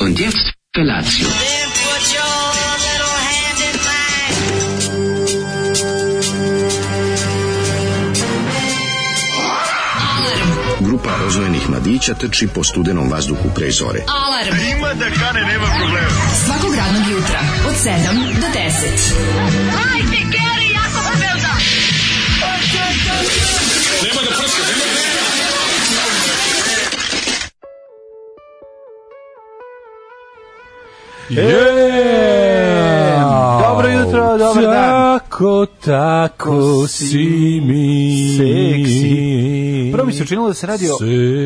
Und jetzt Felatio. Then put your little hand in mine. Grupa rozvojenih mladića trči po studenom vazduhu pre zore. Alarm. Ima da kane, nema problema. Svakog radnog jutra, od 7 do 10. Dobro jutro, dobar dan. Tako, tako si mi. Seksi. Prvo mi se učinilo da se radi o,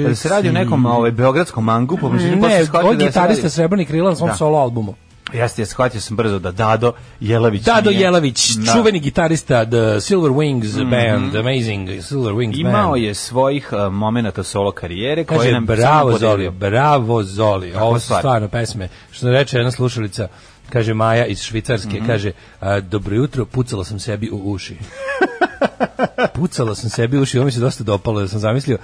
da se radi o nekom ovaj, beogradskom mangu, pa mi se Ne, ovo je gitarista Da se Srebrni krila na svom Da. solo albumu. radi- Jeste, ja shvatio sam brzo da Dado Jelavić Dado nije- Jelavić, Da. čuveni gitarista The Silver Wings band, Amazing Silver Wings Imao band. je svojih uh, momenata solo karijere koje Kaže, nam bravo samo Zoli, podelio. bravo Zoli. Ovo su stvar. stvarno pesme. Što nam reče jedna slušalica, kaže Maja iz Švicarske, Mhm. kaže, a, dobro jutro, pucala sam sebi u uši. pucala sam sebi u uši, ovo mi se dosta dopalo, da sam zamislio.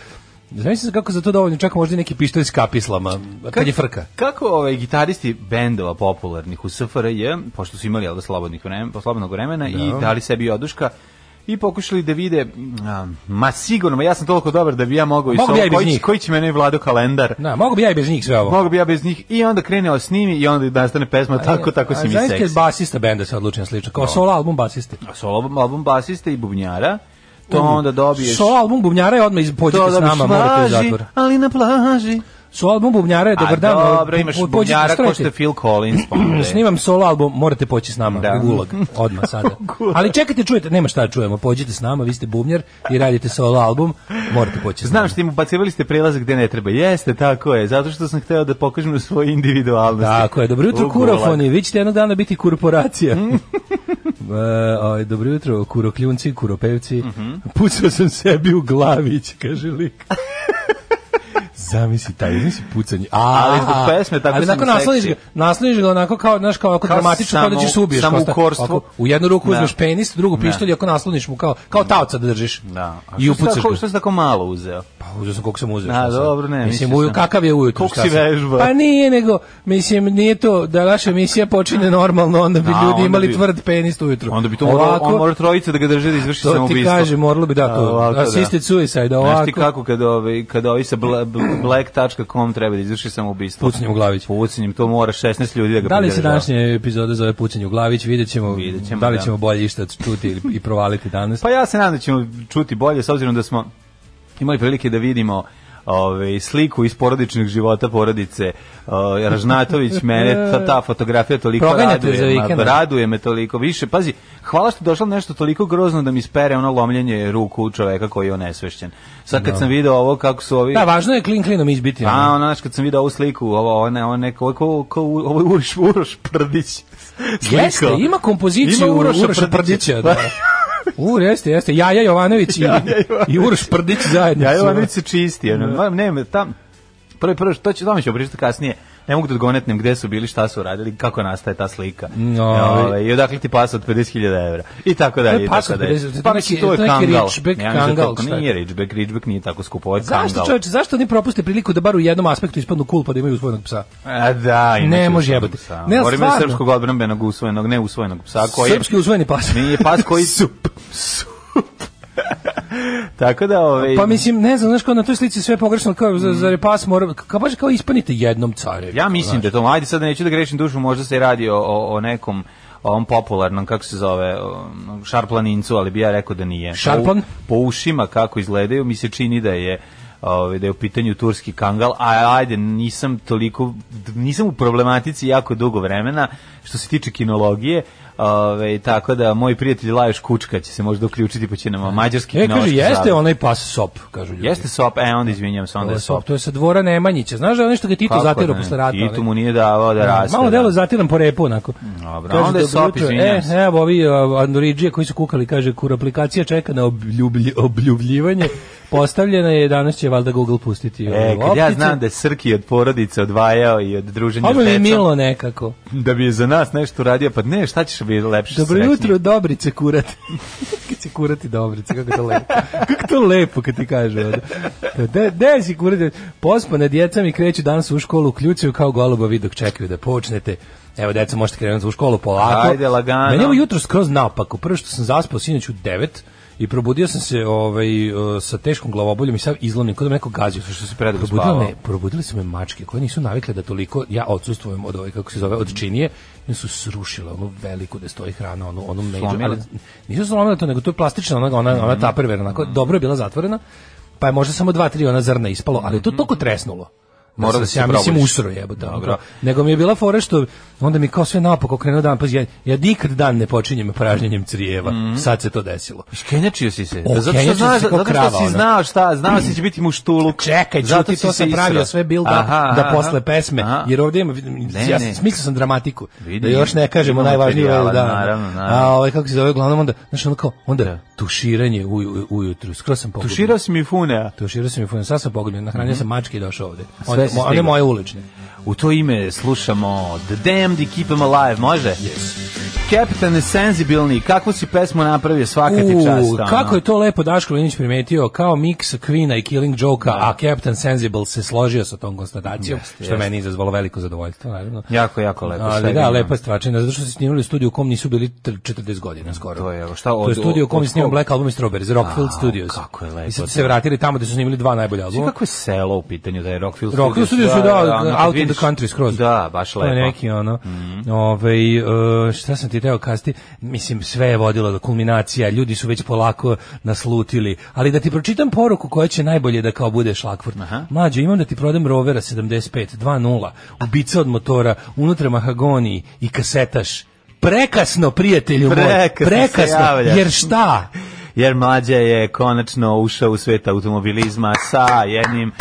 Zamislio sam kako za to dovoljno, čak možda i neki pištolj s kapislama, kad je frka. Kako ovaj gitaristi bendova popularnih u SFRJ, pošto su imali jel da slobodnih vremena, slobodnog vremena Da. i dali sebi oduška i pokušali da vide a, ma sigurno, ma ja sam toliko dobar da bi ja mogao i Mogu bi ja i bez koji, njih. koji će mene vlado kalendar. Da, mogu bi ja i bez njih sve ovo. Mogu bi ja bez njih i onda kreneo s njimi i onda da nastane pesma tako, tako si mi Zaista je seksi. basista benda se odlučio na slično, kao solo album basiste. Solo album basiste i bubnjara, to onda dobiješ... Solo album bubnjara je odmah iz pođite to s nama, morate u zatvor. ali na plaži. Solo album bubnjara je dobar A dan. dobro, po- imaš po- pođite, bubnjara ko stojite. što je Phil Collins. pa onda je- Snimam solo album, morate poći s nama Da. u gulag, odmah sada. gulag. Ali čekajte, čujete, nema šta da čujemo, pođite s nama, vi ste bubnjar i radite solo album, morate poći s nama. Znam što im ubacivali ste prelazak gde ne treba. Jeste, tako je. Zato što sam hteo da pokažem svoje individualnosti. Tako je, dobro jutro U gulag. kurofoni, vi ćete jednog dana biti korporacija. Mm. E, oj, dobro jutro, kurokljunci, kuropevci. Mhm. Pucao sam sebi u glavić, kaže lik. Zamisli taj, zamisli pucanje. A, Ali zbog pesme tako ali sam onako nasloniš ga, seksi. nasloniš ga onako kao, znaš, kao ako Kao dramatično, kao da samo- ćeš se ubiješ. samo kao sta- ukorstvo. ovako, U jednu ruku Da. uzmeš penis, u drugu Da. pištolj, i ako nasloniš mu kao, kao tavca da držiš. Da. A I što si upucaš tako- ga. Što si tako malo uzeo? Pa uzeo sam koliko sam uzeo. A, šta sad? dobro, ne, Mislim, mislio uju, sam. kakav je ujutru? Koliko šta si sam? vežbao? Pa nije, nego, mislim, nije to da naša emisija počine normalno, onda bi Da, ljudi onda imali bi- tvrd penis ujutru. Onda bi to morao, Ovako, on mora trojica da ga drže da izvrši To ti samoubistvo. kaže, moralo bi da A, to. ovako, da. Assisted suicide, Znaš ti ovako. kako kad ovi, kad ovi sa bla- bl- black.com treba da izvrši samoubistvo? Pucanjem u glavić. Pucanjem, to mora 16 ljudi da ga Da li se podržava. današnje epizode zove Pucanje u glavić, vidjet ćemo, Vidjet ćemo, da li da. ćemo bolje išta čuti ili- i provaliti danas. Pa ja se nadam da ćemo čuti bolje, s obzirom da smo imali prilike da vidimo ove, sliku iz porodičnog života porodice o, Ražnatović, mene ta, ta fotografija toliko Proganjate za raduje, vikend. ma, raduje me toliko više. Pazi, hvala što je došlo nešto toliko grozno da mi spere ono lomljenje ruku čoveka koji je onesvešćen. Sad kad sam video ovo kako su ovi... Da, važno je klin klinom izbiti. ono. A, ono, znaš, kad sam video ovu sliku, ovo, ovo, ne, ovo, neko, ovo, ko- ko- ovo je Uroš, Uroš Prdić. slikao. Jeste, ima kompoziciju Ima Uroša, Prdića. da. U, jeste, jeste. Jaja Jovanović i, i Uroš Prdić zajedno. Ja su, je ono. već se čisti, Da. ono, ne, ne, tam, prvi, prvi, to ću, tamo ću pričati kasnije, ne mogu da odgonetnem gde su bili, šta su radili, kako nastaje ta slika. No, Ove, I odakle ti pas od 50.000 evra. I tako To dalje. je i pas tako od dalje. 50.000, Pa to neki- mislim, to je to neki kangal. ridgeback, Ja mislim da to- kangal, šta je? Nije ridgeback, ridgeback nije tako skupo, ovo je kangal. Zašto čoveče, zašto oni propuste priliku da bar u jednom aspektu ispadnu cool pa da imaju usvojenog psa? A da, imaće Ne može usvojenog jebote. psa. Ne, ali Moramo imati stvarno. srpskog odbrambenog usvojenog, ne usvojenog psa, koji je Srpski usvojeni pas. nije pas koji... Sup. Tako da, ove, Pa mislim, ne znam, znaš kao na toj slici sve je pogrešno, kao za, za repas mora, kao baš kao ispanite jednom carevi. Ja mislim da je to, ajde sad neću da grešim dušu, možda se radi o, o, o nekom ovom popularnom, kako se zove, o, šarplanincu, ali bi ja rekao da nije. Šarplan? Po, po ušima kako izgledaju, mi se čini da je ovaj, da je u pitanju turski kangal, a ajde, nisam toliko, nisam u problematici jako dugo vremena, što se tiče kinologije, Ove, tako da moj prijatelj Lajoš Kučka će se možda uključiti pa će nam mađarski E, kaže, kinološki jeste zavod. onaj pas sop, kažu ljudi. Ovaj Jeste sop, e, onda izvinjam se, onda To je je sop. sop, to je sa dvora Nemanjića. Znaš da je nešto ga je Tito zatirao ne? posle rata? Titu onaj? mu nije davao da raste. Malo da. delo zatiram po repu onako. Dobro, Kaže, onda je dobro sop, jutro. izvinjam E, se. evo ovi uh, Andoriđije koji su kukali, kaže, kur aplikacija čeka na obljubljivanje, postavljena je, danas će valjda Google pustiti ovaj, E, kad ja znam da je Srki od porodice odvajao i od druženja s Ovo mi je decom, milo nekako. da bi je za nas nešto uradio, pa ne, šta ćeš biti lepše Dobro srećnije? jutro, Dobrice kurat. kad će kurati Dobrice, kako je to lepo. Kako to lepo kad ti kažu. ono. Kao, De, de si kurati? Pospane djeca mi kreću danas u školu, kljucaju kao goluba, vi dok čekaju da počnete. Evo, deca, možete krenuti u školu polako. Ajde, lagano. Meni je ovo jutro skroz naopako. Prvo što sam zaspao sinoć u 9 i probudio sam se ovaj, e, sa teškom glavoboljom i sav izlomljen, kod me neko gazio. Što si predugo Probudile, spavao? me, probudile su me mačke koje nisu navikle da toliko ja odsustvujem od ove kako se zove Mhm. od činije i su srušile onu veliku da stoji hrana onu onu među Slomile? ali nisu slomile to nego to je plastična ona ona, Mhm. ona tupperware onako dobro je bila zatvorena pa je možda samo dva tri ona zrna ispalo ali je to toliko tresnulo Mora sam da se, Mhm. se ja mislim probudiš. usro jebote ono Dobro. kao. nego mi je bila fora što onda mi kao sve naopako krenuo dan pa ja, ja nikad dan ne počinjem pražnjenjem crijeva Mhm. sad se to desilo Kenjačio si se. O, zato što kenjačio znaš, si ko zato što krava, si ono. znao šta, znao si da će biti muštuluk. Čekaj, Zato zato si to se sam israo. pravio sve build up Aha, da aha, posle aha. pesme, Aha. jer ovdje ima, ja ne. smislio sam dramatiku, Vidim, da još ne kažemo imamo najvažnije materijala, da, da, naravno, naravno. Da. a ovaj, kako se zove, uglavnom onda, znaš, ono kao, onda tuširanje uj, uj- ujutru, skroz sam pogubljen. Tuširao si mi funea. Tuširao sam i fun, sad sam pogubljen, nahranio sam mačke i došao ovde. Mhm. Sve One, si mo- one stigao. moje ulične. U to ime slušamo The Damned i Keep 'em Alive, može? Yes. Captain Sensibilni, kakvu si pesmu napravio svaka ti čast. U, ono. kako je to lepo Daško Linić primetio, kao miks Queen-a i Killing Joke-a, Da. a Captain Sensible se složio sa tom konstatacijom, što je meni izazvalo veliko zadovoljstvo, naravno. Jako, jako lepo. sve Ali da, divno. lepa stvačina, zato što su snimali u studiju u kom nisu bili tr- 40 godina skoro. To je, evo, šta, to od- je studio u kom od je snimao kog? Black Album i Strawberries, Rockfield A, Studios. kako je lepo I sad to. se vratili tamo gde su snimili dva najbolja Znaš albuma. kako je selo u pitanju da je Rockfield Studios? Rockfield Studios su da, ono, kad out in znači vidiš- the country skroz. Da, baš lepo. Mhm. To je neki ono. Ovaj e, šta sam ti teo kasti? Mislim sve je vodilo do kulminacija, ljudi su već polako naslutili, ali da ti pročitam poruku koja će najbolje da kao bude Šlakfurt. Mlađe, imam da ti prodam Rovera 75 2.0, ubica od motora, unutra mahagoni i kasetaš. Prekasno, prijatelju moj, Prekasno se prekasno, javlja. jer šta? jer mlađa je konačno ušao u svet automobilizma sa jednim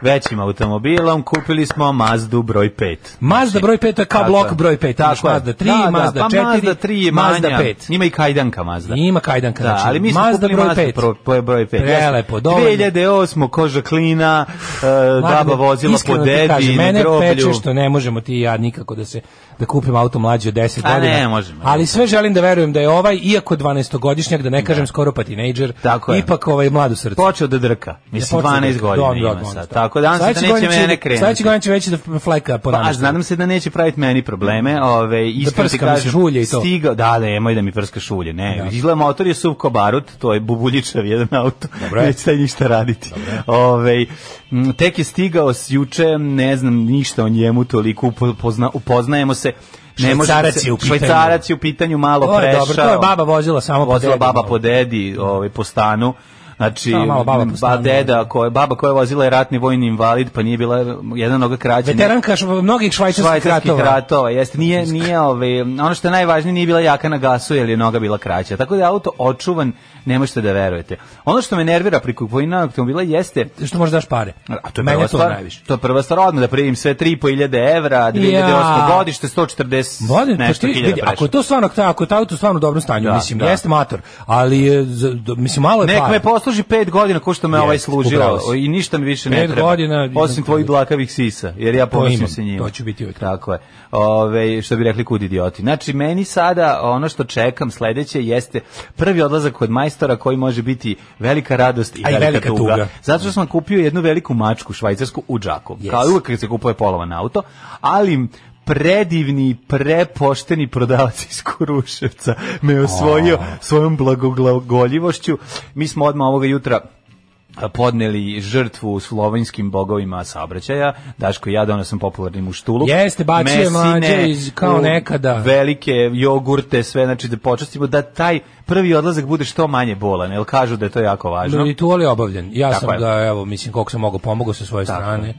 većim automobilom. Kupili smo Mazdu broj 5. Mazda broj 5 je kao Znači, Tako blok je. broj 5, imaš Tako je. Mazda 3, Da, da, Mazda pa 4, Mazda 3 je Mazda manja. 5. Ima i kajdanka Mazda. Ima kajdanka, Da, znači, ali mi smo Mazda kupili broj Mazda pet. pro- pro- broj 5. Prelepo, dovoljno. 2008. koža klina, e, daba Mladene, vozila po iskreno ti dedi, kažem, na mene peče groblju. što ne možemo ti i ja nikako da se da kupim auto mlađi od 10 A Pa ne, godina. možemo. Ali sve želim da verujem da je ovaj iako 12-godišnjak, da ne kažem skoro pa tinejdžer, Tako je. ipak ovaj mlad u srcu. Počeo da drka. Mislim, Ja počnem 12 da- godina dobro, ima dobro, sad. dobro. Tako da, nadam se Sledeće da neće godine će- mene krenuti. Sledeće godine će već da fleka po Pa, nama. a nadam se da neće praviti meni probleme. Da Ove, iskreno ti prska mi kažem, šulje i to. Stigao, da, da, emoj da mi prska šulje. Ne, Da. izgleda motor je suv ko barut, to je bubuljičav jedan auto. Dobro je. Neće taj ništa raditi. Ove, m, tek je stigao s juče, ne znam ništa o njemu toliko, upozna, upoznajemo se. Ne možemo Švajcarac se- je u pitanju. Švajcarac je u pitanju malo To je prešao. dobro, to je baba vozila samo po Vozila dedi baba malo. po dedi, ovaj, po stanu. Znači, Samo Da, malo baba po ba stanu. da. deda, koja, baba koja je vozila je ratni vojni invalid, pa nije bila jedan noga krađena Veteranka š- mnogih švajcarskih švajcarskih ratova. ratova. Jeste, nije, nije ove, ono što je najvažnije nije bila jaka na gasu jer je noga bila kraća. Tako da je auto očuvan, ne možete da verujete. Ono što me nervira pri kupovini automobila jeste Što možeš daš pare. A to je Mene prva to stvar. najviše. To je prva stvar odmah da primim sve 3.500 evra, da 2008 Ja. godište, 140 Vodi, pa nešto ti hiljada vidi, ako je prešlo. to stvarno, ako je to auto stvarno u dobrom stanju, Da, mislim, da. jeste mator, ali je, za- do- mislim, malo je Nek para. me posluži 5 godina ko što me ovaj Jeste, služio upravo si. i ništa mi više ne Pet treba. godina- osim tvojih dlakavih sisa, jer ja To ponosim imam, se njima. to ću biti uvijek. Tako je. Ove, što bi rekli kud idioti. Znači, meni sada ono što čekam sledeće jeste prvi odlazak kod majstora koji može biti velika radost i A i velika, velika tuga. tuga. Zato što sam kupio jednu veliku mačku švajcarsku u džaku. Yes. Kao i uvek kad se kupuje polovan auto, ali predivni, prepošteni prodavac iz Kuruševca me osvojio Oh. svojom blagoglagoljivošću. Mi smo odmah ovoga jutra podneli žrtvu slovenjskim bogovima saobraćaja. Daško i ja donio sam popularni muštuluk. Jeste, bacio je Mesine, mlađe iz- kao u- nekada. Velike jogurte, sve, znači da počastimo da taj prvi odlazak bude što manje bolan, jer kažu da je to jako važno. Ritual je obavljen. Ja Tako sam je. ga, evo, mislim, koliko sam mogao, pomogao sa svoje strane.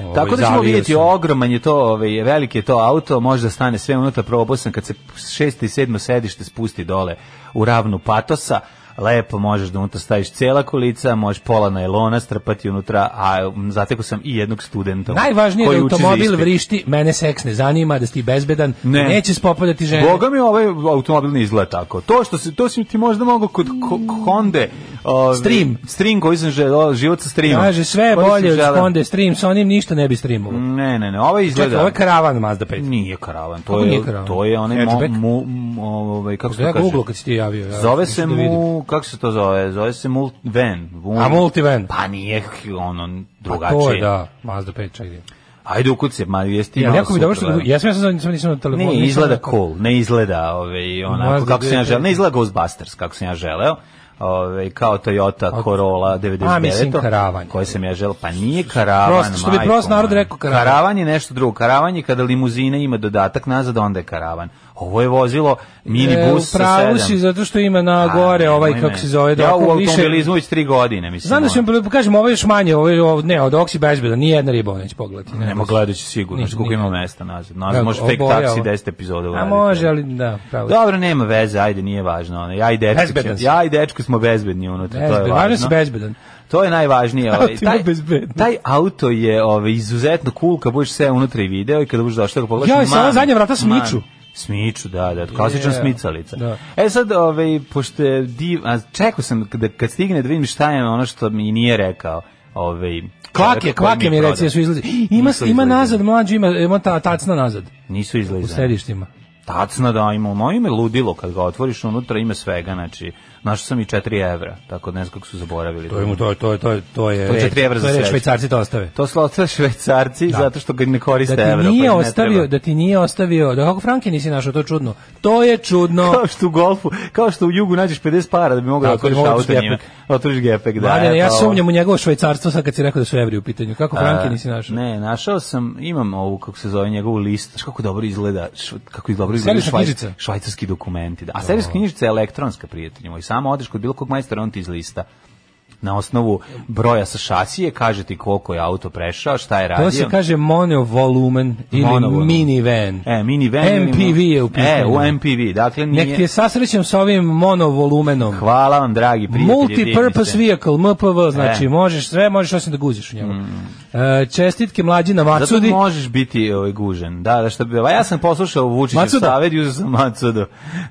Ovaj, Tako da ćemo zavio vidjeti, sam. ogroman je to, ovaj, veliki je to auto, možda stane sve unutra, probao sam kad se šesto i sedmo sedište spusti dole u ravnu patosa, lepo možeš da unutra staviš cela kolica, možeš pola najlona strpati unutra, a m, zatekao sam i jednog studenta. Najvažnije je koji da uči za automobil ispit. vrišti, mene seks ne zanima, da si ti bezbedan, Ne. neće spopadati žene. Boga mi ovaj automobil ne izgleda tako. To što se to si ti možda mogao kod ko, Honda ovaj, Stream. stream koji sam želeo, život sa streamom. Kaže, sve je Koji sam bolje od želeo. Honda Stream, sa onim ništa ne bi streamovao. Ne, ne, ne, ovaj izgleda. Čekaj, ovo je karavan Mazda 5. Nije karavan, to Kako je, nije karavan? to je onaj mo, Hatchback? mu, mu- ovaj, kako se Ja to ga kaže? Google kad si ti javio. Ja, Zove nisam se da vidim. mu, kako se to zove? Zove se mul, van. A multivan. Pa nije ono Pa to je, drugačije. da, Mazda 5, čak gdje. Ajde ukucaj, ma jesi ti Ja, malo jako mi dobro što... sutra, ga- da. Ja sam ja sam nisam nisam na telefonu. Ne, nisam izgleda na- cool, ne izgleda ovaj, onako Mazda kako sam ja 2005. želeo, ne izgleda Ghostbusters kako sam ja želeo, ovaj, kao Toyota Corolla 99. A, mislim, karavan. Koje sam ja želeo, pa nije karavan, Prosto, što bi majko prost narod moja. rekao karavan. Karavan je nešto drugo, karavan je kada limuzina ima dodatak nazad, onda je karavan. Ovo je vozilo E, minibus u sa sedam. pravu si, zato što ima na A, gore ovaj, nemoj kako me. se zove, da ja u oko više... automobilizmu već tri godine, mislim. Znam da ću vam kažem, ovo je još manje, ovo je, ovo, ne, od Oksi bezbeda, nije jedna riba, ovo neće pogledati. Ne, Nemo gledat ću sigurno, Ni- znaš koliko ni- ima mesta nazad. Nazad Kako, može tek oboje, taksi ovo. 10 epizoda A uraditi. može, ali da, pravo. si. Dobro, nema veze, ajde, nije važno. Ono. Ja i dečko, Bezbedan ćemo- si. ja i dečko smo bezbedni unutra, to Bezbedan, je Važno da si važno. bezbedan. To je najvažnije. Ovaj. Auto ima bezbednost. taj auto je ovaj, izuzetno cool kad budeš sve unutra i video i kada budeš došao da ga pogledaš. Joj, sa ova man, zadnja vrata man. smiču. Smiču, da, da, klasična Je. smicalica. Da. E sad, ovaj, pošto je div... A, čekao sam da kad stigne da vidim šta je ono što mi nije rekao. Ovaj, čovjek Kvake, koji kvake mi prodao. reci, da su izlazi. Ima, Nisu ima izlizani. nazad, mlađi, ima, ima ta, tacna nazad. Nisu U izlizani. sedištima. Tacna da ima, moje ime ludilo kad ga otvoriš unutra ima svega, znači našao sam i 4 evra, tako da ne znam kako su zaboravili. To je mu to to to to je To je četiri evra za to je reč, sreću. Švajcarci to ostave. To su ostali švajcarci zato što ga ne koriste Da evra. ti pa im nije ne ostavio, treba. da ti nije ostavio, da kako Franke nisi našao, to je čudno. To je čudno. Kao što u golfu, kao što u jugu nađeš 50 para da bi mogao da Tako, da otvoriš mogu auto otvoriš njima. gepek. Otvoriš gepek, da. Mladene, ja eto, ovo. sumnjam u njegovo švajcarstvo sad kad si rekao da su evri u pitanju. Kako Franke nisi našao? Ne, našao sam, imam ovu, kako se zove, njegovu list, znaš kako dobro izgleda, š, kako dobro izgleda Serijska knjižica? švajcarski dokumenti. Da. A serijska knjižica je elektronska, prijatelj moj, samo odeš kod bilo kog majstora, on ti izlista na osnovu broja sa šasije, kaže ti koliko je auto prešao, šta je radio. To se kaže monovolumen ili Monovolumen. minivan. E, minivan. MPV je u E, pitanju. u MPV, dakle nije... Nek ti je sasrećem sa ovim monovolumenom. Hvala vam, dragi prijatelji. Multipurpose divni ste. vehicle, MPV, znači E. Mm. možeš sve, možeš osim da guziš u njemu. E, čestitke mlađi na Zato Macudi. možeš biti ovaj, gužen. Da, da što bi... A ja sam poslušao Vučića Macuda. savet i uzeo sam Macudu.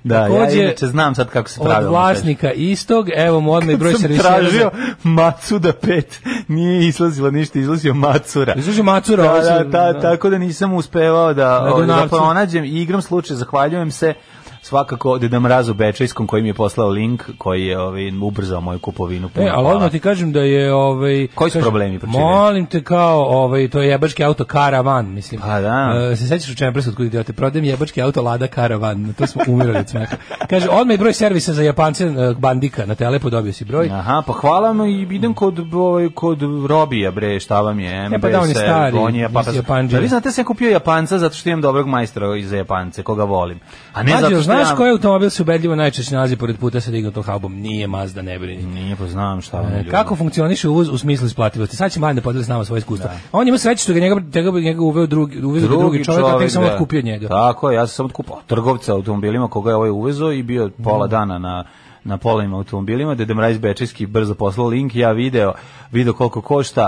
Da, Takođe, ja inače znam sad kako se Od pravilno kaže. vlasnika istog, evo mu odmah i broj sam servisa. tražio Macuda 5. Nije izlazila ništa, izlazio Macura. Izluži Macura. Da, ovaj se- da, ta, tako da nisam uspevao da, Na ovaj, da Dunavcu. pronađem i igrom slučaja zahvaljujem se svakako Deda Mrazu Bečejskom koji mi je poslao link koji je ovaj, ubrzao moju kupovinu. Puno E, ali hvala. odmah ti kažem da je ovaj Koji su kažem, problemi pročinjeni? Molim te kao ovaj to je jebački auto karavan, mislim. Pa da. E, se sećaš u Čempresu od kuda te prodajem jebački auto Lada karavan, na to smo umirali od smeha. Kaže odmah i broj servisa za Japance e, bandika na telepo dobio si broj. Aha, pa hvala mu i idem kod ovaj, kod Robija bre, šta vam je? MBS, pa da, on je stari, on je Japan- nisi Japanđija. Da vi znate sam kupio Japanca zato što imam dobrog majstora iz Japance, koga volim. A ne Mađo, zato što znaš ja- koji automobil se ubedljivo najčešće nalazi pored puta sa dignutom haubom? Nije Mazda, ne brini. Nije pa znam šta vam je. E, ljudi. Kako funkcioniše uvoz u smislu isplativosti? Sad će mladen da podeli s nama svoje iskustva. On ima sreće što ga njega, njega, njega uveo drugi, uveo drugi, čovjek, a tek sam da. otkupio od njega. Tako je, ja sam otkupao trgovca automobilima koga je ovaj uvezo i bio pola Da. dana na na polovim automobilima, Dede Mrajs Bečeski brzo poslao link, ja video, video koliko košta,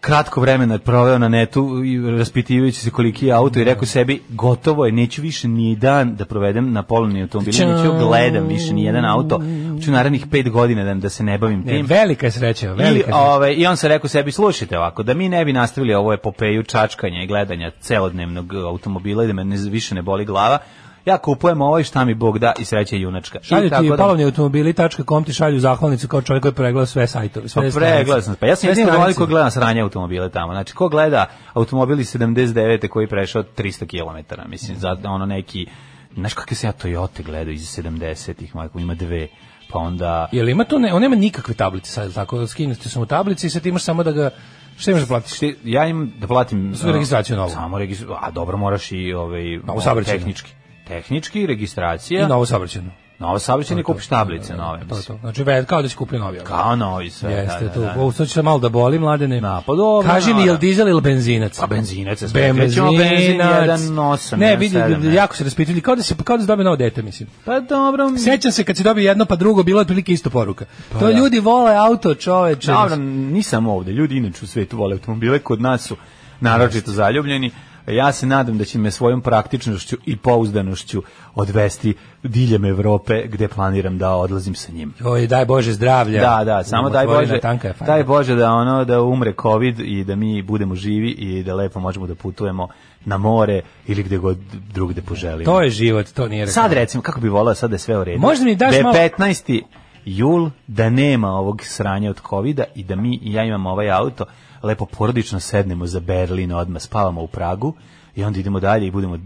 kratko vremena je proveo na netu i raspitivajući se koliki je auto i Da. rekao sebi gotovo je, neću više ni dan da provedem na polovnim automobilima, neću Ćao. gledam više ni jedan auto, ću narednih pet godina da, da se ne bavim Ne, tim. velika je sreća, I, velika je sreća. ovaj, I on se rekao sebi, slušajte ovako, da mi ne bi nastavili ovo epopeju čačkanja i gledanja celodnevnog e, automobila i da me ne, više ne boli glava, ja kupujem ovo i šta mi Bog da i sreće junačka. Šalju I tako ti da- palovniautomobili.com ti šalju zahvalnicu kao čovjek koji je pregledao sve sajtove. Pa Sve pregledao sam. stranice. Pa ja sam Sve jedino ovaj stranice. ko gleda sranje automobile tamo. Znači, ko gleda automobili 79. koji je prešao 300 km, mislim, za ono neki... Znaš kakve se ja Toyota gledao iz 70-ih, majko, ima dve. Pa onda... Jel ima tu, ne, on nema nikakve tablice sad, jel tako, skinuti su mu tablice i sad imaš samo da ga, šta imaš da platiš? Šti- ja im da platim Samo registraciju novu. Samo registraciju, a dobro moraš i ovaj Novu saobraćajnu. tehnički. Tehnički I registracija. novo saobraćajno. Novo saobraćajne To je to. kupiš tablice nove, To je mislim. to. Znači, ve- kao da si kupio novi. auto. Kao novi sve. Jeste, da, da, to. da. Ovo, sad ću se malo da boli, mladene. Na, pa dobro, Kaži mi, da, jel da. dizel ili benzinac? Pa benzinac je sve. Krećemo benzin Benzinac. 1.8, Ne, 1.7, vidi, ne. jako se raspitili, kao da se kao da se dobio novo dete, mislim. Pa dobro. mi- Sećam se kad si dobio jedno pa drugo, bilo je otprilike isto poruka. to ljudi vole auto, čoveče. Pa da. Dobro, nisam ovde. Ljudi inače u svetu vole automobile, kod nas su naročito zaljubljeni. Ja se nadam da će me svojom praktičnošću i pouzdanošću odvesti diljem Evrope gde planiram da odlazim sa njim. Oj, daj Bože zdravlja. Da, da, samo daj Umotvorina Bože, tanka je fajna. daj Bože da ono da umre covid i da mi budemo živi i da lepo možemo da putujemo na more ili gde god drugde poželimo. To je život, to nije Sad recimo, kako bi volao sad da je sve u redu. Možda mi daš da je malo- 15. jul, da nema ovog sranja od covida i da mi i ja imam ovaj auto, lepo porodično sednemo za Berlin odmah, spavamo u Pragu i onda idemo dalje i budemo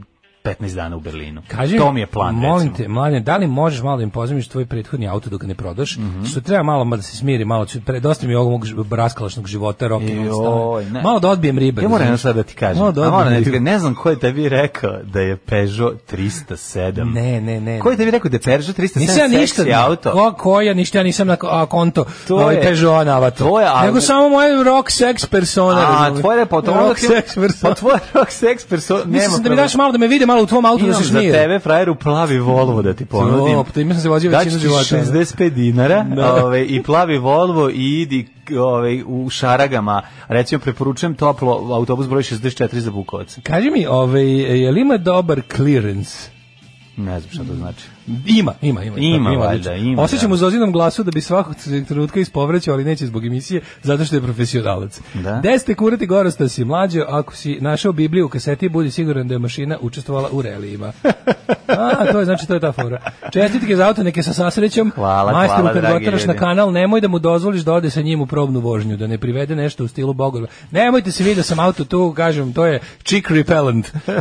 15 dana u Berlinu. Kaži, to mi je plan, molim recimo. te, mladen, da li možeš malo da im pozamiš tvoj prethodni auto dok ga ne prodaš? Mhm. Što treba malo ma da se smiri, malo ću, pre, dosta mi je ovog mog ž- raskalašnog života, rock and roll Joj, stane. ne. Malo da odbijem ribe. Ja moram jedno razumeš? sad da ti kažem. Malo da A odbijem moram da ti ribe. kažem, ne znam ko je tebi rekao da je Peugeot 307. Ne, ne, ne. Ko je tebi rekao da je Peugeot 307 Nisam ja ništa, seksi auto? Ko, ko ja ništa, ja nisam na ko- a, konto To ovaj je- Peugeot Navato. to je, ali- Nego samo moj rock sex persona. A, razumeš? tvoje pa je potom... Rock sex persona. Pa tvoje rock sex persona. Mislim nema da mi daš problema. malo da me vide malo u tvom autu da Imam se za smiri. tebe frajeru plavi Volvo da ti ponudim. O, pa time sam se vozio Daću većinu ti života, ono. 65 dinara Da. ove, i plavi Volvo i idi ove, u šaragama. Recimo, preporučujem toplo autobus broj 64 za Bukovac. Kaži mi, ovaj, je li ima dobar clearance? Ne znam šta to znači. Ima, ima, ima. Ima, valjda, odlično. ima, Osjećam da. u Zozinom glasu da bi svakog trenutka ispovrećao, ali neće zbog emisije, zato što je profesionalac. Da. Deste kurati gorosta si mlađo, ako si našao Bibliju u kaseti, budi siguran da je mašina učestvovala u relijima. A, to je, znači, to je ta fora. Čestitke za auto, neke sa sasrećom. Hvala, Majstoru, hvala, kad ga dragi otaraš na ljudi. kanal, nemoj da mu dozvoliš da ode sa njim u probnu vožnju, da ne privede nešto u stilu Bogorba. Nemojte se vidjeti da sam auto tu, kažem, to je chick repellent. E,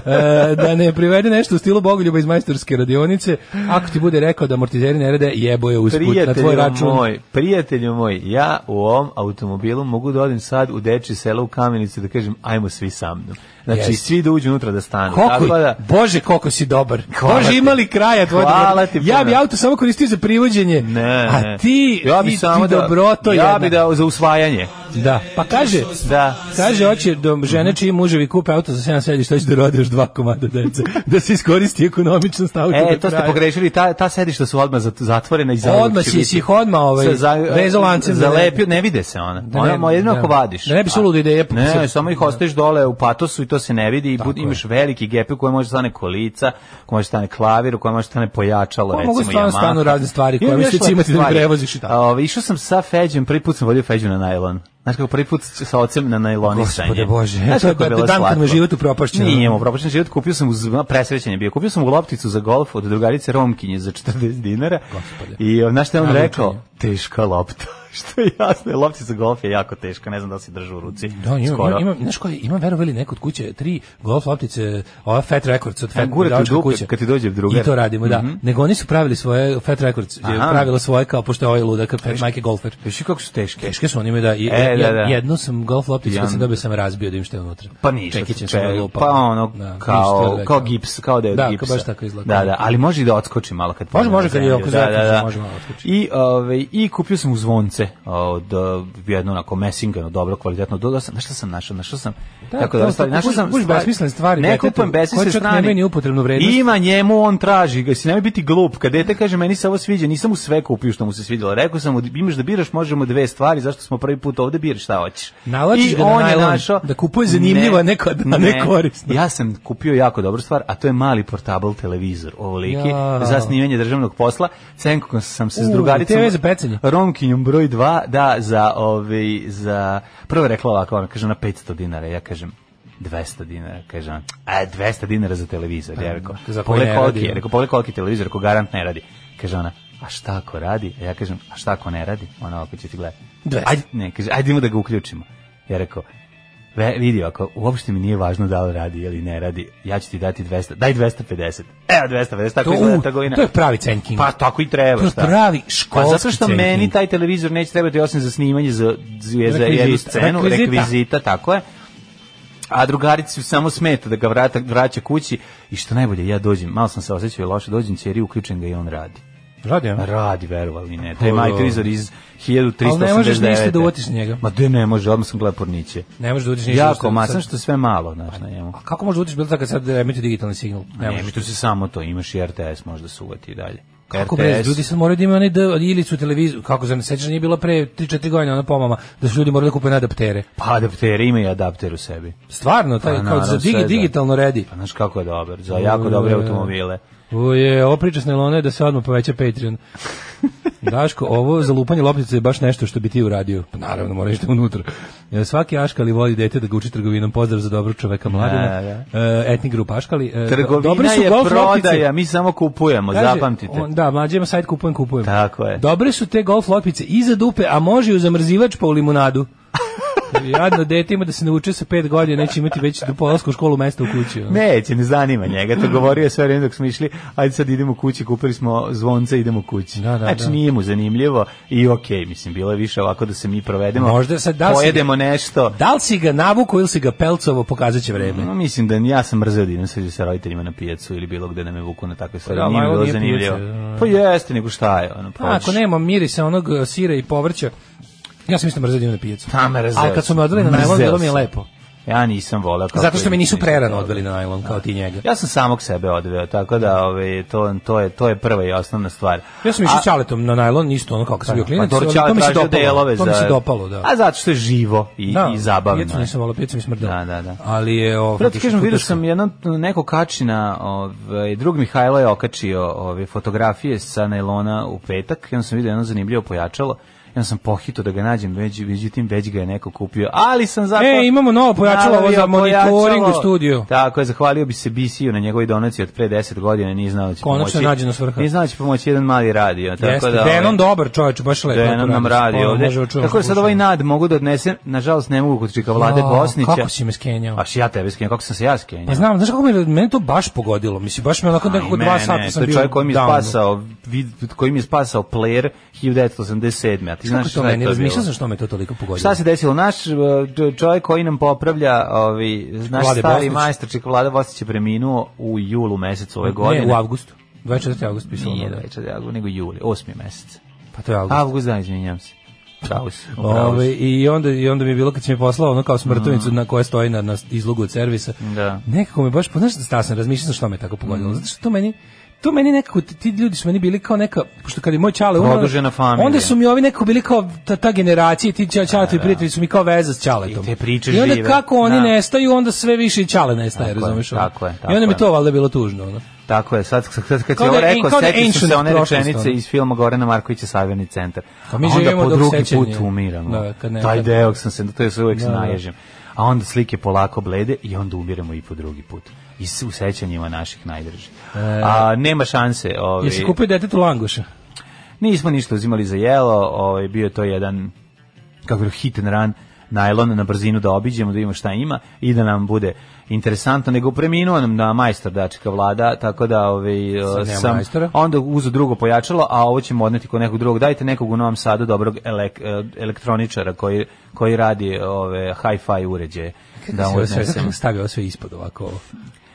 da ne privede nešto u stilu Bogoljuba iz majstorske radionice. Ako ti bude rekao da amortizeri ne rade, jebo je usput na tvoj Prijatelju račun. moj, prijatelju moj, ja u ovom automobilu mogu da odim sad u deči selo u kamenicu da kažem ajmo svi sa mnom. Znači, Jeste. svi da uđu unutra da stanu. Koliko, Tako da, Bože, koliko si dobar. Hvala Bože, ti. imali kraja tvoje Hvala dobro- ti Ja puno. bi auto samo koristio za privođenje. ne, a ne. ti, ja bi ti, samo ti dobroto da, Ja jedna. bi da za usvajanje. da. Pa kaže, Da. Kaže oće da žene čiji muževi kupe auto za 7 sedišta hoće da rode još dva komada dece. Da se iskoristi ekonomičnost auta. E, do to ste kraja. pogrešili, ta, ta sedišta su odmah zat- zatvorena i zauvek Odmah će si biti. si ih odmah ovaj, Sa- za- vezao lancem. da ne- Zalepio, ne vide se ona. Da ne- ona ma jedno da. ako vadiš. Da ne bi suludo ideja Ne, se- da. samo ih ostaješ dole u patosu i to se ne vidi i bud, imaš veliki gep u kojem može stane kolica, u kojem može stane klavir, u kojem može stane pojačalo, Pa, recimo mogu stvarno Yamaha. stanu razne stvari koje Imam misliš još lepe imati da mi stvari. prevoziš i tako. A, ovaj, išao sam sa Feđem, prvi put sam vodio Feđu na najlon. Znaš kako prvi put s- sa ocem na najlonisanje. Gospode Bože, Znaš to je kako da- bilo dan kad slatko? mu je život upropašćen. Nije mu propašten život, kupio sam uz ma, presrećen je bio. Kupio sam mu lopticu za golf od drugarice Romkinje za 40 dinara. Gospode. I o, znaš šta je on Naručen rekao? je. Teška lopta. što je jasno, loptica za golf je jako teška, ne znam da li si držao u ruci. Da, imam, Skoro. imam, imam, znaš koje, imam verovali neko od kuće, tri golf loptice, ova Fat Records od E, Fat gurate u igračka dupe kad ti dođe drugar. Mhm. I to radimo, da. Nego oni su pravili svoje, Fat Records je Aha. pravila svoje, kao pošto je ovaj ludak, Fat Mike je golfer. Viš i kako su teške? Teške su oni imaju da, i, E, da, jed- da. jednu sam golf lopticu kad sam Jedan- dobio sam je razbio da im što je unutra. Pa ništa. Čekićem sam pe- ga lupao. Pa ono, Da, ništa kao, da- kao gips, kao da je od Da, kao gipsa. baš tako izgleda. Da, da, ali može i da otskoči malo kad Može, padne može na kad je zemlju. oko da, zakona, da, da. može malo otskoči. I, ove, I kupio sam u zvonce od uh, jedno onako mesingano, dobro, kvalitetno. Dodao sam, znaš šta sam našao? Našao sam, Da, tako to da, su stvari, tako našao kuš- sam... kuš besmislene stvari Ne detetu, kupujem koje besmislene čak stvari. nemaju ni upotrebnu vrednost. Ima njemu, on traži ga, si nemoj biti glup. Kad dete kaže, meni se ovo sviđa, nisam mu sve kupio što mu se svidjelo. Rekao sam mu, imaš da biraš, možemo dve stvari, zašto smo prvi put ovde, biraš šta hoćeš. Navlačiš I ga na on je najlon, našao- da kupuje zanimljivo, a ne kod- a ne korisno. Ja sam kupio jako dobru stvar, a to je mali portable televizor, ovoliki, Ja. za snimanje državnog posla. Cenkom sam se s U, drugaricom... TV za pecanje. Romkinjom broj 2, da, za, ovaj, za... Prvo je rekla ovako, ona kaže na 500 dinara, ja kažem 200 dinara, kaže ona, a 200 dinara za televizor, ja rekao, Da, za koji ne pogledaj koliki, radi, je, ono. rekao, pogledaj koliki je televizor, ako garant ne radi. Kaže ona, a šta ako radi? A ja kažem, a šta ako ne radi? Ona ovako će ti gledati. 200. Ajde, ne, kaže, ajde idemo da ga uključimo. Ja rekao, Ve, vidi, ako uopšte mi nije važno da li radi ili ne radi, ja ću ti dati 200, daj E, 250. Evo 250, tako To, izgleda u, trgovina. to je pravi cenking. Pa tako i treba. To je šta? pravi školski Pa zato što cenking. meni taj televizor neće trebati osim za snimanje, za, za, za jednu Rekvizita. scenu, Rekvizita. rekvizita. tako je. A drugarici samo smeta da ga vrata, vraća kući i što najbolje, ja dođem, malo sam se osjećao i loše, dođem ćeri, uključen ga i on radi. Pa Radi, a? Radi, verovali ne. Taj O, majtrizor iz 1389. Ali ne možeš ništa da uvatiš da njega. Ma de ne može, odmah sam gledao porniće. Ne možeš da udiš ništa. Jako, Sad- ma sad- sam što sve malo, znaš, na njemu. A kako možeš da udiš bilo tako kad sad emiti digitalni signal? Ne, Ne ne možeš. da- tu se samo to, imaš i RTS, možda se uvati i dalje. Kako RTS, bre, ljudi sad moraju da imaju onaj D od Ilicu televiziju. Kako se ne sećaš, nije bila pre 3-4 godine ona pomama da su ljudi morali da kupe adaptere. Pa adaptere, ima i adapter u sebi. Stvarno, taj, kao Pa, za naravno, sve digi, da. digitalno redi. E, Pa znaš kako je dobar, za jako dobre automobile. Uje, ova priča s Nelona je da se odmah poveća Patreon. Daško, ovo za lupanje loptice je baš nešto što bi ti uradio. Pa naravno, moraš da unutra. E, Svaki aškali voli dete da ga uči trgovinom. Pozdrav za dobro čoveka mladina. Da, E, etnik grup aškali. E, dobre Trgovina su je golf loptice. prodaja, mi samo kupujemo, Kaže, zapamtite. on- da, mlađe ima sajt kupujem, kupujem. Tako je. Dobre su te golf loptice iza dupe, a može i u zamrzivač pa u limunadu. Jadno dete ima da se nauče sa pet godina, neće imati već do polaska u školu mesta u kući. ono. Neće, ne zanima njega, to govorio je sve vreme dok smo išli, ajde sad idemo kući, kupili smo zvonce, idemo kući. Da, da, znači da. nije mu zanimljivo i okej, mislim, bilo je više ovako da se mi provedemo, Možda sad da li si- pojedemo nešto. Da li si ga navuko ili si ga pelcovo, pokazat će vreme. No, mislim da ja sam mrzeo da idem sad sa roditeljima na pijacu ili bilo gde da me vuku na takve stvari, Pa da, nije mi ali bilo nije zanimljivo. pijaca, da, da. Pa jeste, nego šta je, ono, Pa, pa ako nema mirisa onog e, sira i povrća, ja sam isto mrzio da idem na pijacu. Pa, mrzeo Ali kad su me sam. odveli na najlon, Mrzeo bilo mi je sam. lepo. Ja nisam voleo kako Zato što je, me nisu nisam prerano voleo. odveli na najlon, kao ti njega. Ja sam samog sebe odveo, tako da ove, to, to, je, to je prva i osnovna stvar. Ja sam išao A- Pa, čaletom na najlon, isto ono kao kad sam bio klinac, ali dobro, to mi se tražio dopalo. delove To mi se dopalo, da. A zato što je živo i, i zabavno. Pijecu je. nisam volao, pijecu mi smrdao. Da, da, da. Ali je... Ovaj, Prvo ti kažem, vidio teško. sam jedno, neko kači na, ovaj, drug Mihajlo je okačio ove, fotografije sa najlona u petak, i onda sam vidio jedno zanimljivo pojačalo, i onda sam pohito da ga nađem, već, međutim već ga je neko kupio, ali sam zato... E, imamo novo pojačalo, ovo za Nabavio monitoring pojačalo. u studiju. Tako je, zahvalio bi se BC-u na njegovoj donaciji od pre 10 godina, nije znao da će Konačno pomoći. je nađena svrha. Nije znao da će pomoći jedan mali radio. Tako Jeste, da, ovaj, Denon dobar čovječ, baš lepo. da Denon nam radi ovde. Kako je sad ovaj nad mogu da odnesem, nažalost ne mogu kod čika Vlade Bosnića. Kako si me skenjao? Baš ja tebe skenjao, kako sam se ja skenjao. Pa znam, znaš kako mi je, mene to baš pogodilo. Mislim, baš me onako nekako Aj, dva mene, sata sam to je bio čovjek koji mi je downu. spasao, vid, koji mi je spasao player 1987. A ti Kako znaš to šta je meni, to razmišljao sam bilo? što me to toliko pogodilo. Šta se desilo? Naš e, č- čovjek koji nam popravlja, ovi, naš Vlade stari Bosnić. majstor Čika Vlada Bosnić je preminuo u julu mesecu ove godine. Ne, u avgustu. 24. avgust pisalo. Nije da. da nego juli, osmi mesec. Pa to je avgust. Ovaj, Avgust, da, izvinjam se. Pravo si, u pravu Ove, si. i, onda, I onda mi je bilo kad si mi poslao ono kao smrtovnicu na koja stoji na, na izlogu od servisa. Mm. Da. Mm. Nekako me baš, pa znaš da sam razmišljao sam što me tako pogodilo. Zato što to meni, to meni nekako, ti, ti ljudi su meni bili kao neka, pošto kad je moj čale umro, Produžena familija. Da, onda su mi ovi nekako bili kao ta, ta generacija, i ti čale, čale, i prijatelji su mi kao veza s čaletom. I te priče I onda žive. kako oni Da. nestaju, onda sve više i čale nestaje, Tako je, razumeš? ono? tako je, tako I onda mi je. to valjda bilo tužno. Ono. Tako je, sad, sad kad Kao si da ovo je- rekao, kao da je setio sam se ancient one prošlost, rečenice ono. iz filma Gorana Markovića Saverni centar. Pa mi A onda živimo po dok drugi sećanje. put umiramo. Da, kad ne- Taj kad- deo sam se, to je se uvek da. naježim. A onda slike polako blede i onda umiremo i po drugi put. I s- u sećanjima naših najdržih. A, nema šanse. E. Ovi, Jesi kupio detetu langoša? Nismo ništa uzimali za jelo, ovaj, bio je to jedan kako je hit and run najlon na brzinu da obiđemo, da vidimo šta ima i da nam bude interesantno, nego preminuo nam da majstor dačka vlada, tako da ovaj, nema e, sam majstora. onda uzu drugo pojačalo, a ovo ćemo odneti kod nekog drugog. Dajte nekog u Novom Sadu dobrog elek, e, elektroničara koji, koji radi ove hi-fi uređaje. Da Mislim, mu ovo sve, odnesem. kako stavio ovo sve ispod ovako. ovo?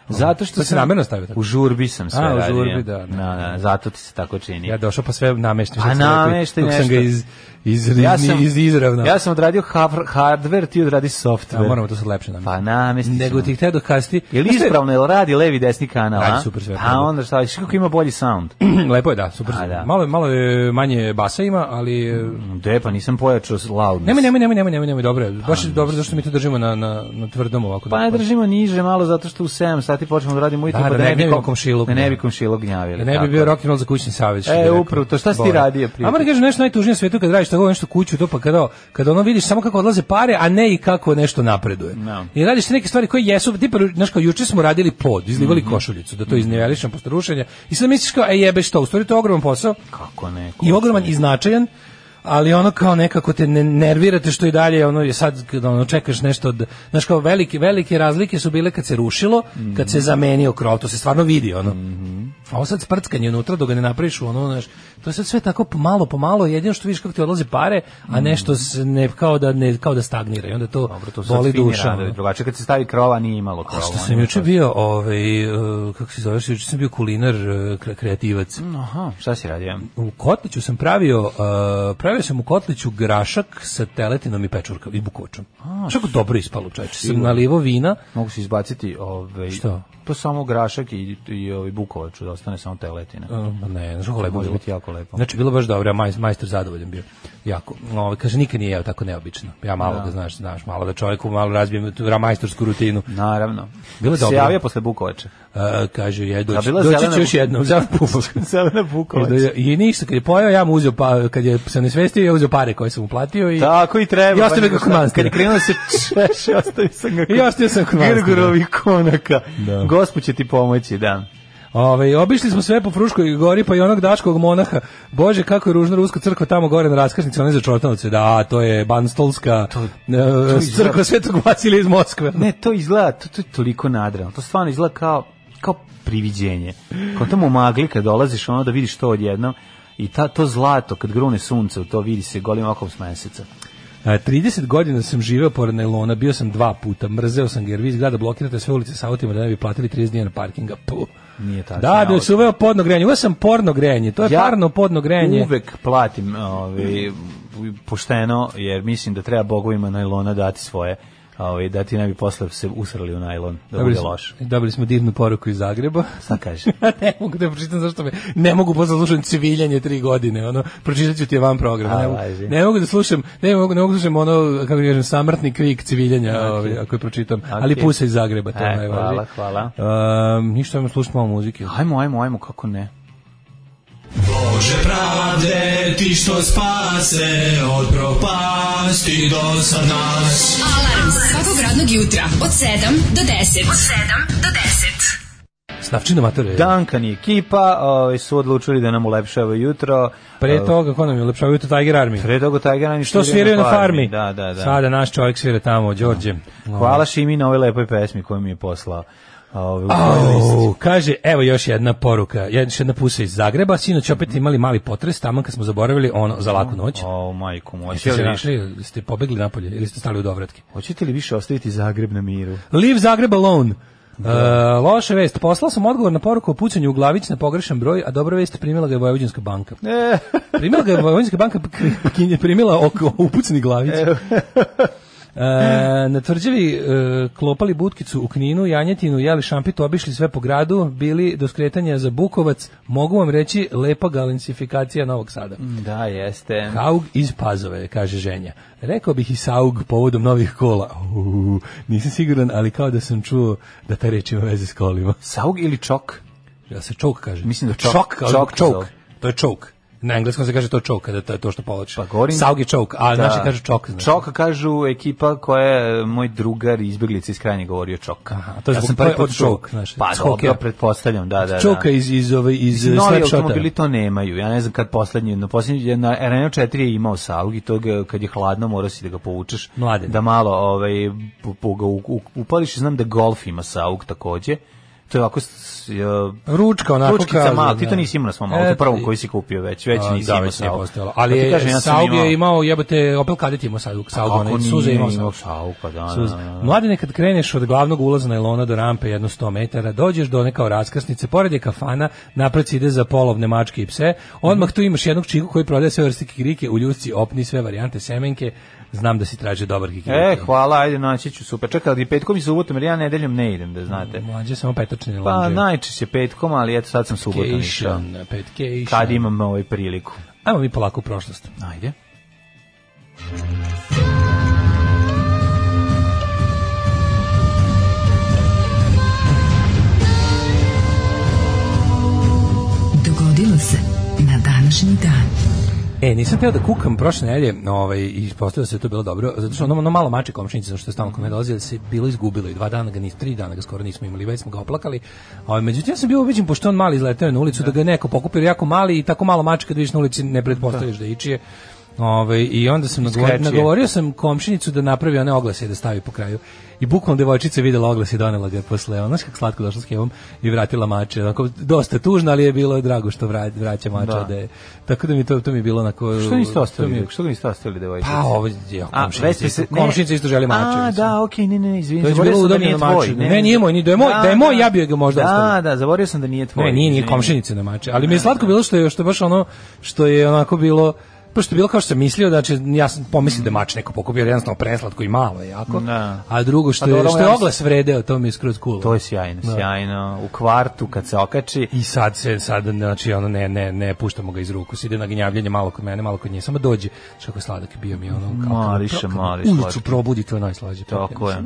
Zato što To si namjerno stavio tako? U žurbi sam sve A, u radio. žurbi, da, da. Na, na, zato ti se tako čini. Ja došao pa sve nameštam. Pa sad sam rekao, nameštaj kako sam nešto. ga iz, iz, ja sam, iz, izravno. Ja sam odradio hardware, hardware ti odradi software. A moramo to sad lepše namestiti. Pa namestiti Nego ćemo. ti htio dokazati. Je li Znaš šta ispravno, je li radi levi desni kanal, a? Radi super sve. A onda šta, viš kako ima bolji sound? Lepo je, da, super. A, da. Malo, je- malo je manje basa ima, ali... e, De, pa nisam pojačao s- loudness. Nemoj, nemoj, nemoj, nemoj, nemoj, nemoj, dobro je. Baš je dobro zašto mi to držimo na, na, na tvrdom ovako. Pa ne držimo niže malo zato što u 7 sati počnemo da radimo Da, ujutro, da pa ne ne bi bi kom- komšiluk, da ne bi da. komšiluk gnjavili. Da ne bi tako bio je. rock and roll za kućni savez. što E, bi rekao. upravo to. Šta si ti Bora. radio, prijatelj? A moram kažem nešto najtužnije na svetu kad radiš tako nešto kuću, to pa kada, kada ono vidiš samo kako odlaze pare, a ne i kako nešto napreduje. No. I radiš neke stvari koje jesu, tipa, znaš kao, juče smo radili pod, izlivali Mhm. košuljicu, da to iznevelišam posle rušenja, i sad misliš kao, e jebe što, u stvari to je ogroman posao, Kako ne? i ogroman i značajan, ali ono kao nekako te ne nervirate što i dalje ono je sad kada ono čekaš nešto od znaš Mhm. kao velike velike razlike su bile kad se rušilo kad se zamenio krov to se stvarno vidi ono A ovo sad sprckanje unutra dok ga ne napraviš u ono, znaš, to je sad sve tako pomalo, pomalo, jedino što vidiš kako ti odlaze pare, a nešto se ne, kao, da, ne, kao da stagnira i onda to, Mhm. Dobro, to su boli sad fini duša. ono. radovi. Drugačije kad se stavi krova nije imalo krova. A što ono, sam juče bio, ovaj, uh, kako se zoveš, juče sam bio kulinar, uh, kre- Mhm. kreativac. Aha, šta si radio? U Kotliću sam pravio, uh, pravio sam u Kotliću grašak sa teletinom i pečurkom i bukočom. Što je dobro ispalo, čoveče. Sam nalivo vina, Mogu se izbaciti ovaj Što? Pa samo grašak i i ovaj bukovač da ostane samo teletina. Uh, ne, znaš kako lepo Može bilo. biti jako lepo. Znači, bilo baš dobro, a maj, majster zadovoljan bio. Jako. Ovo, kaže, nikad nije jeo tako neobično. Ja malo da. znaš, znaš, malo da čovjeku malo razbijem tu ra- majstorsku rutinu. Naravno. Bilo je se dobro. javio posle bukovača. Uh, kaže, je, A doći, bila doći zelena ću još bu- jednom, za pufak. Zelena I, da, bukovač. je- I ništa, kad je pojao, ja mu uzeo, pa, kad je se nesvestio, ja uzeo pare koje sam mu platio i... Tako i treba. I ostavio pa ga kod šta, manastira. Kad je krenuo da se češe, ostavio sam ga I ostavio sam kod manastira. Grgorovih konaka. Da. Gospod će ti pomoći, da. Ove, obišli smo sve po Fruškoj gori, pa i onog daškog monaha. Bože, kako je ružna ruska crkva tamo gore na raskrsnici, ona je za Čortanovce. Da, to je Banstolska to, izgleda- crkva Svetog Vasilija iz Moskve. Ne, to izgleda, to, to je toliko nadrano. To stvarno izgleda kao, kao priviđenje. Kao tamo u magli kad dolaziš ono da vidiš to odjednom i ta, to zlato kad grune sunce u to vidi se golim okom s meseca. A, 30 E, godina sam živeo pored Nelona, bio sam dva puta, mrzeo sam ga jer vi iz grada blokirate sve ulice sa autima da ne bi platili 30 dinara parkinga. Puh. Nije tačno. Da, bio sam uveo podno grejanje, uveo sam porno grejanje, to je parno podno grejanje. Uvek platim ovaj, pošteno, jer mislim da treba bogovima najlona dati svoje. Ovaj, da ti ne bi posle se usrali u najlon, da Dobili bude smo, loš. dobili smo divnu poruku iz Zagreba. Sad kaže. ne mogu da pročitam zašto me, ne mogu posle da slušam civiljanje tri godine, ono, pročitat ću ti je van programa, A, ne, mogu, važi. ne mogu da slušam, ne mogu, ne mogu da slušam ono, kako kažem, samrtni krik civiljanja, ovaj, ako je pročitam, ali pusa iz Zagreba, to Znači. E, je najvažnije. hvala, hvala. Um, ništa, ajmo slušati malo muzike. Ajmo, ajmo, ajmo, kako ne? Bože pravde, ti što spase od propasti do sad nas. Alarm svakog radnog jutra od 7 do 10. Od 7 do 10. Snavčina matore. Duncan i ekipa ovaj, su odlučili da nam ulepšava jutro. Eh, Pre toga, ko nam je ulepšavaju to Tiger Army? Pre toga Tiger Army Što sviraju na farmi? Da, da, da. Sada naš čovjek svira tamo, Đorđe. Hvala Šimi na ovoj lepoj pesmi koju mi je poslao. Ovaj, u tvoj list. Au, kaže, evo još jedna poruka, još jedna pusa iz Zagreba, sinoć opet imali mali potres, tamo kad smo zaboravili ono za laku noć. O, majko moj. da. Jeste Hoćete se li, našli, ili ste pobegli napolje ili ste stali u dovratke? hoćete li više ostaviti Zagreb na miru? Leave Zagreb alone. Uh, loša vest, poslao sam odgovor na poruku o pucanju u glavić na pogrešan broj, a dobra vest primila ga je Vojvođanska banka. E, Primila ga je Vojvođanska banka, pa k- k- je primila oko upucani glavić. E, na tvrđavi e, klopali butkicu u Kninu, Janjetinu, jeli šampit, obišli sve po gradu, bili do skretanja za Bukovac, mogu vam reći lepa galansifikacija Novog Sada. da, jeste. Kaug iz Pazove, kaže ženja. Rekao bih i saug povodom novih kola. Uuu, nisam siguran, ali kao da sam čuo da ta reč ima veze s kolima. Saug ili čok? Ja se čok kaže. Mislim da čok- Čok, kao- čok se čok. zove. To je čok. Na engleskom se kaže to čok, kada to je to što povlačiš. Pa govorim- Saug je čok, a naši kaže čok. znači. Da. Čok kažu ekipa koja je moj drugar i izbjeglica iz krajnje govorio čok. Aha, to je ja zbog- sam to je prvi put od znači, čuo. čok, znaš, Pa iz dobro, hokeja. pretpostavljam, da, da, da. Čoka iz, iz, ove, iz eh, Novi Snapshota. automobili to nemaju. Ja ne znam kad poslednji, na poslednji na Renault 4 je imao Saug i to ga, kad je hladno morao si da ga povučeš. Mladen. Da malo ovaj pu- pu- ga u- u- upališ, znam da Golf ima Saug takođe. To je ovako s- s- e, Ručka onako ručkica kaže, mala, ti to da. nisi imao na svom E, autu, prvom i- koji si kupio već, već A, nisi da, imao već nije Saug. postojalo. Pa Ali ti je, kažem, ja sam Pa Saug je imao, jebate, Opel Kadett je imao Saug, Saug, Kako onaj, nije suze je imao imao Saug. Saug, pa da, da, Suz. da, da. Mladine, kad kreneš od glavnog ulaza na Ilona do rampe jedno 100 metara, dođeš do neka raskrsnice, pored je kafana, napred se ide za polovne mačke i pse, odmah tu imaš jednog čiku koji prodaje sve vrste kikirike, u ljusci opni sve varijante semenke, znam da si traže dobar kikirike. E, hvala, ajde, naći ću, super. Čekaj, ali petkom i subotom, jer ja nedeljom ne idem, da znate. Mlađe samo petočne Pa lonđe. najčešće petkom, ali eto sad sam subotom išao. Cation, petcation. Kad imam ovaj priliku. Ajmo mi polako u prošlost. Ajde. Dogodilo se na današnji dan. E, nisam teo da kukam prošle nedelje, ovaj i ispostavilo se da je to bilo dobro, zato što ono, ono malo mače komšinice, zato što je stalno kod mene dolazilo, se bilo izgubilo i dva dana ga ni tri dana ga skoro nismo imali, već smo ga oplakali. Ovaj međutim ja sam bio ubeđen pošto je on mali izleteo je na ulicu da, ga je neko pokupio jer je jako mali i tako malo mačka kad vidiš na ulici ne pretpostaviš da, je ičije Ove, I onda sam nagovorio, Iskračije. nagovorio sam komšinicu da napravi one oglase i da stavi po kraju. I bukvalno devojčica je videla oglas i donela ga posle. Ona kako slatko došla s kevom i vratila mače. Onako, dosta tužno, ali je bilo drago što vra, vraća mače. Da. Da. je. Tako da mi to, to mi je bilo onako... Što niste to mi ostavili? je- Što ga niste ostavili devojčice? Pa ovo je komšinica. isto- Komšinica isto želi mače. A, mislim. da, okej, ne, ne, izvini. To je već zaboravio bilo sam da udomljeno nije tvoj, mače. Ne, nije moj, ni- da je moj- da je moj, ja bi joj ga možda da, ostavio. Da, da, zaboravio sam da nije tvoj. Ne, nije, nije izvini. komšinice na mače, ali mi je slatko bilo što je što je baš ono što je onako bilo pa što je bilo kao što sam mislio da će ja sam pomislio da je mač neko pokupio jer jednostavno preslatko i malo je jako. Da. A drugo što Pa je dobro, što je ja mislim- oglas vredeo, to mi je skroz cool. To je sjajno, sjajno. U kvartu kad se okači, I sad se sad znači ono ne ne ne puštamo ga iz ruku. Ide na gnjavljenje malo kod mene, malo kod nje. Samo dođe. Znaš kako je sladak bio mi ono kao. kad- Mališe, kad mali Ulicu slatki. probudi to je najslađe. Tako je.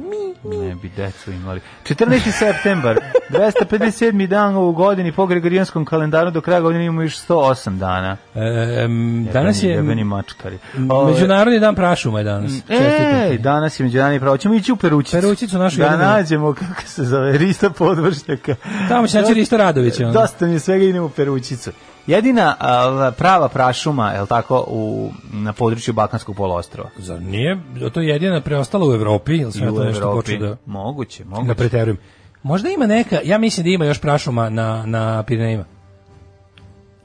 Ne bi decu imali. 14. septembar, 257. dan u godini po Gregorijanskom kalendaru, do kraja godine imamo još 108 dana. E, em, danas je Jebeni mačkari. Ove- Mm, e! Međunarodni dan prašuma je danas. Čestitam. Ej, danas je međunarodni pravo. Ćemo ići u Perućicu. Perućicu našu Da jedinu. nađemo, kako se zove, Rista Podvršnjaka. Tamo će Da- naći Risto Radovića, ono. Dosta mi je svega, idemo u Perućicu. Jedina a, prava prašuma, je tako, u, na području Balkanskog poluostrova. Zar nije? To je jedina preostala u Evropi, ili sam ja I u to nešto Evropi. počeo da, Moguće, da moguće. preterujem? Možda ima neka, ja mislim da ima još prašuma na, na Pirinejima.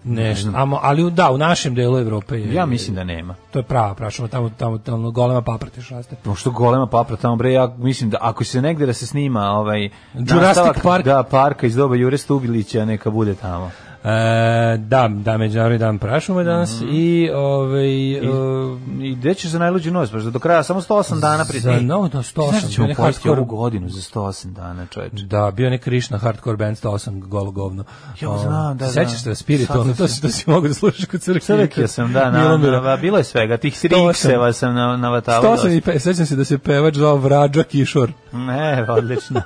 Nešto, amo, ali u- da, u našem delu Evrope je, Ja mislim da nema. to je prava prašuma, tamo, tamo, tamo golema papratiš raste. Pošto golema papra tamo bre, ja mislim da ako se negde da se snima ovaj Jurassic nastavak, Park. da parka iz doba Jure Stubilića neka bude tamo. E, da, da, međunarodni dan prašuma je danas i ovaj, Mhm. I, i gde ćeš za najluđu noć, baš do kraja samo 108 dana prije. za Ej, no, da, 108, Znaš da ćemo ne, pojesti hardcore. ovu godinu za 108 dana, čoveče. Da, bio je neki Krishna hardcore band 108 golo govno. Jo, O, znam, da, da. Sećaš se Spirit, Sad ono, sam to, si- to si mogu da slušaš kod crkve. Crkio sam, da, na, Milomira. na, na, bilo je svega, tih 108. rikseva sam na, navatavao. 108 i pe, sećam se da se pevač zvao Vrađa Kišor. Ovaj, e, Ne, odlično.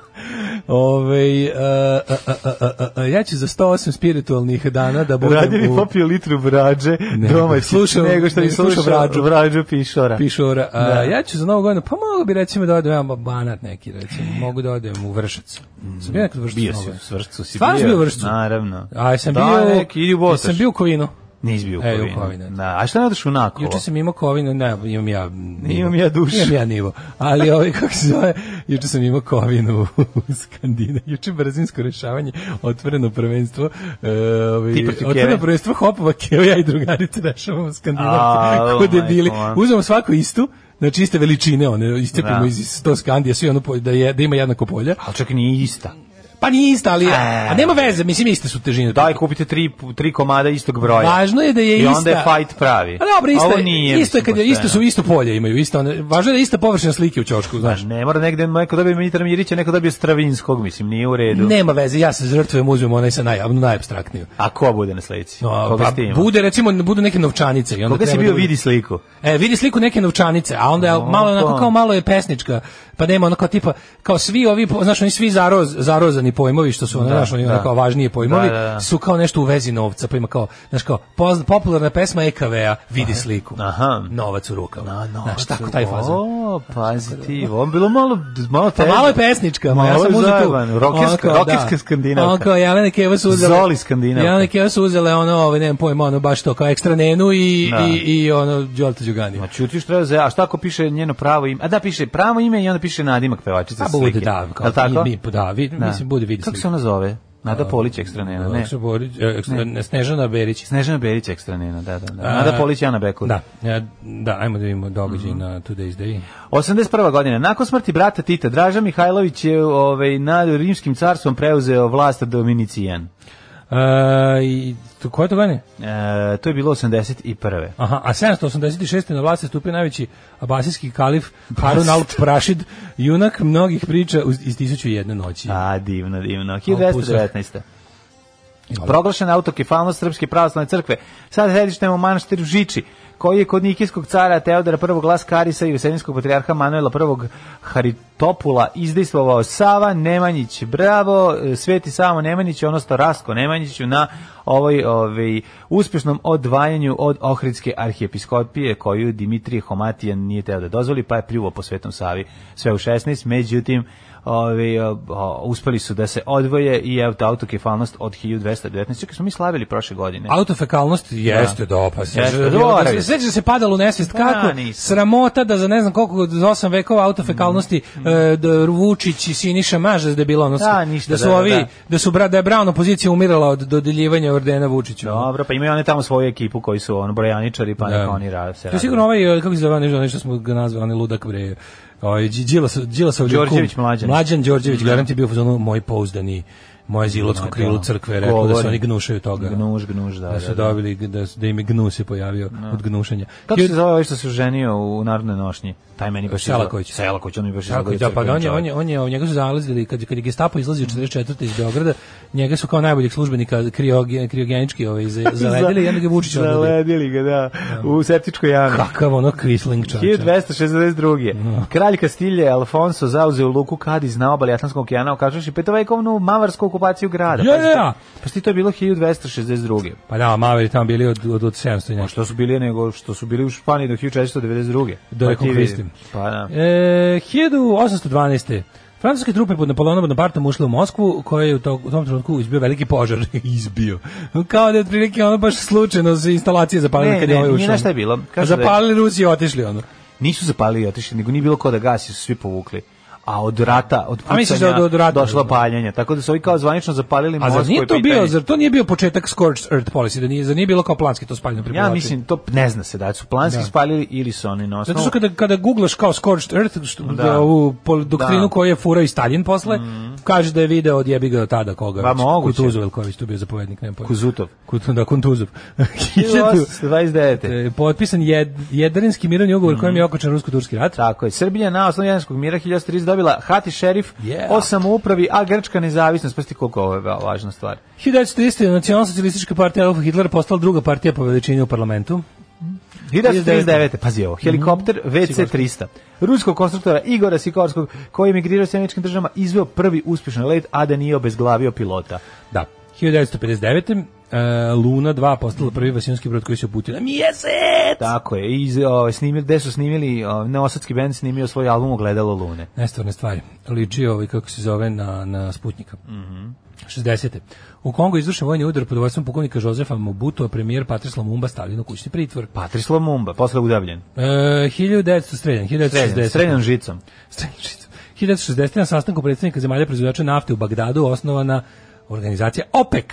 Ove, e, ja ću za 108 spiritualnih dana da budem Radije bi u popio litru brađe Ne, domaći, slušao- nego što bi ne, slušao slušao brađu. brađu, brađu pišora. Pišora. A, Da. Ja ću za novu godinu, pa mogu bi recimo da odem ja banat neki, recimo, mogu da odem u Vršac. Sam bio nekad u Vršac. Mm, Bio si u Svršcu, si Stvarno si bio u Vršcu? Naravno. A sam da, bio, neki, idi u Botoš. Sam bio u Kovinu. Nisi bio u E, u Kovinu. Kovinu. Da, a šta ne odeš u Nakovo? Juče sam imao kovinu, ne, imam ja nivo. Imam ja dušu. Imam ja nivo. Ali ovaj, kako se zove, juče sam imao kovinu u Skandina. Juče brzinsko rešavanje, otvoreno prvenstvo. E, ovaj, Ti protiv otvoreno Keve? prvenstvo Hopova, Keo, ja i drugarice rešavamo Skandina. A, oh Ko majko debili. moja. Uzmemo svako istu, znači iste veličine, one, iscepimo Da. iz 100 Skandija, svi ono, po- da, je, da ima jednako polja. Ali čak nije ista. Pa nije ista, ali, E. a nema veze, mislim iste su težine. Daj, kupite tri, tri komada istog broja. Važno je da je I ista. onda je fight pravi. A dobro, isto, Ovo je- nije, isto je kad je, mislim, isto su isto polje imaju, isto one, važno je da je ista površina slike u ćošku, znaš. Ne mora negde, neko dobije Mitra Mirića, neko dobije Stravinskog, mislim, nije u redu. Nema veze, ja se žrtvujem, uzmem onaj sa naj, onu najapstraktniju. A ko bude na sledeći? No, Koga pa ste imali? bude recimo budu neke novčanice i onda Koga si treba bio da bude- vidi sliku? E, vidi sliku neke novčanice, a onda je malo onako Opa. kao malo je pesnička, pa nema onako tipa, kao svi ovi, po- znaš, oni svi zaroz, zarozani pojmovi, što su, ono, Da, znaš, oni da. onako važnije pojmovi, Da, da, da. su kao nešto u vezi novca, pa ima kao, znaš, kao, pozna- popularna pesma E EKV-a, vidi sliku, Aha. novac u rukama, A, no, znaš, tako taj fazon. da- O, pazi ti, ovo je bilo malo, malo Pa teže. malo je pesnička, ma Malo ja sam je uzeo tu. zajebano, rokerska- Ono kao, rokerska Skandinavka. Ono kao, Jelena Keva su uzele. Zoli Skandinavka. Jelena Keva su uzele ono, ovaj, nemam pojma, ono baš to, kao ekstra nenu i, Da. i, i ono, Đolta Đuganija. Ma čutiš treba za, a šta ako piše njeno pravo ime? A da, piše pravo ime i onda piše nadimak pevačice Pa sa bude, slike. da, Jel' kao, tako? mi, mi- da, vi, Da. mislim, bude vidi Da. Kako slike. se ona zove? Nada Polić ekstranena, ne. Kako se bori- e, ekstra- ne, Snežana Berić. Snežana Berić ekstranena, da, da, da. A, Nada Polić i Ana Mhm. Bekul. Da, e, da, ajmo da vidimo događaj na Today's Day. 81. godina. Nakon smrti brata Tita, Draža Mihajlović je ovaj, nad rimskim carstvom preuzeo vlast Dominicijan. E, i, to, koje to godine? E, to je bilo 81. Aha, a 786. na vlast je stupio najveći abasijski kalif Harun al-Prašid, junak mnogih priča uz- iz 1001 noći. A, Da, divno, divno. pucak. 1219. Proglašena autokefalnost Srpske pravoslavne crkve. Sad sedištem u manastiru Žiči, koji je kod Nikijskog cara Teodora I Glaskarisa i Veselinskog patrijarha Manuela I Haritopula izdejstvovao Sava Nemanjić. Bravo, e, Sveti Savo Nemanjić, odnosno Rasko Nemanjiću na ovoj ovaj, uspješnom odvajanju od Ohridske arhijepiskopije koju Dimitrije Homatijan nije teo da dozvoli, pa je pljuvo po Svetom Savi sve u 16. Međutim, Ove, a, a, uspeli su da se odvoje i evo te autokefalnost od 1219. Čekaj, smo mi slavili prošle godine. Autofekalnost jeste da. opasno. Jeste, doravi. Sve da se padalo u nesvest Pa, kako nisam. sramota da za ne znam koliko za 8 vekova autofekalnosti e, da Vučić i Siniša Mažas da je bilo ono Mm. Da, ništa, da su da, da, ovi da. da su bra, da je Brown opozicija umirala od dodeljivanja ordena Vučiću. Dobro, pa imaju one tamo svoju ekipu koji su ono brojaničari, pa neka oni ra- se Da. To je sigurno ovaj, e, kako se zove, onaj onaj što smo ga nazvali, onaj ludak bre, ovaj, Đi- Đilas, Đilasov Đorđević kum. Mlađan. Mlađan Đorđević, garam ti je bio u fazonu moj pouzdani, moje zilotsko Ma, krilo da. crkve, rekao da se Govori. oni gnušaju toga. Gnuš, gnuš, da, Da su da, da. dobili, da, da im je gnu se pojavio od gnušanja. Kako se zove ovaj što se ženio u Narodnoj nošnji? Taj meni baš izgleda- Selaković. Selaković, on mi baš Tako, izgleda da, pa crkveni on je, čovjek. on je, on je, njega su zalazili, kad, kad je Gestapo izlazio 44. iz Beograda, njega su kao najboljeg službenika krioge, kriogenički ovaj, za- zaledili i onda ga Vučić odledi. Zaledili ga, da, u septičkoj jami. Kakav ono Krisling čovječe. da. 1262. Kralj Kastilje Alfonso zauzeo luku Kadiz na obali Atlantskog okeana okačuši petovekovnu mavarsku okupaciju grada. Ja, ja, Pazite, ja. Pa sti to je bilo 1262. Pa da, Maveri tamo bili od, od, od 700 i Pa nešto. što su bili nego što su bili u Španiji do 1492. Da Pa je ti vidi. konkvistim. Pa da. E, 1812. Francuske trupe pod Napoleonom Bonapartom ušle u Moskvu, koja je u, to, u tom trenutku izbio veliki požar. izbio. Kao da je otprilike ono baš slučajno se instalacije zapalile Ne, kad ne, je ovaj nije ušao. znaš šta je bilo. Kažu da je- Zapalili Rusi i otišli ono. Nisu zapalili i otišli, nego nije bilo ko da gasi, su svi povukli. A od rata, od A misliš pucanja da od- od rata? došlo paljenje. Tako da su ovi kao zvanično zapalili A Moskvu. zar nije i to pitanje- bio, zar to nije bio početak Scorched Earth Policy, da nije, zar nije bilo kao planski to spaljeno Ja pripolačenje? mislim, to ne zna se da li su planski Da. spalili ili su oni na Zato osnovu. što kada, kada googlaš kao Scorched Earth, što, Pa Da. da. ovu pol- doktrinu Da. koju je furao i Stalin posle, kaže da je video od jebi ga od tada koga. Pa već, moguće. Kutuzov, ili koji je već tu bio zapovednik, nema pojma. Kuzutov. Kut, da, Kuntuzov. 1829. E, Potpisan jed, jedrinski mirovni ugovor Mhm. kojim je okočan rusko-turski rat. Tako je. Srbija na osnovu jedanskog mira 1330 dobila Hati šerif Yeah. o samoupravi, a Grčka nezavisnost. Pa sti koliko ovo je va- važna stvar. 1930. je nacionalsocijalistička partija Adolfa Hitlera postala druga partija po veličini u parlamentu. 1939. Pazi ovo. Helikopter Mhm. VC-300. Ruskog konstruktora Igora Sikorskog, koji je emigrirao s američkim državama, izveo prvi uspješan let, a da nije obezglavio pilota. Da. 1959. e, Luna 2 postala prvi vasijonski brod koji se uputio na mjesec. Tako je. I iz- ovaj, snimili, gde su snimili, ovaj, neosadski band snimio svoj album Ogledalo Lune. Nestvarne stvari. Liči ovaj, kako se zove, na, na Sputnika. Mhm. 60. U Kongo je izvršen vojni udar pod vojstvom pukovnika Jozefa Mobutu, a premijer Patrice Lumumba stavljen u kućni pritvor. Patrice Lumumba, posle udavljen. E, 1900 streljan, 1960. Streljan, streljan žicom. Streljačica. 1960. na sastanku predstavnika zemalja proizvođača nafte u Bagdadu osnovana organizacija OPEC.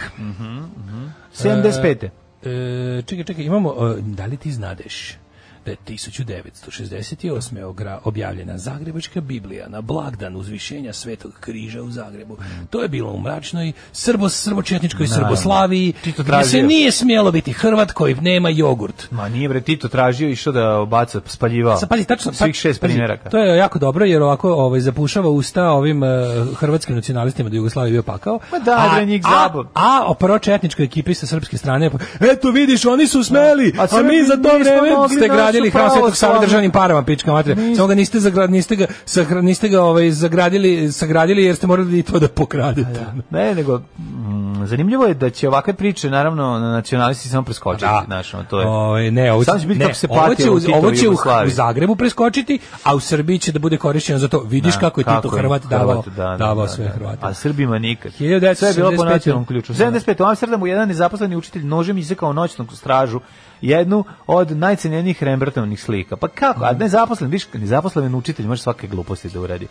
75. E, čekaj, čekaj, imamo, e, da li ti znadeš da je 1968. ogra- objavljena Zagrebačka Biblija na blagdan uzvišenja Svetog križa u Zagrebu. Mm. To je bilo u mračnoj srbo, srbočetničkoj Srboslaviji, Ti to gdje se tražio. nije smjelo biti Hrvat koji nema jogurt. Ma nije bre Tito tražio i išao da baca, spaljivao. Sa Da. pazi tačno Svih pa- šest pazi, primjeraka. To je jako dobro jer ovako ovaj zapušava usta ovim eh, hrvatskim nacionalistima da je Jugoslavija bio pakao. Ma da, A- bre, njih a- zabava. A, o pročetničkoj ekipi sa srpske strane pa, eto vidiš oni su smeli, Da. A a, mi Srbi za to nismo vreme mogli, da ste naši gradili hram Svetog Save pravoslavni. državnim parama pička materija. Samo ga niste zagra- niste ga sahra- niste ga ovaj zagradili, sagradili jer ste morali i to da pokradete. Ne, nego mm, zanimljivo je da će ovakve priče naravno nacionalisti samo preskočiti, znaš, ono, to je. Ovaj, ne, ovo će, Samo će biti ne, kako se ovo će, patilo u, u Titovoj ovo će u, Jugoslaviji. u Zagrebu preskočiti, a u Srbiji će da bude korišćeno za to. Vidiš Da, kako je Tito im Hrvat davao, Hrvatu, da, da, davao da, sve da. Hrvate. A Srbima nikad. 1975. Sve je bilo po nacionalnom ključu. 75. U Amsterdamu jedan nezaposleni učitelj nožem isekao noćnu stražu jednu od najcenjenijih Rembrandtovih slika. Pa kako? A nezaposlen, viš, nezaposlen učitelj može svake gluposti da uradi.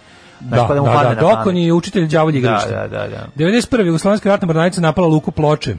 Znaš, Da, da, pa da mu padne da, na dok pamet. on je učitelj đavolji igrališta. Da, da, da, da. 91. Jugoslovenska ratna mornarica napala luku Ploče.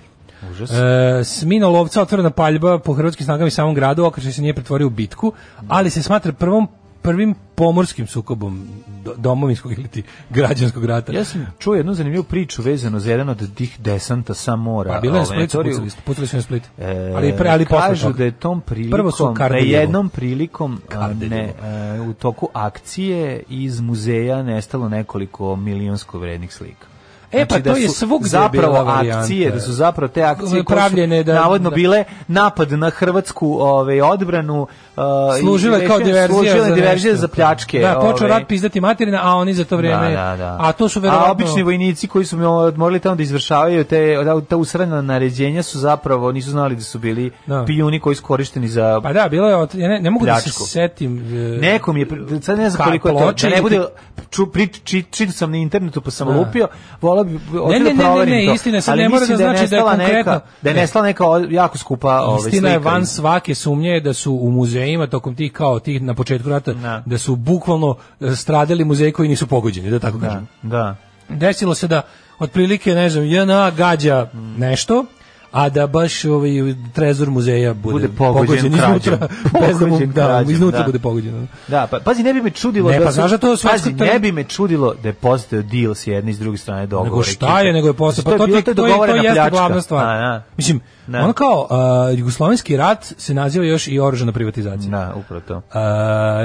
Užas. E, smino lovca otvorena paljba po hrvatskim snagama i samom gradu, okrešaj se nije pretvorio u bitku, ali se smatra prvom prvim pomorskim sukobom do- domovinskog ili ti građanskog rata. Ja sam čuo jednu zanimljivu priču vezano za jedan od tih desanta sa mora. Pa bilo je na ovaj, Splitu, teoriju- pucali, su- pucali su na Split. E, ali pre, ali posle kažu toga. da je tom prilikom Prvo su na Kardeljevo. jednom prilikom a, Kardeljevo. ne, e, u toku akcije iz muzeja nestalo nekoliko milionsko vrednih slika. E, pa Znači, to je su svugde zapravo bila varijanta. akcije, da su zapravo te akcije Pravljene koje su da- navodno da- bile napad na hrvatsku ovaj odbranu uh, i- Služila je i kao rešen- diverzija. služila je za diverzija nešto. za pljačke. Da, počeo ovaj. rat pizdati materina, a oni za to vreme... Da, da, da. A to su A verovatno... obični vojnici koji su morali tamo da izvršavaju te da, ta usrana naređenja su zapravo nisu znali da su bili Da. pijuni koji su korišteni za Pa da, bilo je... od- Ja ne, ne mogu da se Pljačku. setim... e, Nekom je, pri- sad ne znam Ka- koliko je to, ploče da ne ili bude, ti- ču, pri, či, čitao sam na internetu pa sam Da. lupio, volao bi, hoću ne, da ne, ne, proverim ne, to. istina, sad Ali ne mora mislim da znači da je nestala konkretno. Neka, da je Ne. nestala neka o- jako skupa ovaj, Istina je slika. van svake sumnje da su u muzejima tokom tih kao tih na početku rata Da. da su bukvalno e, stradali muzeji koji nisu pogođeni, da tako Da, kažem. da. Desilo se da otprilike ne znam JNA gađa nešto a da baš ovaj trezor muzeja bude, Bude pogođen iznutra, krađom. bez da, mu- Pogođen da, krađom, iznutra da. bude pogođeno. Da, pa pazi, ne bi me čudilo Ne, da pa su- znaš da to svetsko pazi, trg- ne bi me čudilo da je postao deal s jedne i s druge strane dogovor. Nego šta je, nego je posle, pa to, ti, to, to, je, to jeste glavna stvar. Mislim, Da. ono kao, uh, jugoslovenski rat se naziva još i oružana privatizacija. Da, Mhm. upravo to. Uh,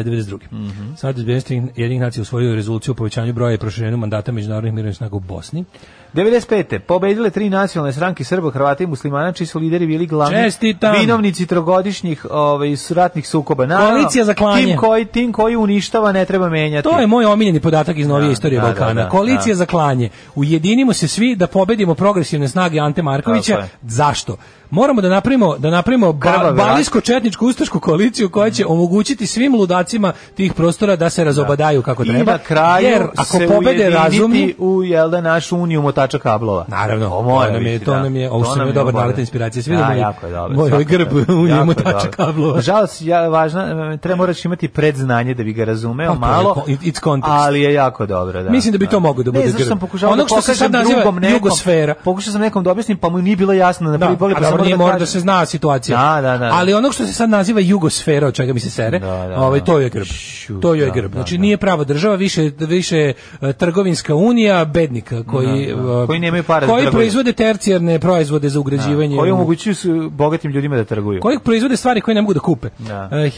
92. Mm -hmm. Sad bezbednosti jedinih nacija usvojio rezoluciju o povećanju broja i proširenju mandata međunarodnih mirovnih snaga u Bosni. 95. Pobedile tri nacionalne stranke Srba, Hrvata i Muslimana, čiji su lideri bili glavni Čestitam! vinovnici trogodišnjih ovaj, ratnih sukoba. Naravno, Koalicija za klanje. Tim koji, tim koji uništava ne treba menjati. To je moj omiljeni podatak iz novije Da, istorije da, Balkana. da, da, Koalicija da. za klanje. Ujedinimo se svi da pobedimo progresivne snage Ante Markovića. Tako je. Zašto? Moramo da napravimo da napravimo ba, Krvavi rat. balijsko četničku ustašku koaliciju koja će omogućiti svim ludacima tih prostora da se razobadaju kako I treba. na Pa kraju jer ako se pobede ujediniti razumni u jel da našu uniju motača kablova. Naravno, To to, mora nam je, biti, to da. nam je, ovo To što nam nam je je dobar obavezno. nalet inspiracije, svi Da, moj, jako je dobro, moj ovaj svaka grb čast. u njemu Jako je tača dobro. kablova. Nažalost, ja, važna, treba moraš imati predznanje da bi ga razumeo Pa to je malo, ko- it's context. ali je jako dobro. Da, Mislim da bi to Da. moglo da bude Ne, zašto grb. sam pokušao Onog da što se sad pokažem naziva drugom nekom- jugosfera. Pokušao sam nekom da objasnim, pa mu nije bilo jasno. Na Da, prvi pogled, a pa sam dobro, morao nije mora da kažem- se zna situacija. Da, da, da. Ali onog što se sad naziva jugosfera, od čega mi se sere, Da, da, ovaj, da. to je grb. Šu, To je da, grb. da, Znači da. nije prava država, više, više je, e, trgovinska unija bednika koji, e, Da, Koji nemaju para za koji trgovinu. proizvode tercijarne proizvode za ugrađivanje. Da, Koji u- omogućuju su bogatim ljudima da trguju. koji proizvode stvari koje ne mogu da kupe. Da. E,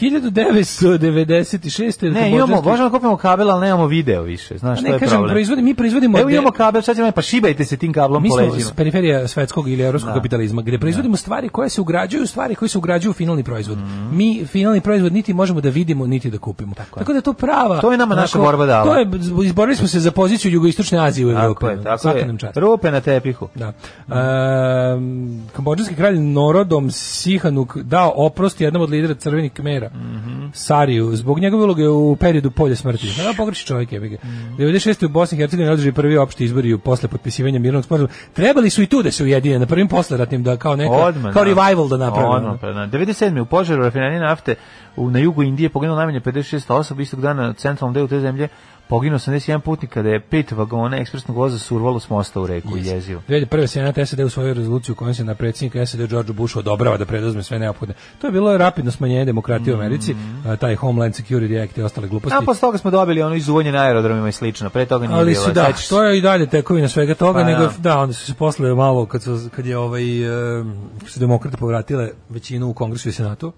1996. Ne, Kambođanski- imamo, možemo da kupimo kabel, ali nemamo video više. Znaš, A to je ne, kažem, problem. proizvodi, mi proizvodimo... Evo de- imamo kabel, sad ćemo, pa šibajte se tim kablom Mi po smo leđima. s periferija svetskog ili evropskog Da. kapitalizma, gde proizvodimo stvari koje se ugrađuju, u stvari koje se ugrađuju u finalni proizvod. Mhm. Mi finalni proizvod niti možemo da vidimo, niti da kupimo. Tako, da je to prava... To je nama naša onako, borba dala. To je, izborili smo se za poziciju jugoistočne Azije u Evropi. Tako je, tako Svaka je. nam čast. Rupe na tepihu. Da. Ehm, kambođanski kralj Norodom Sihanuk dao oprost jednom od lidera crvenih kmera, Mhm. Sariju, zbog njegove uloge u periodu polja smrti. Da, pogreši čovjek je. Mhm. Mm. 96. u Bosni i Hercegovini održali prvi opšti izbori u- posle potpisivanja mirnog sporazuma. Trebali su i tu da se ujedine na prvim posleratnim da kao neka Odmah. kao da. revival da naprave. Odmah, pa, da. 97. u požaru rafinerije nafte u, na jugu Indije poginulo najmanje 56 osoba istog dana u centralnom delu te zemlje poginuo 81 putnika da je pet vagona ekspresnog voza survalo s mosta u reku yes. jezivo. 2001. senat SAD u svojoj rezoluciju kojom se na predsjednika SAD George Bushu odobrava da preduzme sve neophodne. To je bilo rapidno smanjenje demokratije u Americi, Mhm. a, taj Homeland Security Act i ostale gluposti. A posle toga smo dobili ono izuvanje na aerodromima i slično. Pre toga nije ali bilo. su da, sećaš se? to je i dalje tekovina svega toga, Pa, nego da. da. onda su se posle malo kad su kad je ovaj em, kad su demokrate povratile većinu u kongresu i senatu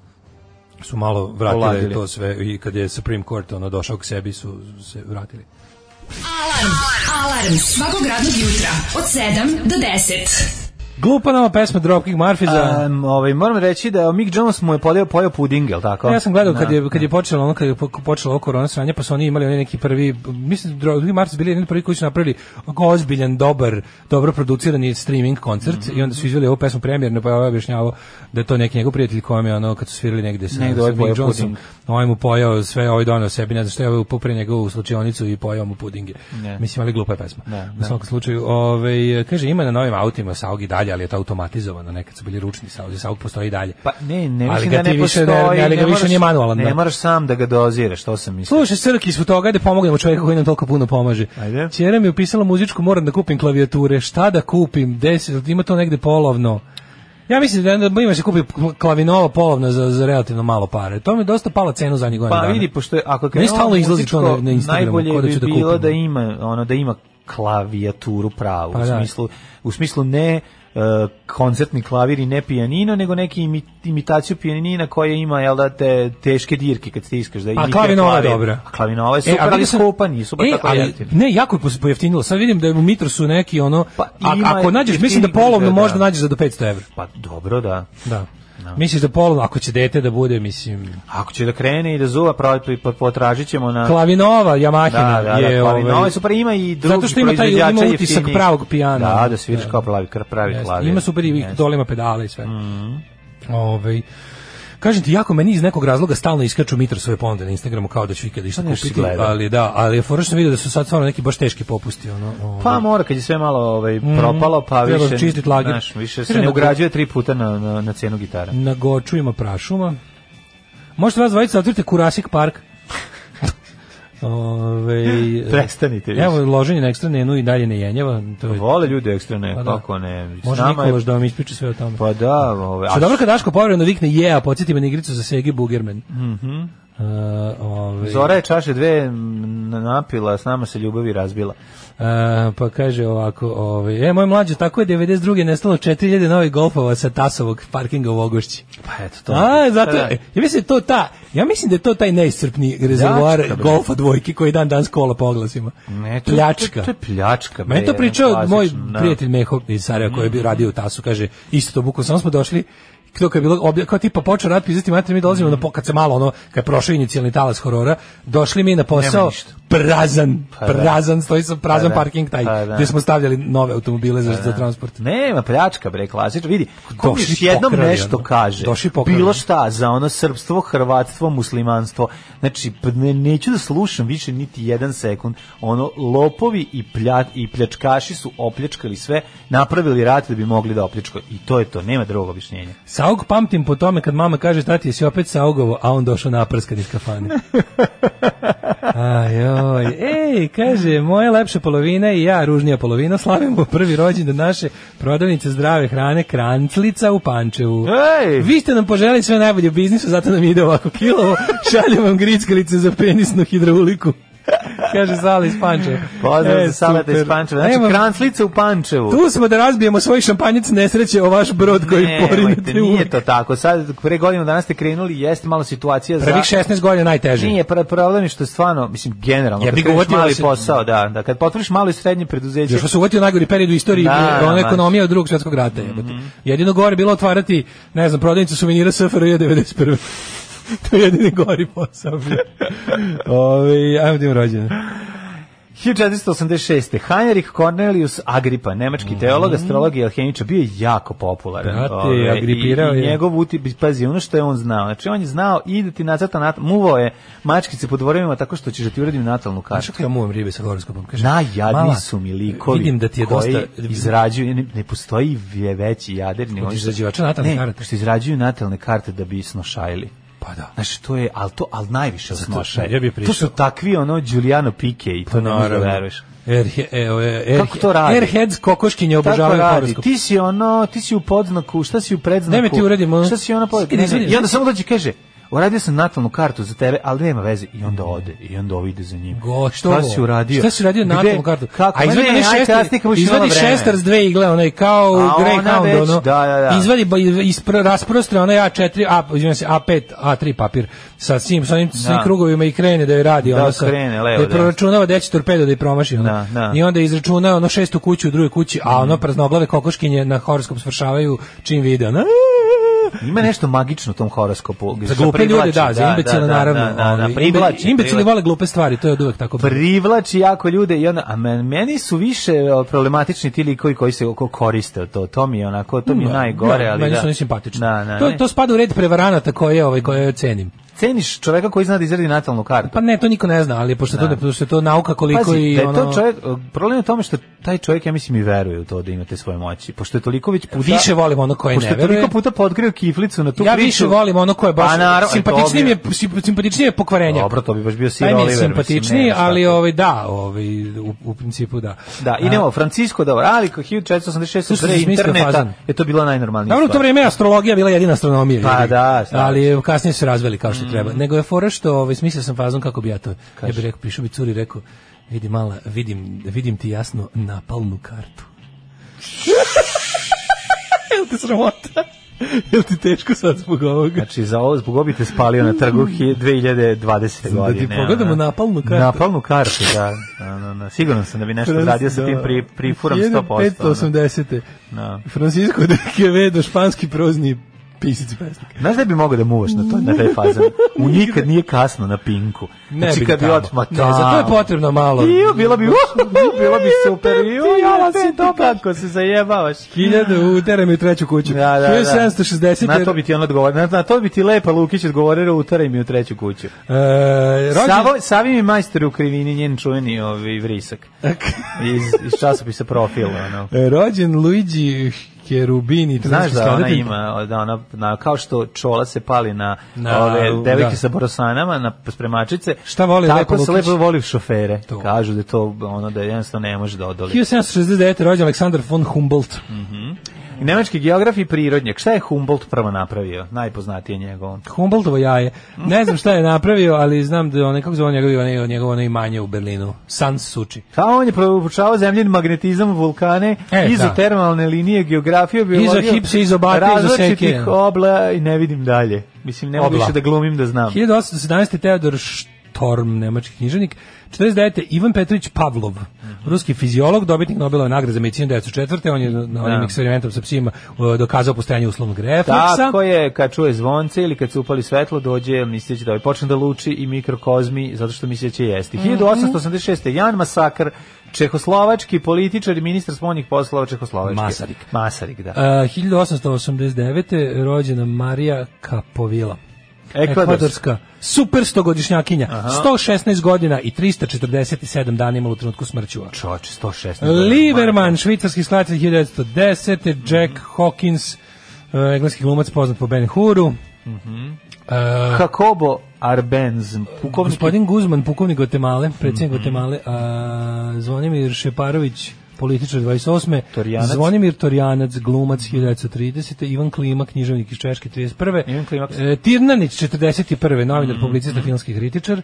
su malo vratile Oladili. to sve i kad je Supreme Court ono došao k sebi su se vratili. Alarm. Alarm. Svakog radnog jutra od 7 do 10. Glupa nama pesma Dropkick Murphy za Um, ovaj, moram reći da Mick Jones mu je podeo pojao puding, jel tako? Ja sam gledao kad Da. je kad je počelo ono kad je po- počelo ovo korona sranje, pa su oni imali oni neki prvi mislim drugi mart su bili jedni od prvih koji su napravili onako ozbiljan dobar dobro producirani streaming koncert i onda su izveli ovu pesmu premijerno pa je ovaj objašnjavao da je to neki njegov prijatelj kojem je ono kad su svirali negde sa, Negde negde ovaj sa pojeo Mick Johnsonom puding. ovaj mu pojao sve ovaj doneo sebi ne znam što je ovaj upao pre njegovu slučionicu i pojao mu pudinge Ne. Da, mislim ali glupa je pesma Ne, u ne. svakom slučaju ovaj kaže ima na novim autima Saug i dalje ali je to automatizovano nekad su bili ručni Saug Saug postoji i dalje Pa ne, ne Ali mislim ga da ne ti više ne- postoji. ali ga više moraš- nije manualan, Ne da. moraš sam da ga doziraš, to sam mislio. Slušaj, Srki, smo toga, ajde pomognemo čovjeku koji nam toliko puno pomaže. Ajde. Čera mi je upisala muzičku, moram da kupim klavijature. Šta da kupim? Deset, ima to negde polovno. Ja mislim da da ima se kupi klavinova polovna za, za relativno malo pare. To mi je dosta pala cenu zadnjih godina. Pa dana. vidi pošto je, ako Meni krenulo stalno izlazi muzičko, to na- na Instagramu, najbolje ko da bi ću da bilo kupim. da ima ono da ima klavijaturu pravu Pa u da. smislu u smislu ne e, koncertni klavir i ne pijanino, nego neki imi- imitaciju pijanina koja ima jel da te teške dirke kad stiskaš da imitira klavinova je klavir. dobra. A klavinova je super, E, a ali vidio sam- skupa nisu baš E, tako ali jeftini. Ne, jako je pos- pojeftinilo. Sad vidim da je u Mitrosu neki ono... Pa, a, ima ako nađeš, mislim da jeftinih polovno izgleda, možda da. nađeš za do 500 evra. Pa dobro, da. Da. Misliš da polovno, ako će dete da bude, mislim... Ako će da krene i da zuva, pro- po- potražit ćemo na... Klavinova, da, Yamahina da, da, je... klavinova ovaj, je super, ima i drugi Zato što ima taj ima proizvođača utisak jeftiniji. pravog pijana. Da, da sviraš kao pravi, pravi Jeste, klavir. Ima super i Jeste. Mhm. dolima pedale i sve. Ovaj, Kažem ti, jako meni iz nekog razloga stalno iskaču Mitra svoje ponude na Instagramu kao da ću ikada išta Pa nešto si kupiti, gledao. ali da, ali je fora što sam vidio da su sad stvarno neki baš teški popusti. Ono, ovaj. Pa mora, kad je sve malo ovaj, propalo, pa Mhm. Treba više, čistit lager. znaš, više se Kažem ne da- ugrađuje tri puta na, na, na cenu gitara. Na Goču ima prašuma. Možete vas dvojica da otvorite Kurasik park. Ove, Prestanite više. Evo, loženje na ekstra nenu i dalje ne jenjava. To je, Vole ljudi ekstrane, Pa da. kako ne. S može nama je- Nikolaš da vam ispriča sve o tome. Pa da, ovaj, Što a je dobro kad Daško povremeno vikne je, a podsjeti me na igricu za Segi Bugerman. Mm. ovaj, Mhm. ove, Zora je čaše dve m, napila, s nama se ljubavi razbila. e, pa kaže ovako, ove, e, moj mlađo, tako je 92. nestalo 4000 novih golfova sa Tasovog parkinga u Ogošći. Pa eto to. A, zato, Pa da. ja mislim da je to ta, ja mislim da je to taj neiscrpni rezervoar Pljačka, bre. golfa dvojki koji dan dan kola po oglasima. Ne, to, pljačka. To, to je pljačka. bre, Meni to jedna pričao klasična, moj da. Mhm. prijatelj Meho iz Sarajeva koji je bio radio u Tasu, kaže, isto to buko, samo smo došli to kad je bilo obja, kao tipa počeo rat pizati mater mi dolazimo Mhm. na po- kad se malo ono kad je prošao inicijalni talas horora došli mi na Nema posao ništa. prazan Pa da. prazan stoji sam prazan Pa da. parking taj Pa da. Pa gde smo stavljali nove automobile za, za transport Nema pljačka bre klasično. Vidi, ko mi Pa Došli još jednom pokrali, nešto ono. kaže. Došli pokrali. Bilo šta za ono srpstvo, hrvatstvo, muslimanstvo. Znači p- ne, neću da slušam više niti jedan sekund. Ono lopovi i plja, i pljačkaši su opljačkali sve, napravili rat da bi mogli da opljačkaju. I to je to, nema drugog objašnjenja. Saug pamtim po tome kad mama kaže tati jesi opet saugovo, a on došao naprskan iz kafane. Ajoj, ej, kaže, moja lepša polovina i ja, ružnija polovina, slavimo prvi rođendan naše prodavnice zdrave hrane Kranclica u Pančevu. Ej! Vi ste nam poželjeli sve najbolje u biznisu, zato nam ide ovako kilovo, šaljem vam grickalice za penisnu hidrauliku. kaže Sala iz Pančeva. Pozdrav E, za salata iz super. Pančeva. Znači, Nemam- kranclice u Pančevu. Tu smo da razbijemo svoj šampanjac nesreće o vaš brod koji Nemojte, porinete u... nije to tako. Sad, pre godinu danas ste krenuli, jeste malo situacija za... Prvih 16 godina najteže. Da. Nije pra- problem je što je stvarno, mislim generalno, Ja kad bih kreneš uvatio mali se- posao, da, da kad potvoriš malo i srednje preduzeće. Još su uvatio najgori period u istoriji Da, da, da, Mhm. ekonomije od drugog svjetskog rata. Mm Jedino gore je bilo otvarati, ne znam, prodavnicu suvenira SFRJ 91. to je jedini gori posao. bio. Ovaj ajmo da im rođene. 1486. Heinrich Cornelius Agrippa, nemački teolog, astrolog i alhemičar, bio je jako popularan. Mhm. Brate, Ove, Agripirao i, i je. njegov uti, pazi, ono što je on znao. Znači, on je znao i da ti nacrta, nat, muvao je mačkice po dvorovima tako što ćeš da ti uradim natalnu kartu. Znaš kako ja muvam ribe sa horoskopom? Kaže, Najjadni "Mala, su mi likovi Vidim da ti je dosta... koji izrađuju, ne, ne postoji je veći jader. Od izrađivača natalnih ne, karata. što izrađuju natalne karte da bi snošajili. Pa da. Znaš, to je, ali to, ali najviše od snošaja. ja bih to prišao. su takvi, ono, Giuliano Pike i to ne možeš da Naravno. veruješ. Airhe- e, o, e, airhe- Kako to radi? Airheads kokoškinje Tako obožavaju radi, horoskop. ti si ono, ti si u podznaku, šta si u predznaku? Daj mi ti uredim, ono. Šta si ono Idi, podznaku? izvedi. I onda samo dođe i kaže, uradio sam natalnu kartu za tebe, ali nema veze. I onda ode, i onda ovo ide za njim. Gotovo. Šta si uradio? Šta si uradio na Gde? natalnu kartu? Kako? A izvadi Ma ne, ne, aj, šestar, kasnije kad budeš imala izvadi vremena. šestar s dve igle, onaj kao u A ona Greyhound, već, ono. da, da, da. Izvadi ba, ispr, rasprostre onaj A4, A, izvinjam se, A5, A3 papir sa svim, sa onim, sa onim Da. krugovima i krene da je radi. Da, ono, sa, krene, levo, da je da. proračunava da će torpedo da je promaši. Ono. Da, da. I onda izračuna ono šestu kuću u drugoj kući, a ono praznoglave kokoškinje na horoskop svršavaju čim vide. Ono. Ima nešto magično u tom horoskopu. Za što glupe ljude, privlači, da, za imbecile naravno. Da, da, da, ovaj, privlači, Imbecili privlači. vole glupe stvari, to je od uvek tako. bilo. privlači jako ljude i onda a men, meni su više o, problematični ti likovi koji se oko koriste od to to mi je onako to mi je Da, najgore da, ali meni da su oni simpatični. da, da, to, ne. to spada u red prevaranata koje, ovaj, koje cenim. ceniš čoveka koji zna da izradi natalnu kartu Pa ne, to niko ne zna, ali pošto, to, ne- pošto je to nauka koliko Da. Pazi, i da je ono... to čovjek, problem je u tome što taj čovjek, ja mislim, i veruje u to da imate svoje moći. Pošto je toliko već puta... Više volim ono koje pošto ne je toliko veruje. puta podgrio kiflicu na tu Ja priču. više volim ono koje baš... Pa naravno, simpatičnije mi je, to sim- simpatičnije je pokvarenje. Dobro, to bi baš bio Sir Taj mi Oliver. je mislim, simpatičniji, nema šta ali tu. ovaj, da, ovaj, u, u principu da. Da, idemo, Francisco da ali 1486 Slušaj, pre sam smislio interneta fazan. je to bila najnormalnija Dobro, u to stvar. vreme je astrologija bila jedina astronomija. Pa ljudi. da, Mm. šta ali je kasnije su razveli kao što treba. Nego je fora što, ovaj, smislio sam fazon kako bi ja to, ja bih rekao, pišu bi curi, rekao, Vidi mala, vidim, vidim ti jasno napalnu kartu. Jel ti sramota? Jel ti teško sad zbog ovoga? Znači, za ovo zbog obite spalio na trgu hi- 2020. Da godine. ti pogledamo ono. napalnu kartu. Napalnu kartu, da. Ono, ono, Siguran sam da bi nešto radio sa tim pri, prifuram 100%. ono. 1580. Da. Francisco de Quevedo, španski prozni pisac i pesnik. Znaš da bi mogao da muvaš na, to, na taj fazan? U nikad nije kasno na pinku. Ne znači, bi kad bi tamo. otma Ne, za to je potrebno malo. Iju, bilo bi, bilo bi super. Iju, jala si Peti to kat. kako se zajebavaš. Hiljada utera mi u treću kuću. Da, da, da. 1760. Na to bi ti on odgovorio. Na, na to bi ti lepa Lukić odgovorila utaraj mi u treću kuću. E, rođen- Savo, Savi mi majstor u krivini njen čuveni ovi vrisak. iz, iz časopisa profil. Ono. E, rođen Luigi Cherubini, Znaš italijanski da ona skladatelj. ima, da ona, na, kao što čola se pali na, Na, ove devike da. sa borosanama, na spremačice, Šta voli tako lepo se Lukić? lepo voli šofere. To. Kažu da je to ono da jednostavno ne može da odoli. 1769. rođen Aleksandar von Humboldt. Nemački geograf i prirodnjak. Šta je Humboldt prvo napravio? Najpoznatije njegovo. Humboldtovo jaje. Ne znam šta je napravio, ali znam da je onaj, kako zove njegov, onaj, njegovo ono imanje u Berlinu. San Suči. Pa on je proučavao zemljin magnetizam, vulkane, E, e, da. izotermalne linije, geografiju, biologiju, Izo hipse, izo bake, izo različitih seke. obla i ne vidim dalje. Mislim, ne mogu Obla. više da glumim da znam. 1817. Teodor Štorm, nemački književnik. 49. Ivan Petrović Pavlov, ruski fiziolog, dobitnik Nobelove nagrade za medicinu 1904. On je na na onim Da. eksperimentom sa psima e, dokazao postojanje uslovnog refleksa. Tako je, kad čuje zvonce ili kad se upali svetlo, dođe, misleći da ovaj počne da luči i mikrokozmi, zato što misle da će Mhm. jesti. 1886. Jan Masakar, čehoslovački političar i ministar spoljnih poslova Čehoslovačke. Masarik. Masarik, da. E, 1889. rođena Marija Kapovila. Ekvadorska. Ekvadorska. Super stogodišnjakinja. 116 godina i 347 dana imala u trenutku smrćuva. Čoč, 116. Lieberman, švicarski skladatelj 1910. Jack Hawkins, e, engleski glumac poznat po Ben Huru. E, Jacobo Arbenz, pukovnik Mhm. gospodin Guzman, pukovnik Guatemala, predsjednik Guatemala, a Zvonimir Šeparović, političar 28. Torjanac. Zvonimir Torjanac, glumac 1930. Ivan Klima, književnik iz Češke 31. Ivan Mhm. Klimaks. E, Tirnanić 41. novinar, publicista, filmski kritičar. E,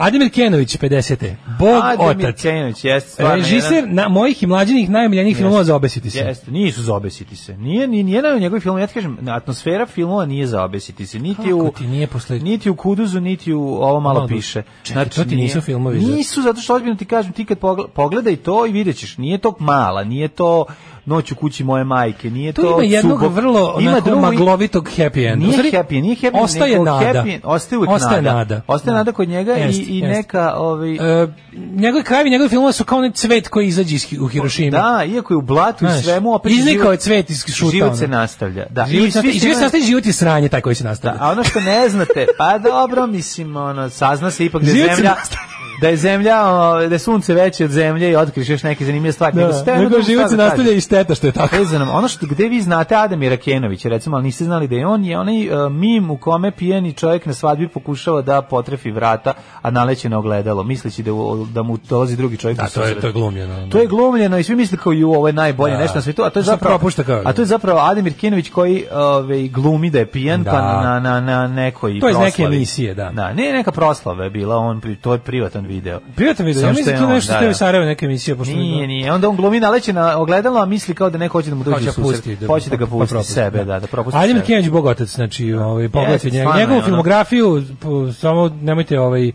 Ademir Kenović 50. Bog Mhm. Ademir otac. Kenović, jeste stvarno. Režiser jedan- na mojih i mlađenih najomiljenijih filmova za obesiti se. Jeste, nisu za obesiti se. Nije ni nijedan u njegovim filmu, ja ti kažem, atmosfera filmova nije za obesiti se. Niti Kako u ti nije posle- niti u Kuduzu, niti u ovo malo Malo piše. Znači, duže. Čekaj, to ti nisu nije- filmovi za- Nisu, zato što ozbiljno ti kažem, ti kad pogle- pogledaj to i vidjet ćeš, nije to mala, nije to noć u kući moje majke, nije Tu to ima jednog Subok, vrlo onako drugo i- maglovitog happy enda. U Nije stvari, happy, end, nije happy, end, Ostaje nego nada. happy end, ostaje uvek Ostaje nada. nada. Ostaje Da. nada kod njega i- Jeste, i jeste. neka, ovaj, E, njegovi krajevi njegovih filmova su kao onaj cvet koji izađe iz, Hi- u Hirošimi. Da, iako je u blatu i Znaš, svemu opet iznikao život- je cvet iz šuta, Život ono. se nastavlja. Da. Život, I se svi nastaje, se život se nastaje, život je sranje taj koji se Da, nastavlja. a ono što ne znate, pa dobro, mislim, ono, sazna se ipak da Život se je zemlja, nastavlja. da je zemlja, o, da je sunce veće od zemlje i otkriš još neke zanimljive stvari. Da, Nego ste- nego ono, život šta se da nastavlja kažem. i šteta što je tako. E, za nam, ono što gde vi znate Adamira Kenovića, recimo, ali niste znali da je on je onaj e, mim u kome pijeni čovjek na svadbi pokušava da potrefi vrata, a naleće na ogledalo, misleći da, u- da mu dolazi drugi čovjek. Da, u to je, susret. to je glumljeno. To je glumljeno i svi misle kao ju ovo je najbolje Da. nešto na svetu, a to je Šta zapravo propušta kao- A to je zapravo Ademir Kinović koji ovaj glumi da je pijan Da. pa na na na nekoj To je iz neke proslavi. emisije, da. Da, ne neka proslava je bila, on pri- to je privatan video. Prijatno video, Samo ja što mislim je da to on, nešto da, ste u da. Sarajevo neke emisije. Pošto Nije, nije. Onda on glumi naleće na ogledalo, a misli kao da neko hoće da mu Kao dođe će u pusti, susret. da- Hoće da ga pa pusti propusti, sebe, da. da, da propusti Adem sebe. Da. Kenjić bogotac, znači, ovaj pogledajte Jeste, njega, stvarno da. je njegovu ono. filmografiju, po- samo nemojte ovaj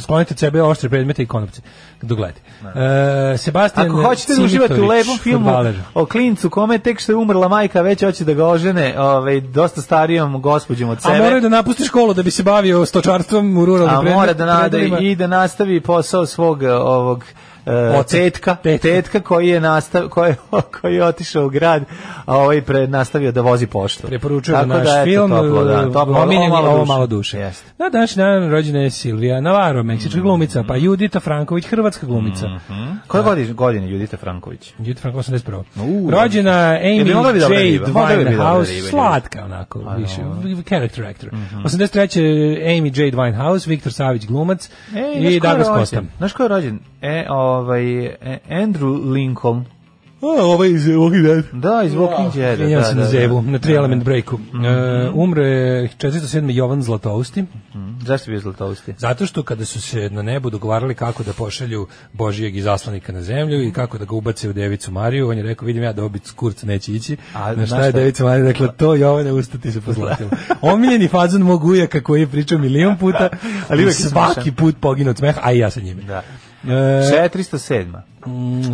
sklonite od sebe oštre predmete i konopce dok gledate. E, Sebastian Da. Ako hoćete da uživate u Simitović, lepom filmu fudbaler. o klincu kome tek što je umrla majka, već hoće da ga ožene ovaj, dosta starijom gospođom od A sebe. moraju da napusti školu da bi se bavio stočarstvom u ruralnim a predme- mora da nada predorima. i da nastavi posao svog e, ovog e, Oca. tetka, Tetka. tetka, koji je nastav, koji, je- koji je otišao u grad, a ovaj pre nastavio da vozi poštu. Preporučujem naš eto, film, toplo, da, toplo, omiljen je ovo malo duše. Jeste. Na današnji dan rođena je Silvija Navarro, meksička glumica, pa Judita Franković, hrvatska glumica. Mhm. Koje Da. godine, godine Judita Franković? Judith Frank 81. U, Rođena E, bi mogla bi Amy dobra Jade riba, mogla bi da bi dobra riba, Winehouse, ljudi. slatka onako, više, da, v- character actor. Mhm. 83. Amy Jade Winehouse, Viktor Savić glumac E, i Douglas Costa. Znaš ko je rođen? E, ovaj, e, Andrew Lincoln. A, ovaj iz Walking Dead. Da, iz Walking Dead. Izvinjavam se da, na da, Zebu, na Three da, Element Breaku. E, umre 407. Jovan Zlatousti, Mm, Zašto bi je zlatousti? zato što kada su se na nebu dogovarali kako da pošalju Božijeg izaslanika na zemlju i kako da ga ubace u Devicu Mariju, on je rekao, vidim ja da obit kurc neće ići. A, na šta znaš je šta? Devica Marija rekla, to Jovane usta ti se pozlatilo. Omiljeni fazon mog ujaka koji je pričao milion puta, Ali ali uvek je svaki smešan. put poginu od smeha, a i ja sa njime. E, Da. mm. 407.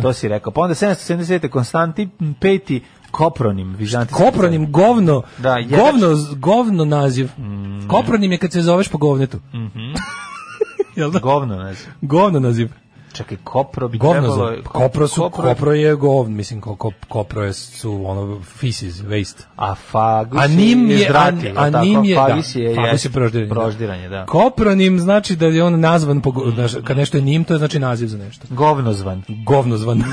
To si rekao. Pa onda 770. Konstantin V. Kopronim. Vizantijski Kopronim govno. Da, jedan- Mm. govno, govno naziv. Kopronim je kad se zoveš po govnetu. Jel da? Govno, ne znam. Govno naziv. Čekaj, Kopro bi Govno trebalo... zove. Kopro su, Kopro je- kopro je govn, mislim, ko, ko- kopro je su ono feces, waste. A fagus A nim je, a, zdrati, jel a tako? nim je, da, Fagus je, fagus je jest, proždiranje. da. proždiranje, da. Kopronim znači da je on nazvan, po, go- znaš, kad nešto je nim, to je znači naziv za nešto. Govnozvan. Govno zvan.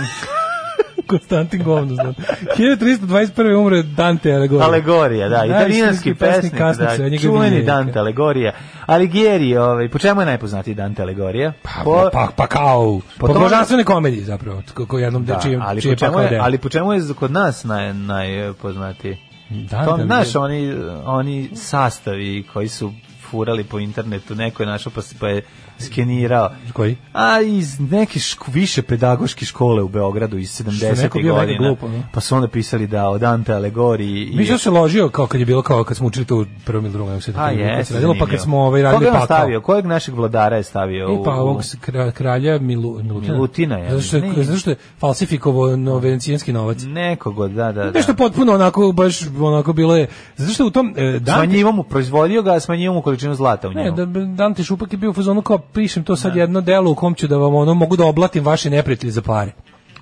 Konstantin Govno zvan. 1321. umre Dante Alighieri. Alegorija, da, italijanski Najistinski pesnik, kasnice, da, njega čuveni vidimo. Dante Alegorija. Alighieri, ovaj, po čemu je najpoznatiji Dante Alegorija? Pa, pa, pa, pa kao, po, tome- božanstvenoj komediji zapravo, ko, ko jednom da, da, čijem, ali, čije po pa čemu kao je, deo. ali po čemu je kod nas naj, najpoznatiji? Dante To, Alighieri. Pa znaš, oni, oni sastavi koji su furali po internetu, neko je našao pa, se- pa je skenirao. Koji? A iz neke ško, više pedagoške škole u Beogradu iz je neko 70. bio mega godina. glupo, ne? Pa su onda pisali da o Dante Alegoriji. i- Mi smo se ložio kao kad je bilo kao kad smo učili to u prvom ili drugom se A jes, radilo, pa kad smo ovaj Koga radili je on pakao. stavio? Kojeg našeg vladara je stavio? I pa u- ovog s- kra- kralja Milu, Milutina. Milutina, ja Zato što je, mislim. zato što je falsifikovao no, venecijanski novac. Nekog, od- da, da, da. Nešto potpuno onako, baš onako bilo je, zato što u tom, e, Dante, Smanjivo mu, proizvodio ga, a smanjivo mu količinu zlata u Ne, njemu. da Dante Šupak je bio u fazonu kao pišem to sad jedno delo u kom ću da vam ono mogu da oblatim vaše neprijatelje za pare.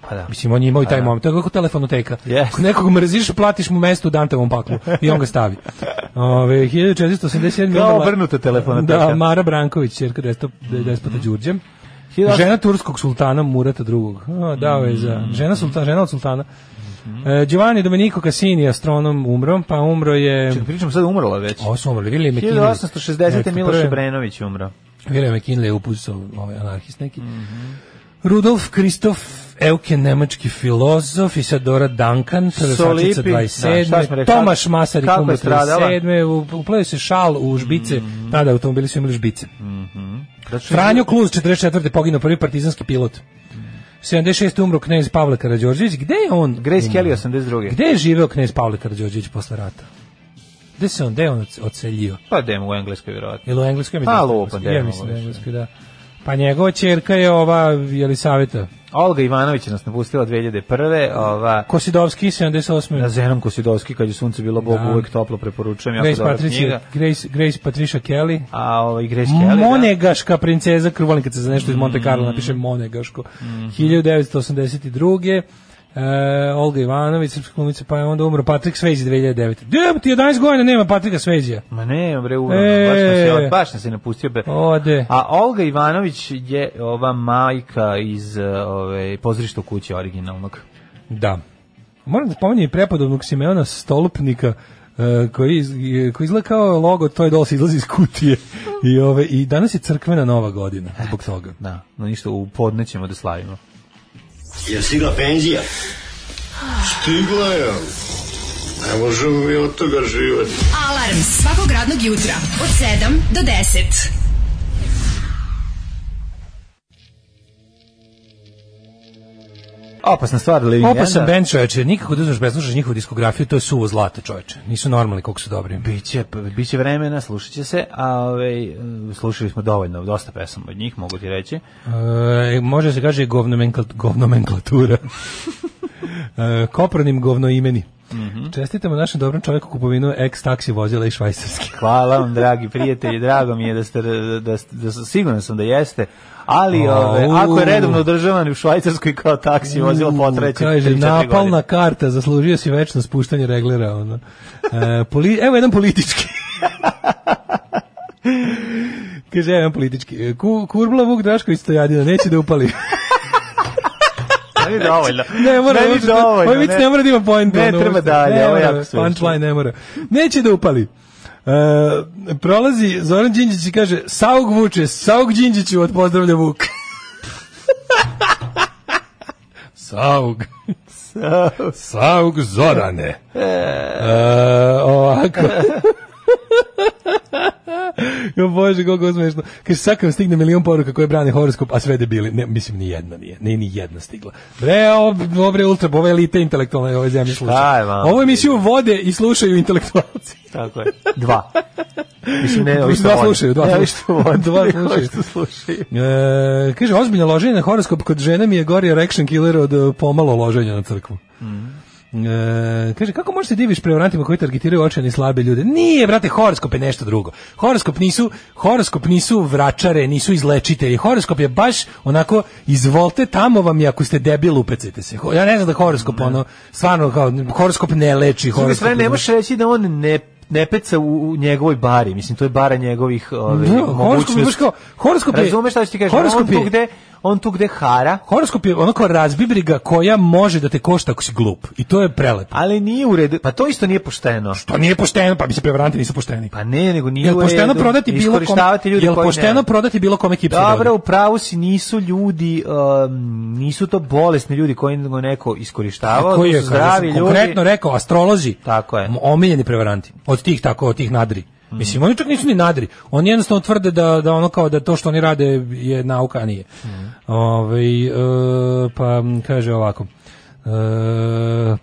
Pa da. Mislim, on je imao i taj da. moment. To je kako telefonoteka. Yes. Ako nekog mrziš, platiš mu mesto u Dantevom paklu i on ga stavi. Ove, 1487. Kao umrla- obrnuta telefonoteka. Mhm. Da, Mara Branković, čerka despo- de- despota Đurđe. Hiljadu- Žena turskog sultana Murata II. A, dao je za... Žena, sulta, žena od sultana. E, Giovanni Domenico Cassini, astronom, umro, pa umro je... Čekaj, pričam, sad umrla već. Ovo su umrli, Vilije McKinley. 1860. Miloš Prve- Brenović umro. Vjerujem je Kinley upusao ovaj anarhist neki. Mhm. Rudolf Kristof Euke, nemački filozof, Isadora Duncan, Solipi, prevasačica da, šta 27. smo rekli, Tomaš kako- Masarik, kako je umro stradala? Mhm. 37. u- Upleo se šal u žbice, tada automobili su imali žbice. Zato što- Franjo Kluz, 44. poginuo prvi partizanski pilot. 76. umro knez Pavle Karadžorđević. Gde je on? Grace umro? Kelly 82. Gde je živeo knez Pavle Karadžorđević posle rata? Gde se on, gde je on ods- odseljio? Pa dem u Engleskoj vjerovatno. Ili u engleskoj? Pa, mislim, lupa, ja mislim da da je je engleskoj, da. Pa njegova čerka je ova Jelisaveta. Olga Ivanović je nas napustila 2001. Ova, Kosidovski, 78. na Zenom Kosidovski, kad je sunce bilo Bogu Da. uvek toplo, preporučujem. Jako Grace, dobra Patricia, knjiga. Grace, Grace Patricia Kelly. A ovaj Grace Kelly, da. Mm. Monegaška princeza, krvolim kad se za nešto iz Monte Carlo napiše Monegaško. Mhm. 1982. E, eh, Olga Ivanović, srpska glumica, pa je onda umro Patrik Svejzi 2009. Dem ti 11 godina nema Patrika Svejzija. Ma ne, bre, urano, E. baš nas je, baš nas je napustio. Be. Ode. A Olga Ivanović je ova majka iz eh, ove, pozorišta u kući originalnog. Da. Moram da spomenem i prepodobnog Simeona Stolpnika e, koji, iz- e, koji izgleda kao logo to je dolazi izlazi iz kutije I, ove, i danas je crkvena nova godina zbog toga Da, no ništa, u podne ćemo da slavimo. Je stigla penzija? Stigla je. Ne možemo mi od toga živati. Alarm svakog radnog jutra od 7 do 10. Opasna stvar, Living Opasan Enda. band čoveče, nikako da uzmeš preslušaš njihovu diskografiju, to je suvo zlato čoveče. Nisu normalni koliko su dobri. Biće, biće vremena, slušat će se, a ovaj, eh, slušali smo dovoljno, dosta pesama od njih, mogu ti reći. E, može se kaže govnomenklat, govnomenklatura. e, kopranim govnoimeni. Mhm. Čestitamo našem dobrom čovjeku kupovinu ex-taksi vozila i švajcarski. Hvala vam, dragi prijatelji, drago mi je da ste, da, da, da siguran sam da jeste, ali A, ove, ako je u. redovno održavan u Švajcarskoj kao taksi vozilo potreće, Kaže, 3-4 godine. napalna karta, zaslužio si večno spuštanje reglera. Ono. E, poli, evo jedan politički. Kaže, evo jedan politički. E, Ku, kurla Vuk Drašković Stojadina, neće da upali. Meni dovoljno. ne mora, Meni ovo što- dovoljno. Ovo vic ne mora da ima point. Ne, treba dalje, ovo je jako suvišno. Punchline ne mora. Neće da upali. E, prolazi Zoran Đinđić i kaže, Saug Vuče, Saug Đinđiću od pozdravlja Vuk. Saug. Sauk Zorane. E, ovako. Jo bože, kako je smešno. Kaže, sad kad vam stigne milion poruka koje brane horoskop, a sve debili. Ne, mislim, ni jedna nije. Ne, ni jedna stigla. Bre, ovo, ovo bre, ultra, ove elite intelektualne ove zemlje Šta slušaju. je, vama? Ovo emisiju vode i slušaju intelektualci. Tako je. Dva. Mislim, ne, ovi što Dva vode. slušaju, dva Ne, ovi slušaju. što vode, Dva nego ovi slušaju. što slušaju. E, kaže, ozbiljno loženje na horoskop kod žene mi je gori erection killer od e, pomalo loženja na crkvu. Mhm. E, kaže, kako možeš se diviš prevarantima koji targetiraju očajne i slabe ljude? Nije, brate, horoskop je nešto drugo. Horoskop nisu, horoskop nisu vračare, nisu izlečitelji. Horoskop je baš onako, izvolite tamo vam je ako ste debil, upecite se. Ho- Ja ne znam da horoskop, ono, stvarno, kao, horoskop ne leči. S druge Horoskop strane, ne možeš reći da on ne ne peca u, u njegovoj bari, mislim, to je bara njegovih ove, Da, horoskop je baš kao, horoskop je... Razumeš šta ću ti kažem? horoskop On je- tu gde, on tu gde hara, Horoskop je onako razbibriga koja može da te košta ako si glup. I to je prelepo. ali nije u redu. Pa to isto nije pošteno. To nije pošteno, pa da, mislim prevaranti nisu pošteni. Pa ne, nego nije Jel u redu. pošteno prodati bilo kom, Iskorištavati ljude jel koji ne- pošteno prodati bilo kome kipsu? da Dobro, ode? u pravu si, nisu ljudi, um, nisu to bolesni ljudi koji nego neko iskorištavao, Koji to je, su kada sam zdravi ljudi. konkretno rekao, astrolozi, Tako je. omiljeni prevaranti, od tih tako, od tih nadri. Mislim, oni čak nisu ni nadri. Oni jednostavno tvrde da, da ono kao da to što oni rade je nauka, a nije. Ovaj, e, pa m, kaže ovako, E,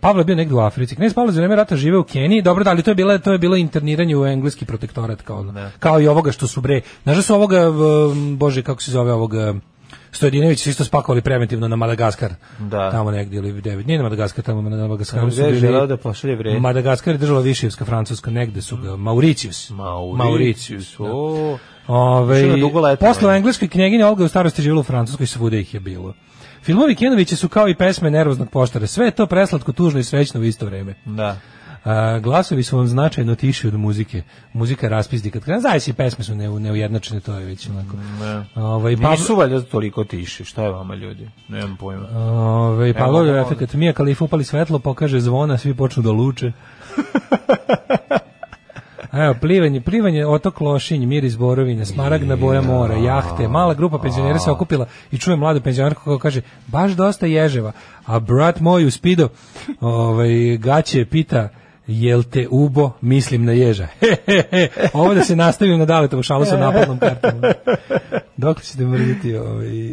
Pavle je bio negdje u Africi. Knez Pavle za vreme rata žive u Keniji. Dobro, da, ali to je bilo to je bilo interniranje u engleski protektorat kao ono. Kao i ovoga što su bre. Znaš da su ovoga v- bože kako se zove ovoga Stojadinović su isto spakovali preventivno na Madagaskar. Da. Tamo negdje ili devet. Nije na Madagaskar, tamo na Madagaskaru Tamo su gde je bili- želeo da pošalje vreme. Madagaskar je držala Višijevska, Francuska, negde su ga. Mauricius. Mauricius, da. o. Išao Ove, na dugo letovanje. posle engleske knjeginje Olga je u starosti živjela u Francuskoj, svuda ih je bilo. Filmovi Kenovića su kao i pesme nervoznog poštara. Sve je to preslatko, tužno i srećno u isto vreme. Da. A, glasovi su vam značajno tiši od muzike. Muzika raspizdi kad krene. Zavisi, pesme su neu- neujednačene, to je već onako. Ovaj, Pavlo- Nisu valjda toliko tiši, šta je vama ljudi? Nemam pojma. Ove, Pavlo ovo je molim. efekt. Mija Kalif upali svetlo, pokaže zvona, svi počnu da luče. Evo, plivanje, plivanje, otok Lošinj, miris borovine, smaragna boja mora, jahte. Mala grupa penzionera se okupila i čuje mladu penzionerku koja kaže, baš dosta ježeva. A brat moj u spido, ovaj, gaće pita, jel te ubo, mislim na ježa. He, he, he. Ovo da se nastavim na daletovu šalu sa napadnom kartom. Dok ćete mrziti ovaj...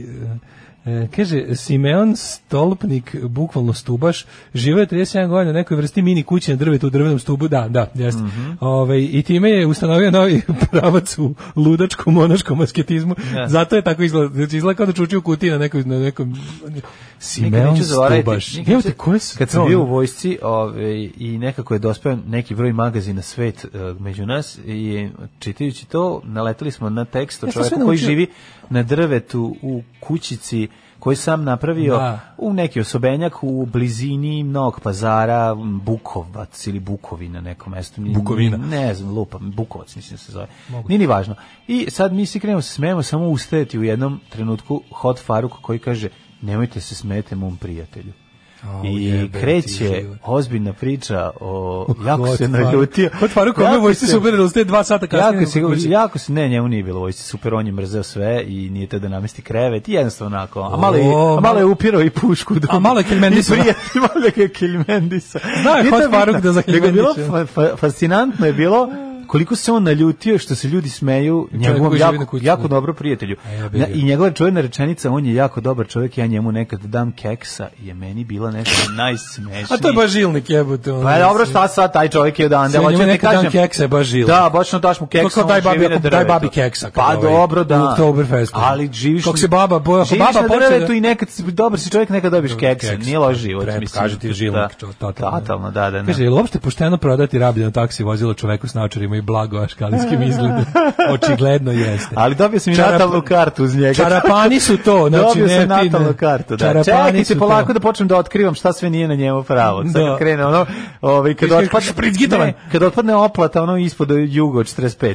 e, kaže, Simeon Stolpnik, bukvalno stubaš, živeo je 37 godina u nekoj vrsti mini kuće na drvetu u drvenom stubu, da, da, jeste. Mhm. Ovaj, I time je ustanovio novi pravac u ludačkom, monaškom asketizmu, Da. zato je tako izgleda, znači izgleda kao da čuči u kutiji na nekoj, na nekom... Simeon neću zaboraviti, Stubaš. nikad Evo te, neću- koje su Kad to sam bio u ono? vojsci ove, i nekako je dospeo neki broj magazina Svet e, među nas i čitajući to naletali smo na tekst o Ja sam E, sve čovjeku koji naučio. živi na drvetu u kućici koji je sam napravio Da. u neki osobenjak u blizini Novog pazara m, Bukovac ili Bukovina neko mesto. Ni- Bukovina. Ne znam, lupam, Bukovac mislim da se zove. Nije ni važno. I sad mi se krenemo se smejemo, samo ustajati u jednom trenutku Hot Faruk koji kaže nemojte se smete mom prijatelju. Au, I jebe ti kreće život. ozbiljna priča o jako se Kod Faruk- naljutio. Kod Faruk, Jako ome vojci se- super, da ste dva sata kasnije. Jako se, nego kući. jako se, ne, njemu nije bilo vojci super, on je mrzeo sve i nije te da namesti krevet i jednostavno onako, a malo, je, O, a malo je upirao i pušku. Do, A malo je Kilmendisa. I prijatelj, malo je Kilmendisa. Znao je Nije Hot to bitno, Faruk da za nego je bilo Kilmendisa. fa- fa- fascinantno je bilo koliko se on naljutio što se ljudi smeju njegovom koji živi na jako, kući, jako da. dobro prijatelju. A ja bi Na- ga. I njegova čuvena rečenica, on je jako dobar čovjek, ja njemu nekad dam keksa, je meni bila nešto najsmešnije. A to je baš žilnik jebote. ono, Pa je dobro, mislim. šta sad, taj čovjek je odande, Sve, hoću da njemu ti nekad kažem. dan keksa je baš žila. Da, bačno daš mu Kako keksa, on daj živi babi- na daj drvetu. babi keksa, kad Pa ovaj, dobro, da. u Oktoberfestu. Ali živiš... Kako se baba boja- Živiš baba na počne drvetu da- i nekad, si- dobar si čovjek, nekad dobiš keksa. keksa. Nije loš život, Pre- mislim. Da. kaže ti žilnik, čo- totalno. Totalno, da, da. Kaže, Ne. je li uopšte pošteno prodati rabljeno taksi vozilo čoveku s naočarima i blago aškalinskim izgledom? Očigledno jeste. Ali dobio sam i Čarap- natalnu kartu uz njega. Čarapani su to, znači Dobio ne sam ti ne- natalnu kartu, da. Čarapani su Čekaj se to. polako da počnem da otkrivam šta sve nije na njemu pravo. Sad Da. kad krene ono, ovaj, kad Kaže, kaže, otpadne, špricgitovan. Ne, kad otpadne oplata, ono ispod jugo od 45.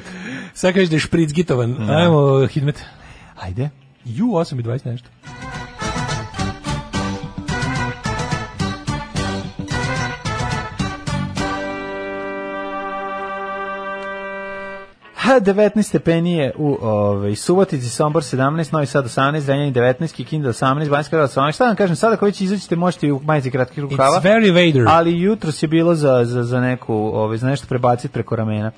Sad kažeš da je špric gitovan. Ajmo, Hidmet. Ajde. Ju, 8 i 20 nešto. Ha, 19 stepeni je u ovaj, Subotici, Sombor 17, Novi Sad 18, Zrenjanin 19, Kikinda 18, Banjska Kraljica 18. Šta da vam kažem, sada ako već izaćete možete i u majici kratkih rukava. It's very Vader. Ali jutros je bilo za, za, za neku, ovaj, za nešto prebaciti preko ramena.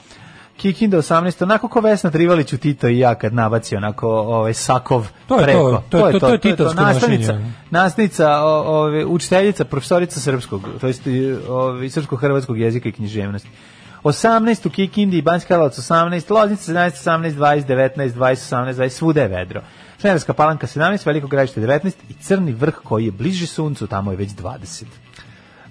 Kikinda 18, onako ko Vesna Trivalić u Tito i ja kad nabaci onako ovaj, sakov To je to, preko. to je to, to je titovsko Nastavnica, nošenje. nastavnica o- ove, učiteljica, profesorica srpskog, to jest i, ove, srpsko-hrvatskog jezika i književnosti. 18 u Kikindi i Banjska Karlovac 18, Loznica 17, 18, 20, 19, 20, 18, 20, svuda je vedro. Šenerska palanka 17, Veliko gravište 19 i Crni vrh koji je bliži suncu, tamo je već 20.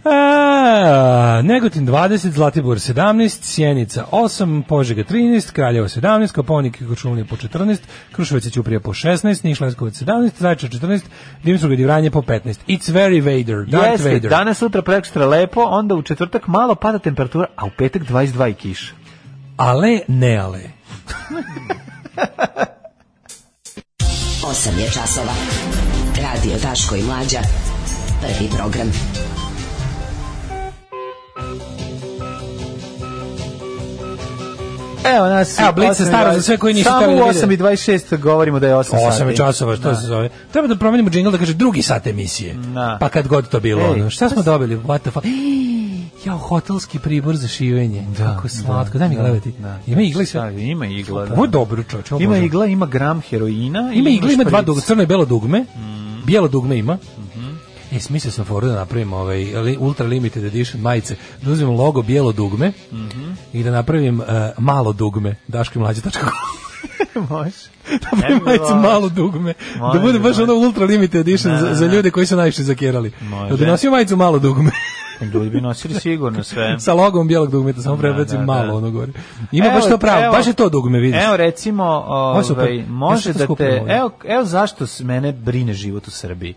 A, Negotin 20, Zlatibor 17, Sjenica 8, Požega 13, Kraljevo 17, Koponik i Kočulnije po 14, Kruševac i Ćuprija po 16, Niš Leskovac 17, Zajčar 14, Dimsruga i Divranje po 15. It's very Vader, Darth Jeste, Vader. danas, sutra, prekstra lepo, onda u četvrtak malo pada temperatura, a u petak 22 i kiša. Ale, ne ale. 8 je časova. Radio Daško i Mlađa. Prvi program. Evo nas. Evo, Blic je osam i staro za dvadeset- sve koji nisu Samo hteli u da vide. 8 i 26 govorimo da je 8 sati. 8 časova, što se zove. Treba da promenimo džingl da kaže drugi sat emisije. Da. Pa kad god to bilo. Ej, pa ono. Šta smo dobili? What the fuck? Jao, hotelski pribor za šivenje. Da, Kako slatko. Daj mi gledati. Ima igla i sve. Šta, Ima igla. da. Ovo je dobro, čoč. Ima igla, ima gram heroina. i Ima igla, ima dva špric. dugme, crno i belo dugme. Mhm. Bijelo dugme ima. E, smislio sam foru da napravim ovaj li- Ultra Limited Edition majice. Da uzmem logo bijelo dugme Mhm. i da napravim eh, malo dugme. Daškimlađe.com Da Može. Napravim majicu malo dugme. Da Može, bude baš može. ono Ultra Limited Edition za, za ljude koji su najviše zakjerali. Da, Može. Da bi nosio majicu malo dugme. Ljudi bi nosili sigurno sve. Sa logom bijelog dugmeta, samo prebacim da, malo da. ono gore. Ima Evo, baš to pravo, evo. baš je to dugme, vidiš. Evo recimo, je super. ovaj, Ja može sam to da skupio te... ovo. Evo, evo zašto s mene brine život u Srbiji.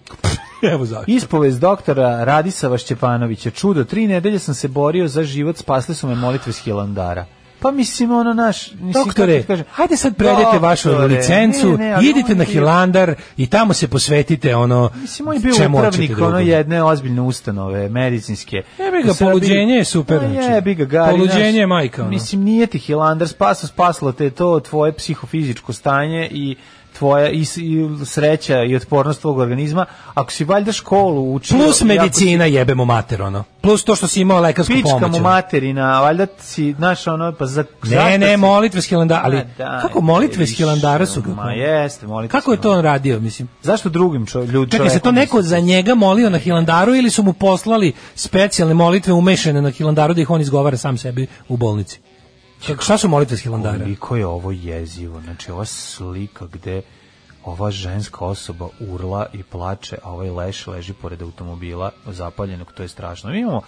Evo zašto. Ispovest doktora Radisava Šćepanovića. Čudo, tri nedelje sam se borio za život, spasli su me molitve s Hilandara. Pa mislim, ono naš... Mislim, Doktore, kako ti kažem, hajde sad predajte vašu doktore, licencu, ne, ne, ali on idite je na bio- Hilandar i tamo se posvetite ono Mislim, on je bio čemu hoćete da upravnik drugom. ono jedne ozbiljne ustanove medicinske. Jebi ga, U Srbiji- poluđenje je super, Pa znači. Jebi ga, gari. Poluđenje znaš, je majka, ono. Mislim, nije ti Hilandar spasao, spaslo te to tvoje psihofizičko stanje i tvoja i, s- i sreća i otpornost tvog organizma. Ako si valjda školu učio... i ako Plus si- medicina jebemo mater, ono. Plus to što si imao lekarsku Pička pomoć. mu ono. materina, valjda si, znaš, ono, pa za... Ne, ne, molitve s Hilandara, ali Pa da, kako molitve s više, Hilandara su kako? Ma jeste, molitve Kako je s to on Hilandara. radio, mislim? Zašto drugim čo, ljud, Čekaj, se to čoveku neko misli? za njega molio na Hilandaru ili su mu poslali specijalne molitve umešane na Hilandaru da ih on izgovara sam sebi u bolnici? Kako, šta su molitve s Hilandara? Koliko je ovo jezivo, znači ova slika gde ova ženska osoba urla i plače, a ovaj leš leži pored automobila zapaljenog, to je strašno. Mi imamo,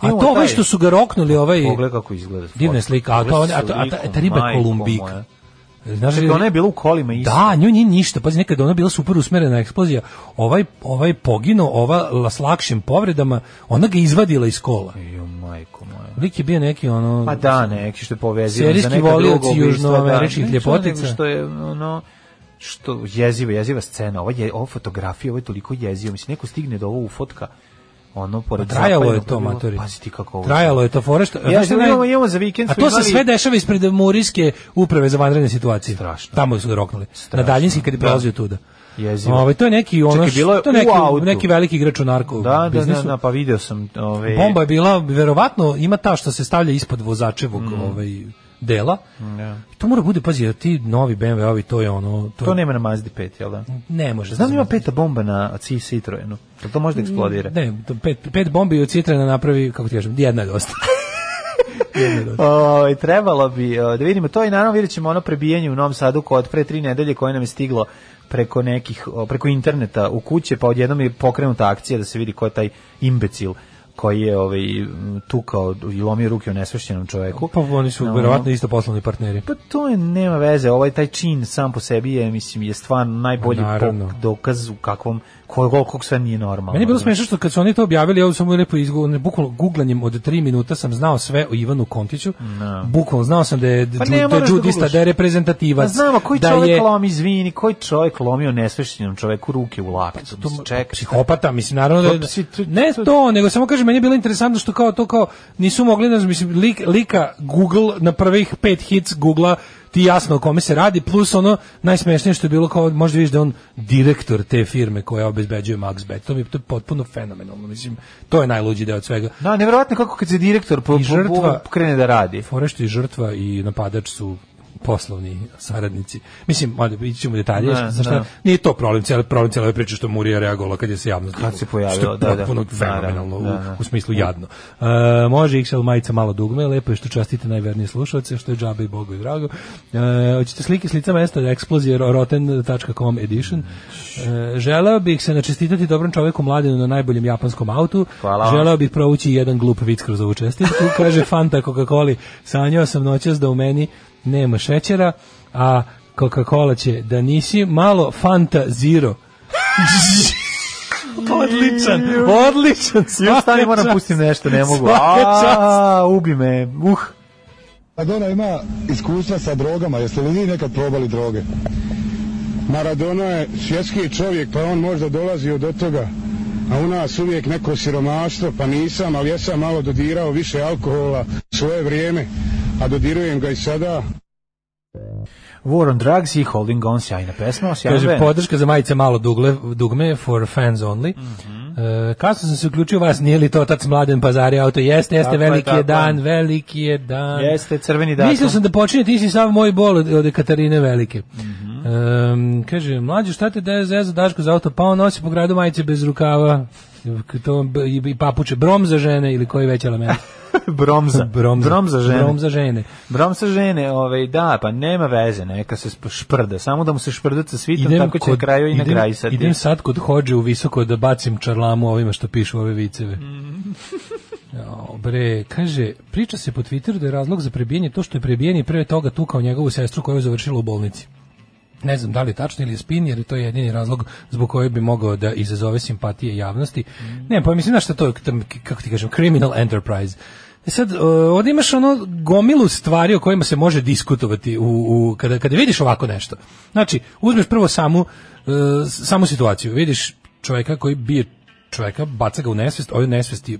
A imamo to taj- ovaj što su ga roknuli, ovaj... Pogledaj kako izgleda. Divna je slika, a, to, Pogledaj a, to, a, ta, sliku, ta riba je majko Kolumbika. moja. Znaš, Čekaj, ona je bila u kolima isto. Da, nju nije ništa. Pazi, nekad je ona bila super usmerena eksplozija. Ovaj, ovaj poginuo, ova la- s lakšim povredama, ona ga izvadila iz kola. Jo, majko moja. Lik je bio neki ono... Pa da, neki što je povezio Serijski za neka volioci drugo ubistvo, južnoameričkih da, ne, što ljepotica. nego Što je ono što jeziva, jeziva scena. Ova je ova fotografija, ovo je toliko jezivo, mislim neko stigne do ovo ufotka. Ono pored Pa Trajalo je zapadnog to, bilo- matori. Pazi ti kako ovo. Trajalo je to fore što... Ja znaš šta je naj- imamo, imamo za vikend. A smo to se imali- sve dešava ispred Murijske uprave za vanredne situacije. Strašno. Tamo su ga roknuli. Strašno. Da. Na daljinski kad je prelazio tuda. Jezivo. Ovaj, to je neki ono Čekaj, bilo je što- to je u neki, autu. neki veliki igrač u narko Da, da, da, biznisu. da, pa video sam ove Bomba je bila verovatno ima ta što se stavlja ispod vozačevog Mm. ovaj dela. To mora bude pazi, jer ti novi BMW ovi to je ono to, To nema na Mazdi 5, jel da? ne može. Znam da ima peta bomba na C Citroenu. Jel to može Mm, da eksplodira? Ne, to pet, pet bombi od Citrena napravi, kako ti kažem, jedna je dosta. Ovaj, trebalo bi o, da vidimo to i naravno vidjet ćemo ono prebijanje u Novom Sadu kod pre tri nedelje koje nam je stiglo preko nekih, o, preko interneta u kuće pa odjednom je pokrenuta akcija da se vidi ko je taj imbecil koji je ovaj, m, tukao i lomio ruke o nesvešćenom čoveku. Pa oni su No. verovatno isto poslovni partneri. Pa to je, nema veze, ovaj taj čin sam po sebi je, mislim, je stvarno najbolji Naravno. pok- dokaz u kakvom, koliko, koliko sve nije normalno. Meni je bilo Znaš. smešno što kad su oni to objavili, ja sam mu lepo izgledao, bukvalno guglanjem od 3 minuta sam znao sve o Ivanu Kontiću. Bukvalno znao sam da je Pa pa ne da je moraš da džudista, guglaš. da je reprezentativac. Pa znamo, koji da čovjek je lomi, izvini, koji čovjek lomio nesvešćenom čoveku ruke u laktu? Pa to mislim, čekaj. psihopata, mislim naravno da To psi- to- ne to- to, nego samo kažem meni je bilo interesantno što kao to kao nisu mogli da mislim lik, lika Google na prvih pet hits Googlea ti jasno o kome se radi, plus ono najsmešnije što je bilo kao, možda vidiš da je on direktor te firme koja obezbeđuje Max Bet, to mi je to je potpuno fenomenalno, mislim, to je najluđi deo od svega. Da, nevjerojatno kako kad se direktor po, I po, po, žrtva- krene da radi. Fore što i žrtva i napadač su poslovni saradnici. Mislim, ajde, ići ćemo u detalje, Ne, šta- šta, ne. nije to problem, cijela problem cijela ove priče što je Murija reagovala kad je se javno Kad se pojavila, što je da, da. potpuno Da, da, fenomenalno u- da, da. u, smislu jadno. E, može XL majica malo dugme, lepo je što častite najvernije slušalce, što je džabe i bogu i drago. E, hoćete slike s lica mesta eksplozije ro- roten.com edition. E, želeo bih se načestitati dobrom čoveku mladenu na najboljem japanskom autu. Hvala vam. Želeo Želeo bih provući jedan glup vic kroz ovu čestitku. Kaže Fanta Coca-Coli, sanjao sam noćas da u meni nema šećera, a Coca-Cola će da nisi malo Fanta Zero. odličan, odličan. Ja stani moram svaka pustim čast. nešto, ne mogu. Svaka čast. A, ubi me. Uh. Maradona ima iskustva sa drogama, jeste li vi nekad probali droge? Maradona je svjetski čovjek, pa on možda dolazi od toga. A u nas uvijek neko siromaštvo, pa nisam, ali jesam malo dodirao više alkohola svoje vrijeme, a dodirujem ga i sada. War on Drugs i Holding On, sjajna pesma, sjajna Kaže, band. podrška za majice malo dugle, dugme, for fans only. Mhm. E, kasno sam se uključio vas, nije li to tac mladen pazari auto? Jeste, jeste, Tako je, veliki je, tako je. dan, veliki je dan. Jeste, crveni datum. Mislio sam da počinje, ti si sav moj bol od, od Katarine Velike. Mhm. Em, kaže, mlađe, šta te daje zeza Daško za auto? Pa on nosi po gradu majice bez rukava K- to, b- i, i papuče, brom za žene ili koji već element. Bromza. Brom za, Bromza žene. Brom za žene. Bromza žene, ovaj, da, pa nema veze, neka se sp- šprda. Samo da mu se šprdaca svitom, tako će na kraju i na idem- kraju sad. Idem sad kod hođe u visoko da bacim čarlamu ovima što pišu ove viceve. Mm. Jao, bre, kaže, priča se po Twitteru da je razlog za prebijenje to što je prebijeni pre toga tukao njegovu sestru koju je završila u bolnici. Ne znam da li je tačno ili je spin, jer to je jedini razlog zbog kojeg bi mogao da izazove simpatije javnosti. Ne, pa mislim, znaš šta to je, tam, k- kako ti kažem, criminal enterprise. E Sad, e, ovdje imaš ono gomilu stvari o kojima se može diskutovati u, u, kada, kada vidiš ovako nešto. Znači, uzmeš prvo samu, e, s- samu situaciju, vidiš čovjeka koji bije čovjeka, baca ga u nesvest, ovaj nesvesti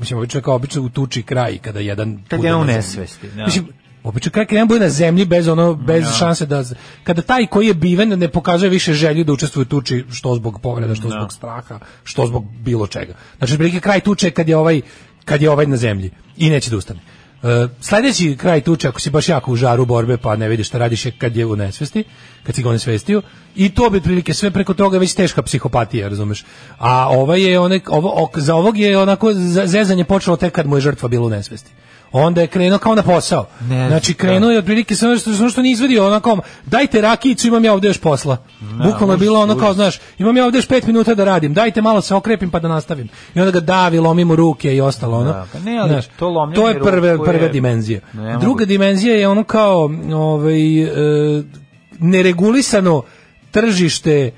mislim, ovaj čovjek obično u tuči kraj kada jedan... Kad bude je u na zemlji. nesvesti, da. Mislim, Obično kad jedan bude na zemlji bez ono bez šanse da kada taj koji je biven ne pokazuje više želju da učestvuje u tuči što zbog povreda, što zbog straha, što zbog bilo čega. Znači otprilike kraj tuče je kad je ovaj kad je ovaj na zemlji i neće da ustane. E, sljedeći kraj tuče ako si baš jako u žaru borbe pa ne vidiš šta radiš je kad je u nesvesti, kad si ga onesvestio i to bi otprilike sve preko toga je već teška psihopatija, razumeš. A ovaj je onek, ovo, ok- za ovog je onako za- zezanje počelo tek kad mu je žrtva bila u nesvesti. Onda je krenuo kao na posao. Ne, znači da. krenuo je otprilike sa ono što, sa ono što nije izvedio, ono kao, dajte rakijicu, imam ja ovdje još posla. Da, Bukvalno je bilo ono kao, znaš, imam ja ovdje još pet minuta da radim, dajte malo se okrepim pa da nastavim. I onda ga davi, lomi mu ruke i ostalo, ono. Da, pa ne, ali to lomljenje to je ruku prve, je- prva dimenzija. Ne mogu. Druga dimenzija je ono kao, ovaj, e, neregulisano tržište e,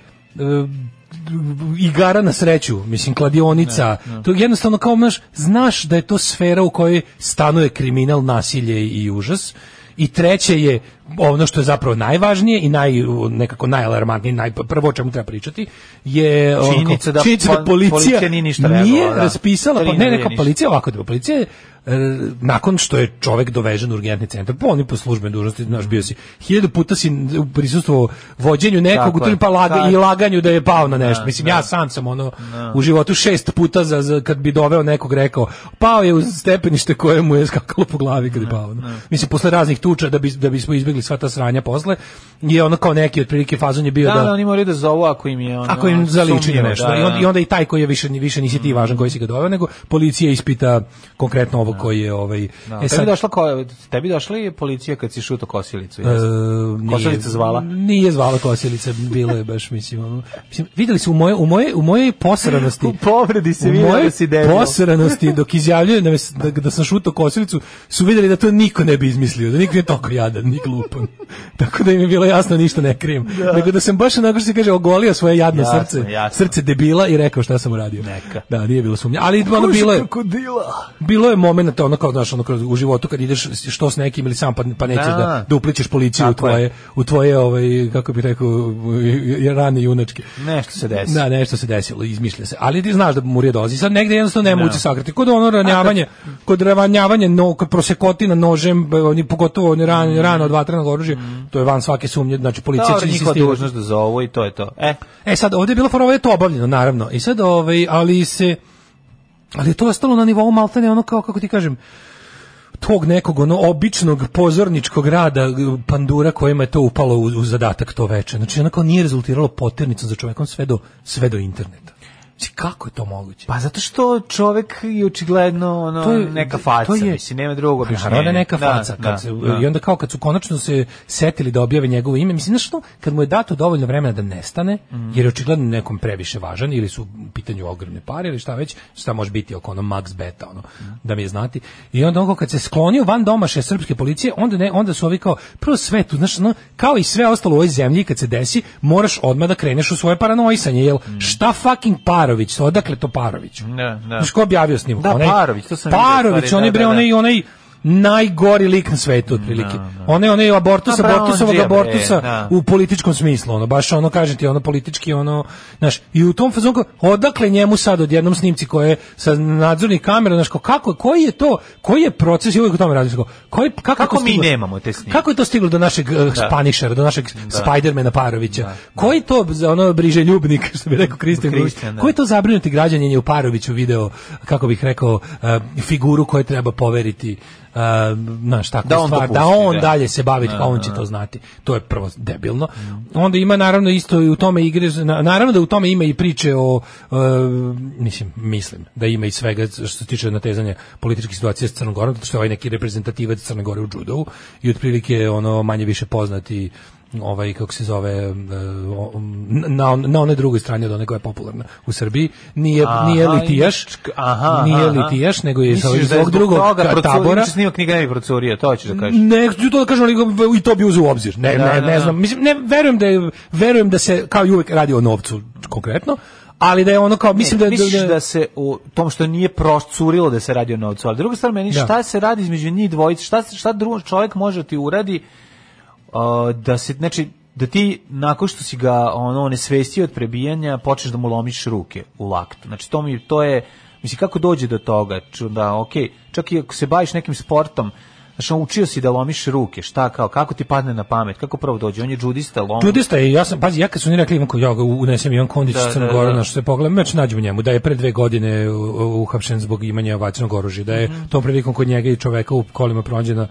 igara na sreću, mislim kladionica. To jednostavno kao znaš, znaš da je to sfera u kojoj stanuje kriminal, nasilje i užas. I treće je ono što je zapravo najvažnije i naj nekako najalarmantnije, naj prvo o čemu treba pričati je ono, Činjenica da činjenica pol- policija nije ništa nije reagovala, da. raspisala, pa Tri ne ne neka ništa. policija ovako da policija je, e, nakon što je čovjek dovežen u urgentni centar, pa oni po službenoj dužnosti, znaš, bio si, hiljadu puta si prisustuo vođenju nekog, Tako u je. tu pa laga, Tako i laganju da je pao na nešto. Da, Mislim, da. ja sam sam ono u životu šest puta za, za- kad bi doveo nekog rekao, pao je u stepenište koje mu je skakalo po glavi kad je pao. no. Da, Mislim, posle raznih tuča da, bi, da bismo izbjegli sva ta sranja posle, je ono kao neki otprilike fazon je bio Da, da... da, oni moraju da zovu ako im je ono, Ako im zaliči sumnjivo, nešto. da, I, onda, da. Mm. I onda i taj koji je više, više nisi ti važan koji si ga doveo, nego policija ispita konkretno ovo koji je ovaj... Da, E, tebi sad- došla ko, tebi došla je policija kad si šuto kosilicu. E, jesi? nije. Kosilica zvala? Nije zvala Kosilica, bilo je baš, mislim, ono, mislim videli su u moje, u moje, u mojoj posranosti. U povredi se u vidjela mojoj da si debil. posranosti, dok izjavljaju da, me s- da, da sam šutao Kosilicu, su videli da to niko ne bi izmislio, da niko nije toliko jadan, ni glupan. Tako da im je bilo jasno, ništa ne krijem. Nego da sam baš onako što se kaže, ogolio svoje jadno Jasno, srce, jasno. srce debila i rekao šta sam uradio. Neka. Da, nije bilo sumnja. Ali ono bilo je, Krokodila. bilo je momenata ono kao znaš ono kroz u životu kad ideš što s nekim ili sam pa pa neće Da. da da, uplićeš policiju u Tako je. tvoje u tvoje ovaj kako bih rekao je- je- rane junačke. Nešto se desi. Da, nešto se desilo, izmišlja se. Ali ti znaš da mu dozi. Sad negde jednostavno Da. ne moguće sakriti. Kod ono ranjavanje, kod ranjavanje no, kod prosekotina nožem, b- oni pogotovo oni ran, rano od vatrenog oružja, to je van svake sumnje, znači policija Mm. Dobro, će njihova insistirati. dužnost da zovu i to je to. E, E sad ovdje je bilo fora, ovo je to obavljeno naravno. I sad ovaj, ali se ali je to ostalo na nivou maltene ono kao kako ti kažem tog nekog ono običnog pozorničkog rada g- pandura kojima je to upalo u, u zadatak to veče. Znači onako nije rezultiralo poternicom za čovjekom sve do sve do interneta. Znači, kako je to moguće? pa zato što čovek je očigledno ono, To je- neka faca, to je- mislim, nema drugog Pa objašnjenja. Naravno da je neka faca. Da, kad da, se, da. I onda kao kad su konačno se setili da objave njegovo ime, mislim, znaš što, kad mu je dato dovoljno vremena da nestane, Mhm. jer je očigledno nekom previše važan, ili su u pitanju ogromne pare, ili šta već, šta može biti oko ono max beta, ono, Mhm. da mi je znati. I onda on kao kad se sklonio van domaše srpske policije, onda, ne, onda su ovi kao, prvo sve tu, znaš, ono, kao i sve ostalo u ovoj zemlji, kad se desi, moraš odmah da kreneš u svoje paranoisanje, jel, šta fucking Parović, odakle to Parović? Mhm. Da, da. Znaš ko je objavio snimak? Da, Onaj- Parović, to sam vidio, Parović, stvari, on je da, bre, da, da. onaj onaj najgori lik na svetu otprilike. Onaj onaj abortus, A, Brown abortusovog Gia, bre, abortusa da. u političkom smislu, ono baš ono kažem ti, ono politički ono, znaš, i u tom fazonu kao, odakle njemu sad odjednom snimci koje sa nadzornih kamera, znaš, kao, kako koji je to, koji je proces i uvijek o tome razmišljam, kao, koji kako, je Kako to mi stiglo- nemamo te snimke? Kako je to stiglo do našeg uh, Da. Spanishera, do našeg Spidermana Parovića? Koji to za ono briže ljubnik, što bi rekao Kristijan Grujić, Kristijan, da. koji to zabrinuti građanin je u Paroviću video, kako bih rekao, uh, figuru koju treba poveriti uh, znaš, takvu Da on stvar, dopusti, da on da. dalje se bavi, pa on će to znati. To je prvo debilno. Onda ima naravno isto i u tome igre, na- naravno da u tome ima i priče o, uh, mislim, mislim, da ima i svega što se tiče natezanja političke situacije s Crnom Gorom, zato što je ovaj neki reprezentativac Crne Gore u judovu i otprilike ono manje više poznati ovaj kako se zove uh, na, na one drugoj strani od one koja je popularna u Srbiji nije Aha, nije litijaš imaš- aha, nije aha. litijaš nego je sa Misliš ovog da je zbog drugog toga ka- procurio, tabora inače snimak knjiga ne bi procurio, to ćeš da kažeš. ne, ću to da kažem, ali ga- i to bi uzeo u obzir. Ne, Da, ne, da, ne da. znam. Mislim, ne, verujem da je, verujem da se, kao i uvek, radi o novcu konkretno, ali da je ono kao, mislim da, Misliš da, da se u tom što nije procurilo da se radi o novcu, ali druga stvar meni Da. šta se radi između njih dvojice, šta se- šta drugi čovjek može da ti uradi a, da se znači da ti nakon što si ga ono nesvestio od prebijanja počneš da mu lomiš ruke u laktu. Znači to mi to je mislim kako dođe do toga, ču- da ok, čak i ako se baviš nekim sportom Znači, ono, učio si da lomiš ruke, šta kao, kako ti padne na pamet, kako prvo dođe, on je džudista, lom... Čudista je, ja sam, pazi, ja kad su oni rekli Ivan Ko- ja ga unesem Ivan Kondić Da, iz Crne da, Gore, da. na što se pogleda, meč nađu u njemu, da je pre dve godine u- u- uhapšen zbog imanja vatrenog oružja, da je Mhm. tom prilikom kod njega i čoveka u kolima pronađena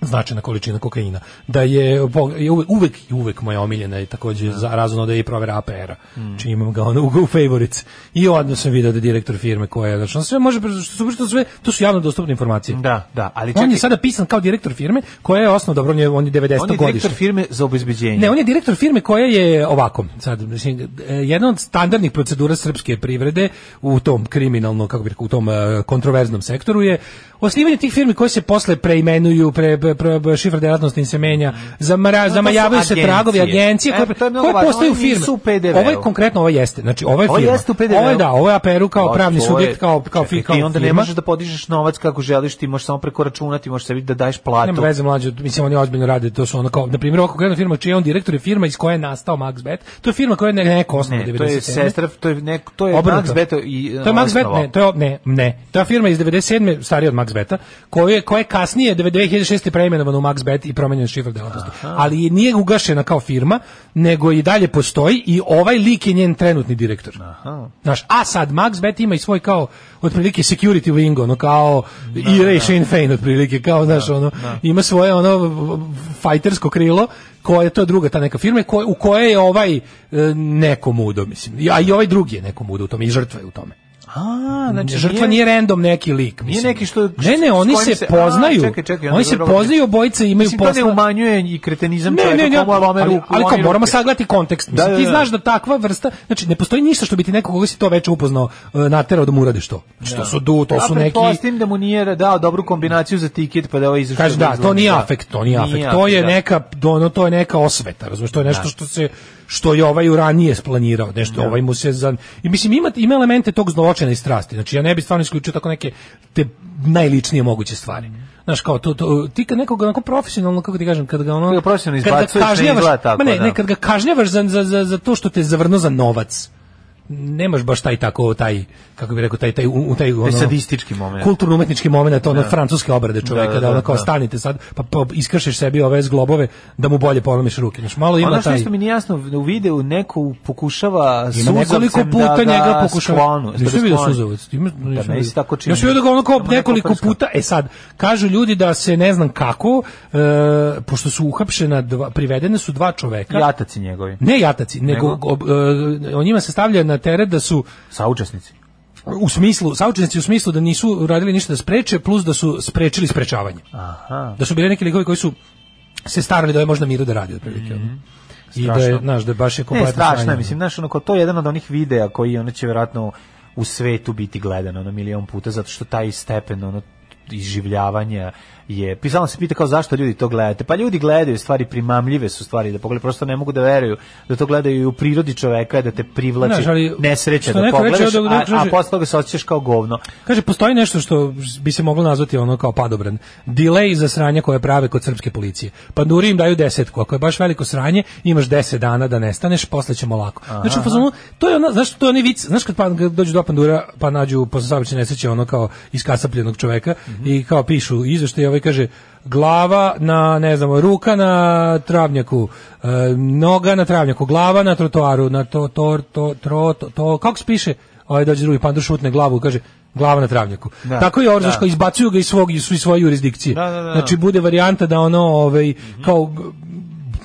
značajna količina kokaina. Da je pog- je uvek uvek, uvek moja omiljena i takođe za razumno da je i provera APR-a. Mhm. Čiji imam ga ono u favorites. I odmah sam video da je direktor firme koja je, znači on sve može pre- što su što sve, to su javno dostupne informacije. Da, da, ali On čekaj, je sada pisan kao direktor firme koja je osnov, dobro, on je, on je 90 on je godište. direktor firme za obezbeđenje. Ne, on je direktor firme koja je ovako, sad, mislim, e, jedna od standardnih procedura srpske privrede u tom kriminalno, kako bih rekao, u tom e, kontroverznom sektoru je osnivanje tih firmi koje se posle preimenuju, pre, pre, pre- šifra delatnosti im se menja, zamara, zamajavaju se agencije. tragovi, agencije, E, koje, to je mnogo koje važno, postaju oni firme. nisu u PDV-u. Ovo je konkretno, ovo jeste, znači ovo je Ovo firma. jeste u PDV-u. Ovo je da, ovo je APR-u kao Pa, pravni to je- subjekt, kao, kao, Čekaj, fi- kao ti onda ne firma. možeš da podižeš novac kako želiš, ti možeš samo preko računa, ti možeš sebi da daješ platu. Nema veze mlađe, mislim oni ozbiljno rade, to su ono kao, na primjer, ovako gledam firma čiji je on direktor je firma iz koje je nastao Max Bet, to je firma koja je ne- neko osnovu Ne, to je sestra, to je nek, to je Max Beto i uh, to je Max Bet, osnova. ne, to je, ne, ne, to je firma iz 97. starija od Max Beta, koja je, koja je kasnije 2006. preimenovana u Max Bet i promenjena šifra delatnosti. Ali je- nije ugašena kao firma, nego i dalje postoji i ovaj lik je njen trenutni direktor. Znaš, a sad Max Bet ima i svoj kao otprilike security wing, ono kao Da, i Ray Shane Fein otprilike, kao znaš, ono, ima svoje ono v- v- fajtersko krilo koja je to druga ta neka firma koja- u kojoj je ovaj e, neko mudo mislim a i ovaj drugi je neko mudo u tome i žrtva je u tome A, znači žrtva nije random neki lik mislim. Nije neki što- ne ne s oni kojim se, se- a, poznaju čekaj, čekaj, onda oni se dobro, poznaju obojice imaju Mislim, to ne posla umanjuje i kretenizam ne, čovjeka ne, ne, komu je lome ali, ruku, ali kao lomi moramo ruke. sagledati kontekst. Mislim, Da, da, ti da. znaš da takva vrsta, znači ne postoji ništa što bi ti neko koga si to već upoznao e, naterao da mu uradiš to. Znači, to su du, to A su neki pretpostavim da mu nije dao dobru kombinaciju za tiket pa da ovaj izašao. Kaže da, to izlazi, nije afekt, to nije afekt. To afekt, je da. neka ono to je neka osveta, razumeš, to je nešto što se što je ovaj ranije splanirao, nešto Da. ovaj mu se za i mislim ima ima elemente tog zločina i strasti. Znači ja ne bih stvarno isključio tako neke te najličnije moguće stvari. Znaš, kao to, to ti kad nekoga onako profesionalno, kako ti kažem, kad ga ono... Kad ga profesionalno kad ga izbacuješ, ne kažnjavaš- izgleda tako, ma ne, da. ne, kad ga kažnjavaš za, za, za, za to što te zavrno za novac, nemaš baš taj tako taj kako bih rekao taj taj u taj ono sadistički moment. kulturno umetnički momenat ono francuske obrade čovjeka da, Da, da, ono da, kao da. stanite sad pa, pa iskršeš sebi ove zglobove da mu bolje polomiš ruke znači malo ima Ono što taj isto mi nije jasno, u videu neko pokušava Ima nekoliko suzavcem puta da ga njega pokušava. sklonu. Nisam vidio suzavac. Ima, Da, nisam meni vidio. se tako čini. Ja sam vidio da ga ono kao Samo neko nekoliko prska. puta, e sad, kažu ljudi da se ne znam kako, e, pošto su uhapšena, dva, privedene su dva čoveka. Jataci njegovi. Ne jataci, nego, Nego? ob- e, o njima se stavlja na teret da su Saučesnici. u smislu, saučenici u smislu da nisu radili ništa da spreče, plus da su sprečili sprečavanje. Aha. Da su bili neki likovi koji su se starali da je možda Miro da radi otprilike. ono. I da je, Mhm. Strašno. znaš, da je baš je Ne, kompletno strašno je, sranje. mislim, znaš, ono, kao to je jedan od onih videa koji ono će vjerojatno u svetu biti gledan ono milion puta, zato što taj stepen ono izživljavanja je, pisalo se pita kao zašto ljudi to gledate, pa ljudi gledaju stvari primamljive su stvari da pogledaju, prosto ne mogu da veruju da to gledaju i u prirodi čoveka da te privlači Znaš, ali nesreće što da neko reče, pogledaš, ovdje neko a, a kaže- posle toga se osjećaš kao govno. Kaže, postoji nešto što bi se moglo nazvati ono kao padobran. Delay za sranje koje prave kod srpske policije. Panduri im daju desetku. Ako je baš veliko sranje, imaš deset dana da nestaneš, posle ćemo lako. Znači, u fazonu, to je ono, znaš, to je onaj vic, znaš kad, pan, kad dođu do pandura, pa nađu posle saobraćajne nesreće ono kao iskasapljenog čoveka i kao pišu izveštaj i ovaj kaže, glava na, ne znam, ruka na travnjaku, e, noga na travnjaku, glava na trotoaru, na to, to, to, tro, to, to, kako se piše? Ovaj dođe drugi pandur šutne glavu, kaže, glava na travnjaku. Da. Tako i Orzaš Da. koji izbacuju ga iz svog iz svoje jurisdikcije. Da, da, da. Znači bude varijanta da ono ovaj kao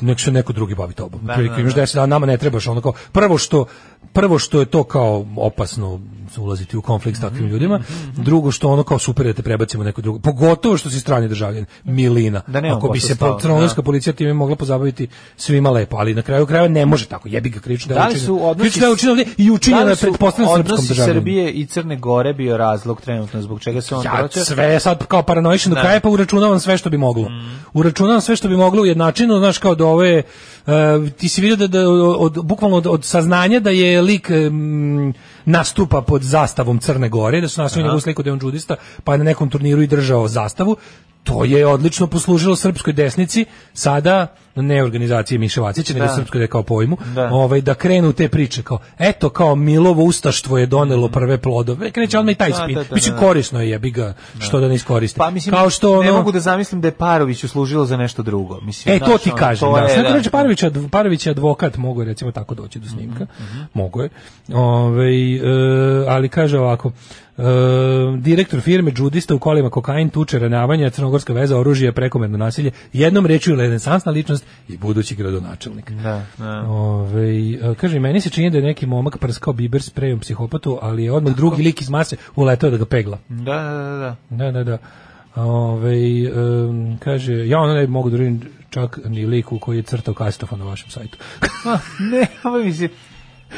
nek se neko drugi bavi tobom. Da, da, imaš 10 dana, nama ne trebaš ono kao prvo što prvo što je to kao opasno ulaziti u konflikt s Mhm, takvim ljudima, drugo što ono kao super je da te prebacimo u neko drugo. Pogotovo što si strani državljanin, Milina. Da nemamo Ako bi posla da. se stava, patronaljska policija time mogla pozabaviti svima lepo, ali na kraju krajeva ne može tako. Jebi ga krično da Da li su odnosi da krično je učinjeno ovdje i učinjeno je pretpostavljeno srpskom odnosi državljaninu. Srbije i Crne Gore bio razlog trenutno zbog čega se on Ja vraća? Da. sve sad kao paranoišan do kraja, pa uračunavam sve što bi moglo. Uračunavam sve što bi moglo u jednačinu, znaš, kao do ove, e, ti si vidio da, da od, bukvalno od, od saznanja da je lik em, nastupa pod zastavom Crne Gore, da su nastavili njegovu sliku da je on džudista, pa je na nekom turniru i držao zastavu, to je odlično poslužilo srpskoj desnici, sada ne organizacije Miše Vacića, nego Da. srpskoj da je kao pojmu, Da. ovaj, da krenu te priče, kao, eto, kao Milovo ustaštvo je donelo prve plodove, kreće odmah i taj Da, spin, da, da, mislim, da. korisno je, jebi ga, što da ne iskoriste. Pa mislim, kao što ono, ne mogu da zamislim da je Paroviću služilo za nešto drugo. Mislim, E, to znaš, ti ono, kažem, to da. je, Sad da. reče Parović, adv- Parović je advokat, mogu je recimo tako doći do snimka, Mhm, mogu je. Ovaj, e, ali kaže ovako, e, direktor firme Džudista u kolima kokain, tuče, ranavanja, crnogorska veza, oružje, prekomerno nasilje, jednom rečju renesansna ličnost i budući gradonačelnik. Da, da. Ove, kaže, meni se čini da je neki momak prskao biber sprejom psihopatu, ali je odmah drugi lik iz mase uletao da ga pegla. Da, da, da, da. Da, da, da. Ove, em, kaže, ja ono ne mogu da vidim čak ni liku koji je crtao kastofa na vašem sajtu. Ma, Pa, ne, ovo mislim,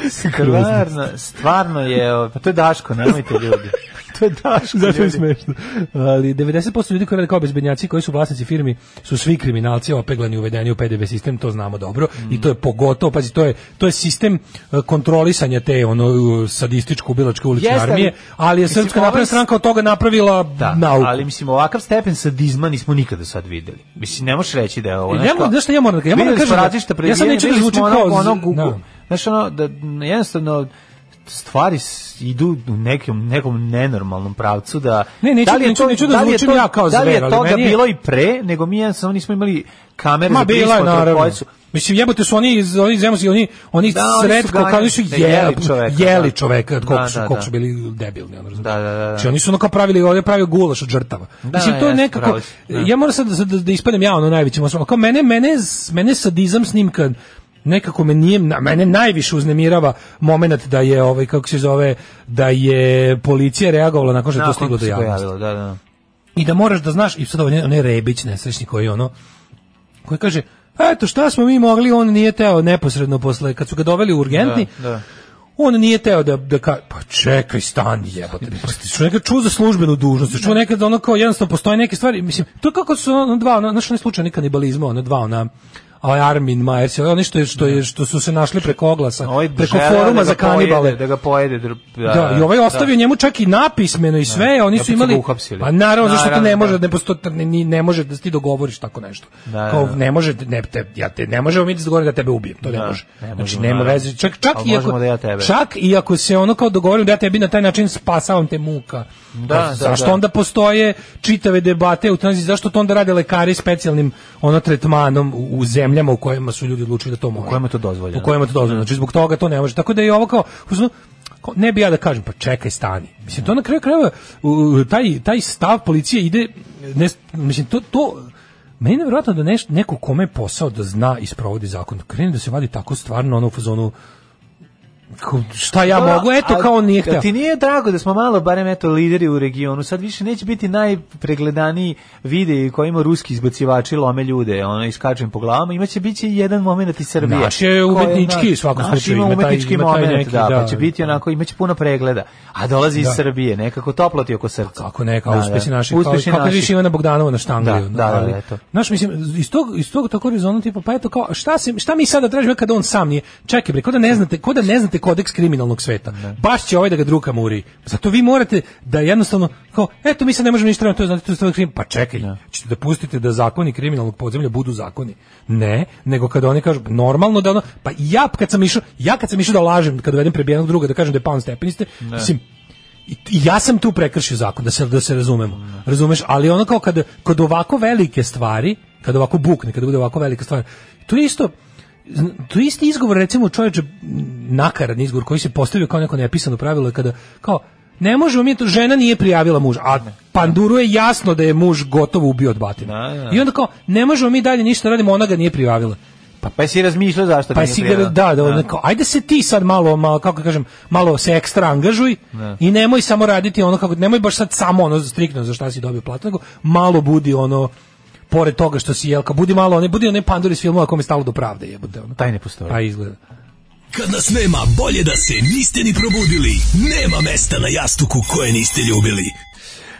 stvarno, stvarno je, o, pa to je Daško, nemojte ljudi. To je Daško, Zato je ljudi. smešno. Ali 90% ljudi koji rade kao bezbednjaci, koji su vlasnici firmi, su svi kriminalci, opeglani, uvedeni u PDV sistem, to znamo dobro. Mm. I to je pogotovo, pazi, to je, to je sistem e, kontrolisanja te ono sadističko-ubilačke ulične Jeste, ali- armije, ali je mislim, Srpska ovaj napredna s- stranka od toga napravila Da, nauku. ali mislim ovakav stepen sadizma nismo nikada sad videli. Mislim ne možeš reći da je ovo Ja moram- znaš šta ja moram da kažem? Ja moram da Videli smo kažem da- ratišta ja sad neću da prebijena, videli zvučim smo kao onog- z- onog gu- da. Znaš ono, da n- jednostavno stvari s- idu u nekom, nekom nenormalnom pravcu da... Ne, neću- da li je neću- to- neću da li je zvučim to- ja kao Da li zver, je ali toga meni je- bilo i pre, nego mi jednostavno nismo imali kamere Ma za bila je prismotru naravno. koje su- Mislim jebote su oni iz oni zemlji oni oni Da, oni su sretko ganjali- kad oni su da, jeli jeli čoveka, čoveka, jeli da. čoveka od koliko Da, su da, koliko su da. bili debilni, ono razumiješ. Da, da, da, da. Znači oni su ono kao pravili, ovdje pravio gulaš od žrtava. Mislim to je jeste, nekako pravo si, da. ja moram sad da, da, da ispadnem ja ono najveći mosmo. Kao mene mene mene sadizam snimka nekako me nije na- mene najviše uznemirava momenat da je ovaj kako se zove da je policija reagovala nakon što je to Nakon stiglo do se javnosti pojavilo, Da, da. i da moraš da znaš i sad ovaj onaj Rebić nesrećni koji je ono koji kaže "A eto šta smo mi mogli on nije teo neposredno posle kad su ga doveli u urgentni Da, da. on nije teo da da ka... pa čekaj stani jebote pa ti čuo nekad čuo za službenu dužnost Da. čuo nekad ono kao jednostavno postoje neke stvari mislim to je kako su ono dva ona, znaš onaj slučaj nikad kanibalizma ona dva ona ovaj Armin Majersi, oni što, je, što, je, što su se našli preko oglasa, Ovaj preko želeo foruma da ga za kanibale. Pojede, da ga pojede. dr- Da, i ovaj ostavio njemu čak i napismeno i sve, oni opet su su imali ga uhapsili. Pa naravno zašto to Naravno, ne može da. ne posto ne, ni- ne može da ti dogovoriš tako nešto. Da, Kao da, da. ne može ne te ja te ne možemo mi da se dogovorimo da tebe ubijem, to ne Da, može. ne Znači možemo, nema naravno. veze. Čak čak Ali i ako možemo da ja tebe. čak i ako se ono kao dogovorimo da ja tebi na taj način spasavam te muka. Da, Pa da, zašto da. onda postoje čitave debate u tanzi zašto to onda rade lekari specijalnim ono tretmanom u, u zemljama u kojima su ljudi odlučili da to može. U kojima je to dozvoljeno. U kojima je to dozvoljeno. Znači zbog toga to ne može. Tako da je ovo kao u smislu, kao, ne bi ja da kažem pa čekaj stani. Mislim to na kraju krajeva u- u, taj taj stav policije ide ne, mislim to to Meni je nevjerojatno da neš, neko kome je posao da zna i sprovodi zakon, krene da se vadi tako stvarno ono u fazonu kao, šta ja Da, mogu, eto ali- kao on nije hteo. Jel Ti nije drago da smo malo barem eto lideri u regionu. Sad više neće biti najpregledaniji videi koji ima ruski izbacivači lome ljude, ono iskačem po glavama, imaće biće i jedan momenat iz Srbije. Naš je Koji umetnički naš- u svakom naš slučaju, Ima ima taj- umetnički ima taj moment, neki, da, da, pa će biti da. onako imaće puno pregleda. A dolazi iz Srbije, nekako toplo ti oko srca. Pa Kako ne, kao Da, da. uspesi naši, Uspesi kao, kako naši. više Ivana Bogdanova na štangliju. Da, da, da, ali- da, eto. Znaš, mislim, iz tog, iz tog tako rezonu tipa, pa eto, kao, šta, se, šta mi sada tražimo kada on sam nije? Čekaj, bre, ko da ne znate, ko da ne znate kodeks kriminalnog sveta? Baš će ovaj da ga druka muri. Zato vi morate da jednostavno, kao, eto, mi sad ne možemo ništa, raditi, to je, znate, to je stvar krim. Pa čekaj, ćete da pustite da zakoni kriminalnog podzemlja budu zakoni. Ne, nego kada oni kažu, normalno da ono, pa ja kad sam išao, ja kad sam išao da lažem, kad dovedem prebijenog druga, da kažem da je pao na stepeniste, mislim, I t- i ja sam tu prekršio zakon da se da se razumemo. Razumeš? Ali ono kao kad kod ovako velike stvari, kad ovako bukne, kad bude ovako velika stvar, to je isto zn- to je isti izgovor recimo čoveče m, nakaradni izgovor koji se postavio kao neko nepisano pravilo je kada kao ne možemo mi to žena nije prijavila muža, a Panduru je jasno da je muž gotovo ubio od batina. Da, da. I onda kao ne možemo mi dalje ništa da radimo, ona ga nije prijavila. Pa, pa si razmišljao zašto ga Pa nije si ga, prijavila? da, da, onako, ajde se ti sad malo, malo, kako da kažem, malo se ekstra angažuj i nemoj samo raditi ono kako, nemoj baš sad samo ono striktno za šta si dobio platu, nego malo budi ono, pored toga što si jelka, budi malo, ne budi onaj pandur iz filmova kome je stalo do pravde, jebote, ono. Taj ne postoji. Pa izgleda. Kad nas nema, bolje da se niste ni probudili. Nema mesta na jastuku koje niste ljubili.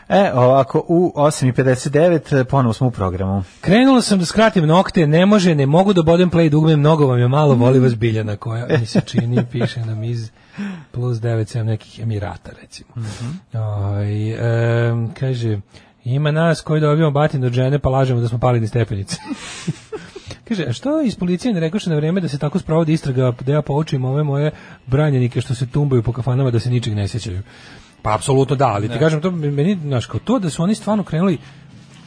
E, ovako, u 8.59 ponovo smo u programu. Krenula sam da skratim nokte, ne može, ne mogu da bodem play dugme, mnogo vam je malo, voli vas biljana koja mi se čini, piše nam iz plus 9, 7 nekih Emirata, recimo. Ovaj, em, kaže, ima nas koji dobijamo batin od žene, pa lažemo da smo pali ni stepenice. Kaže, a što iz policije ne rekoše na vreme da se tako sprovodi istraga, da ja poučim ove moje branjenike što se tumbaju po kafanama da se ničeg ne sjećaju? Pa apsolutno da, ali ti kažem, to meni, znaš, kao to da su oni stvarno krenuli,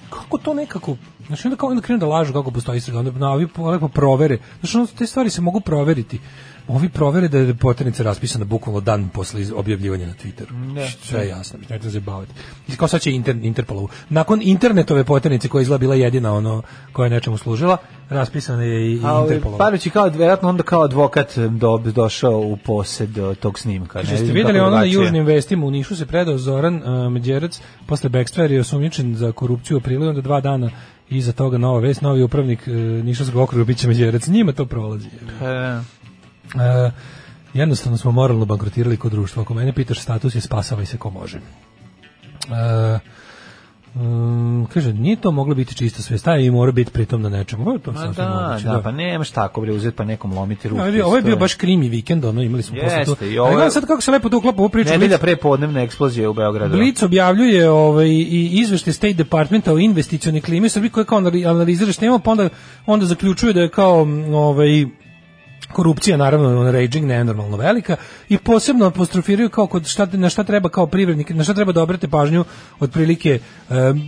kako to nekako, znači onda kao onda krenu da lažu kako postoji istraga, onda na ovi po- lepo provere, znači ono, te stvari se mogu proveriti. Ovi provere da je poternica raspisana bukvalno dan posle iz- objavljivanja na Twitteru. Sve je jasno, mislim, nemojte se baviti. I Kao sad će inter, Interpolovu. Nakon internetove poternice koja je izgleda bila jedina ono koja je nečemu služila, raspisana je i A, ovaj, Interpolova. Parić je kao, vjerojatno onda kao advokat do, došao u posed e, tog snimka. Kaže, ste vidim vidjeli kako ono na drugačije. južnim vestima u Nišu se predao Zoran uh, Međerac posle Bekstva jer je osumnjičen za korupciju u aprilu i onda dva dana iza toga nova vest, novi upravnik uh, Nišavskog okruga biće Međerac. Njima to prolazi. E, Uh, jednostavno smo moralno bankrotirali kod društva. Ako mene pitaš status je spasavaj se ko može. Uh, Um, kaže, nije to moglo biti čista svest, taj i mora biti pritom na nečemu. Ovo je to Ma sasvim da, moguće, da, pa nemaš tako bre uzeti pa nekom lomiti ruku. Ovo je bio- ovo je bio baš krimi vikend, ono, imali smo Jeste, posle to. i Ali ovo je- gledam sad kako se lepo to uklapa u ovu priču. nedelja Blic- pre podnevne eksplozije u Beogradu. Blic objavljuje ovaj i izveštaj State Departmenta o investicionoj klimi u Srbiji koji kao anali- analizira što imamo, pa onda, onda zaključuje da je kao m, ovaj korupcija naravno on raging nenormalno velika i posebno apostrofiraju kao kod šta na šta treba kao privrednik na šta treba da obrate pažnju otprilike em,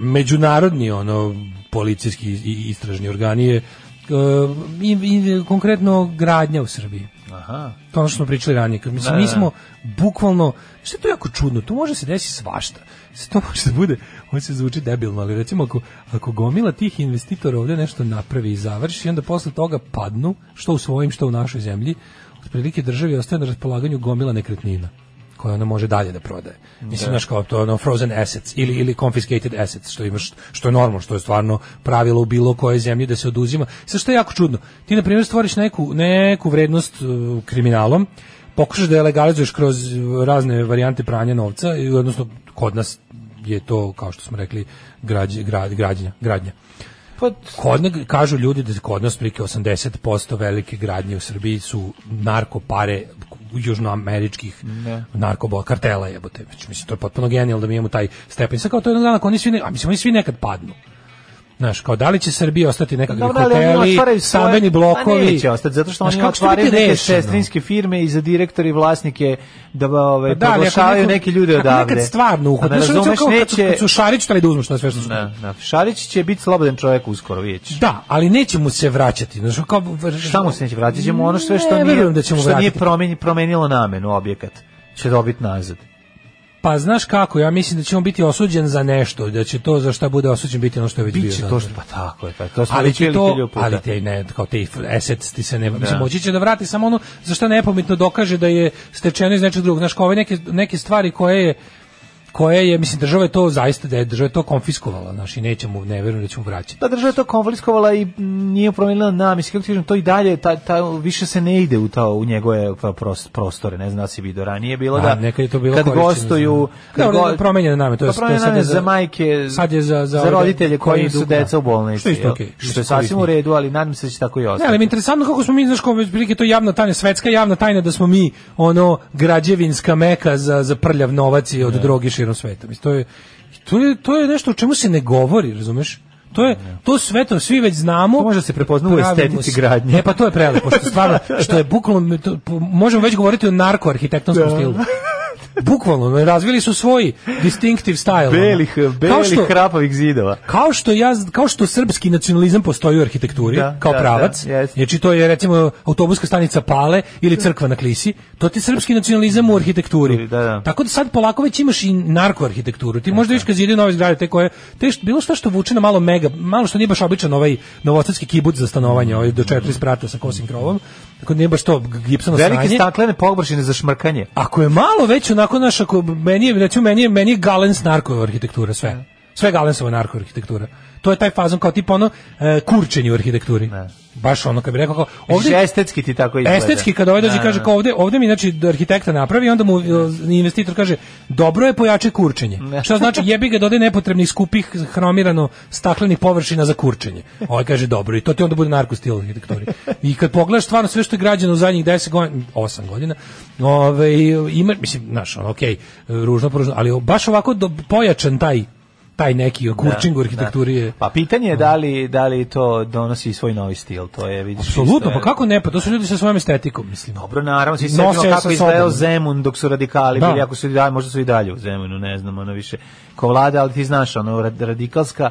međunarodni ono policijski i- i istražni organi je em, i, i konkretno gradnja u Srbiji Aha. to je ono što smo pričali ranije. Kad, mislim, Da, mi da. smo bukvalno, što je to jako čudno, tu može se desiti svašta. Sve to može da bude, on se zvuči debilno, ali recimo ako, ako gomila tih investitora ovdje nešto napravi i završi, i onda posle toga padnu, što u svojim, što u našoj zemlji, otprilike državi ostaje na raspolaganju gomila nekretnina koje ona može dalje da prodaje. Mislim, znaš, kao to je ono frozen assets ili, ili confiscated assets, što, imaš, što je normalno, što je stvarno pravilo u bilo kojoj zemlji da se oduzima. Sve što je jako čudno. Ti, na primjer, stvoriš neku, neku vrednost uh, kriminalom, pokušaš da je legalizuješ kroz uh, razne varijante pranja novca, i, odnosno kod nas je to, kao što smo rekli, građ, grad, građenja, gradnja Pa, Kod nas, kažu ljudi da kod nas prike 80% velike gradnje u Srbiji su narkopare južnoameričkih Da. narkobol kartela jebote. Znači, Mislim, to je potpuno genijalno da mi imamo taj stepen. Sad kao to jednog dana, ako oni svi, ne, a mislim, oni svi nekad padnu. Znaš, kao da li će Srbija ostati nekakvi Dobro, ali oni hoteli, otvaraju svoje- stambeni Pa blokovi. neće ostati, zato što Znaš, oni kako će to otvaraju biti neke rešeno? sestrinske firme i za direktori i vlasnike da ba, Pa ovaj, da, ali ako proglašavaju neko- neke ljude ako odavde. Nekad stvarno uhode. A Znaš, ono razumeš, kao kad su- neće- Kad su Šarić tali da uzmu što sve što su. Ne, ne, Šarić će biti slobodan čovjek uskoro, vidjet ćeš. Da, ali neće mu se vraćati. Znaš, kao, vr- Šta mu se neće vratiti? Ćemo ono sve što Ne, nije, verujem da ćemo što nije vratiti. promeni, promenilo namenu objekat. Će dobiti nazad. Pa znaš kako, ja mislim da će on biti osuđen za nešto, da će to za šta bude osuđen biti ono što je već bio. Biće to znaš. što, pa tako je, pa to smo ali već će bili to, hiljup puta. ali te ne, kao te assets ti se ne, mislim, moći će da vrati samo ono za što nepomitno dokaže da je stečeno iz nečeg drugog. Znaš, kao ove neke, neke stvari koje je koje je, mislim, država je to zaista, da je država je to konfiskovala, znaš, i neće mu, ne verujem da će mu vraćati. Pa država je to konfliskovala i mm, nije promenila namjese. Kako ti kažem, to i dalje, ta, ta, više se ne ide u, ta, u njegove pa, prost- prostore. Ne znam da si vidio ranije. Bilo da, A, nekad je to bilo kad korišćeno gostuju... za- kad Dobro, go- promenjene name, to je- Pa promenjene to je sad name je za, za- majke, sad je za- za ove roditelje koji koji idu, su deca da. u bolnici. Što je isto jel? okej, Što što je je sasvim u korisnije. redu, ali nadam se da će tako i Ne, ostati. ali mi je interesantno kako smo mi, znaš, kao prilike to je javna tajna, svetska javna tajna da smo mi ono građevinska meka za, za prljav novac i od Da. droge širom sveta. Mislim, to je, to je, to je nešto o čemu se ne govori, razumeš? To je to sve to svi već znamo. Da. To može da se prepozna u Pravimo estetici se- gradnje. Da. E pa to je prelepo što stvarno što je bukvalno to- po- možemo već govoriti o Da. narkoarhitektonskom stilu. Bukvalno, razvili su svoj distinctive style. ono. Belih, Kao belih što- hrapavih zidova. kao što ja kao što srpski nacionalizam postoji u arhitekturi Da, kao da, pravac da, jeste. znači to je recimo autobuska stanica Pale ili crkva na Klisi to ti je srpski nacionalizam u arhitekturi Da, da. tako da sad polako već imaš i narkoarhitekturu ti možda viš kad zide nove zgrade te koje te što, bilo šta što vuče na malo mega malo što nije baš običan ovaj novosadski kibuc za stanovanje ovaj do četiri sprata sa kosim krovom tako da nije baš to gipsano Velike sranje staklene površine za šmrkanje. ako je malo već onako naš, ako meni je, recimo, meni je, meni je Galens narko arhitektura sve. Sve Galensova narko arhitektura. To je taj fazon kao tipa ono e, kurčenje u arhitekturi. Baš ono kad bi rekao kao, Ovdje, ovdje, estetski ti tako izgleda. Da, estetski kad ovaj dođe i kaže kao ovde, ovde mi znači da arhitekta napravi, onda mu e, investitor kaže dobro je pojače kurčenje. Što znači jebi ga dode nepotrebnih skupih hromirano staklenih površina za kurčenje. Ovaj kaže dobro i to ti onda bude narko stil arhitekturi. I kad pogledaš stvarno sve što je građeno u zadnjih 10 godina, 8 godina, ovaj ima mislim znaš, ono, okej, ružno pružno, ali baš ovako do, pojačan taj taj Da, neki kurčing u arhitekturi je Pa pitanje je da li, da li to donosi svoj novi stil, to je, vidiš. isto Apsolutno, je- pa kako ne, pa to su ljudi sa svojom estetikom, mislim. Dobro, naravno, svi se Nose setimo kako sa je izgledao sobom. Zemun dok su radikali Da. bili, ako su i dalje, možda su i dalje u Zemunu, ne znam, ono više ko vlada, ali ti znaš, ono, rad- radikalska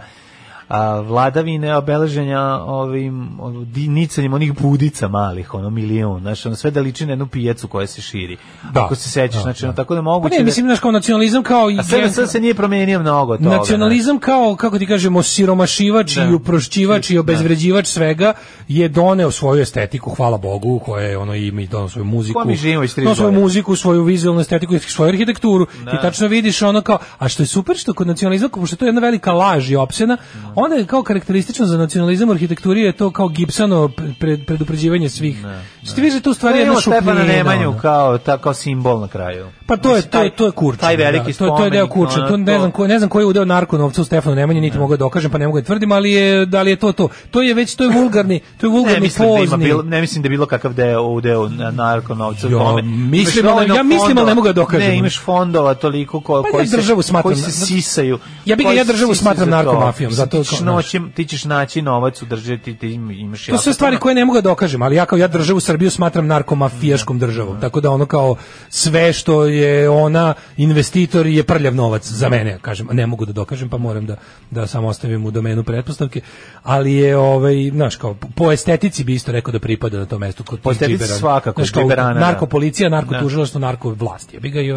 a, vladavine obeleženja ovim o, di- nicanjem onih budica malih, ono milion, znaš, ono sve da liči na jednu pijecu koja se širi. Da. Ako se sećaš, Da, znači, da. ono, tako da Pa moguće. ne, mislim, znaš, kao nacionalizam kao... i da, a SNS se nije promenio mnogo toga. Nacionalizam kao, kako ti kažemo, siromašivač Da. i uprošćivač i obezvređivač svega je doneo svoju estetiku, hvala Bogu, koja je ono ime i doneo svoju muziku. Kojom mi živimo već 30 Doneo svoju godina. muziku, svoju vizualnu estetiku i svoju arhitekturu. Da. I tačno vidiš ono kao, a što je super što kod nacionalizma, pošto je to jedna velika laž i opsena, Da. onda je kao karakteristično za nacionalizam u arhitekturi je to kao Gibsono pre, predupređivanje svih. Što ti vidiš da je to u Pa stvari jedna imamo šupljena. Stefana Nemanju ono. kao, ta, kao simbol na kraju. Pa to je Mislim, to je taj- to je kurče. Taj veliki to, je- to je deo spomenik, kurče. ono, To ne znam ko ne znam koji je udeo narko novca u Stefanu Nemanji, niti mogu da dokažem, pa ne mogu da tvrdim, ali je da li je to to. To je već to je vulgarni, to je Ne vulgarni mislim, da ima pozni. bilo, ne mislim da je bilo kakav deo u deo na- narkonovca u Ja tome. mislim, Imaš ali- dovoljno ja mislim, ali ne mogu da fondova- dokažem. Ne, imaš fondova toliko ko, Pa ja koji, se, državu smatram- koji se sisaju. Ja bi ga- koji ja se državu sisaju smatram za to. narkomafijom, Mislim, zato ti ćeš kao, znaš. noći- ti ćeš naći novac, udržati, ti im- imaš To jako su stvari puno. koje ne mogu da dokažem, ali ja kao ja državu Srbiju smatram narkomafijaškom državom. Tako da ono kao sve što je ona investitor je prljav novac za mene, kažem, ne mogu da dokažem, pa moram da da samo ostavim u domenu pretpostavke, ali je ovaj, znaš, kao po estetici bi isto rekao da pripada na to mesto kod Po tih estetici džibera. svakako, Znaš, kao džiberana, da. narkopolicija, narkotužilaštvo, narkovlast. Ja bi ga i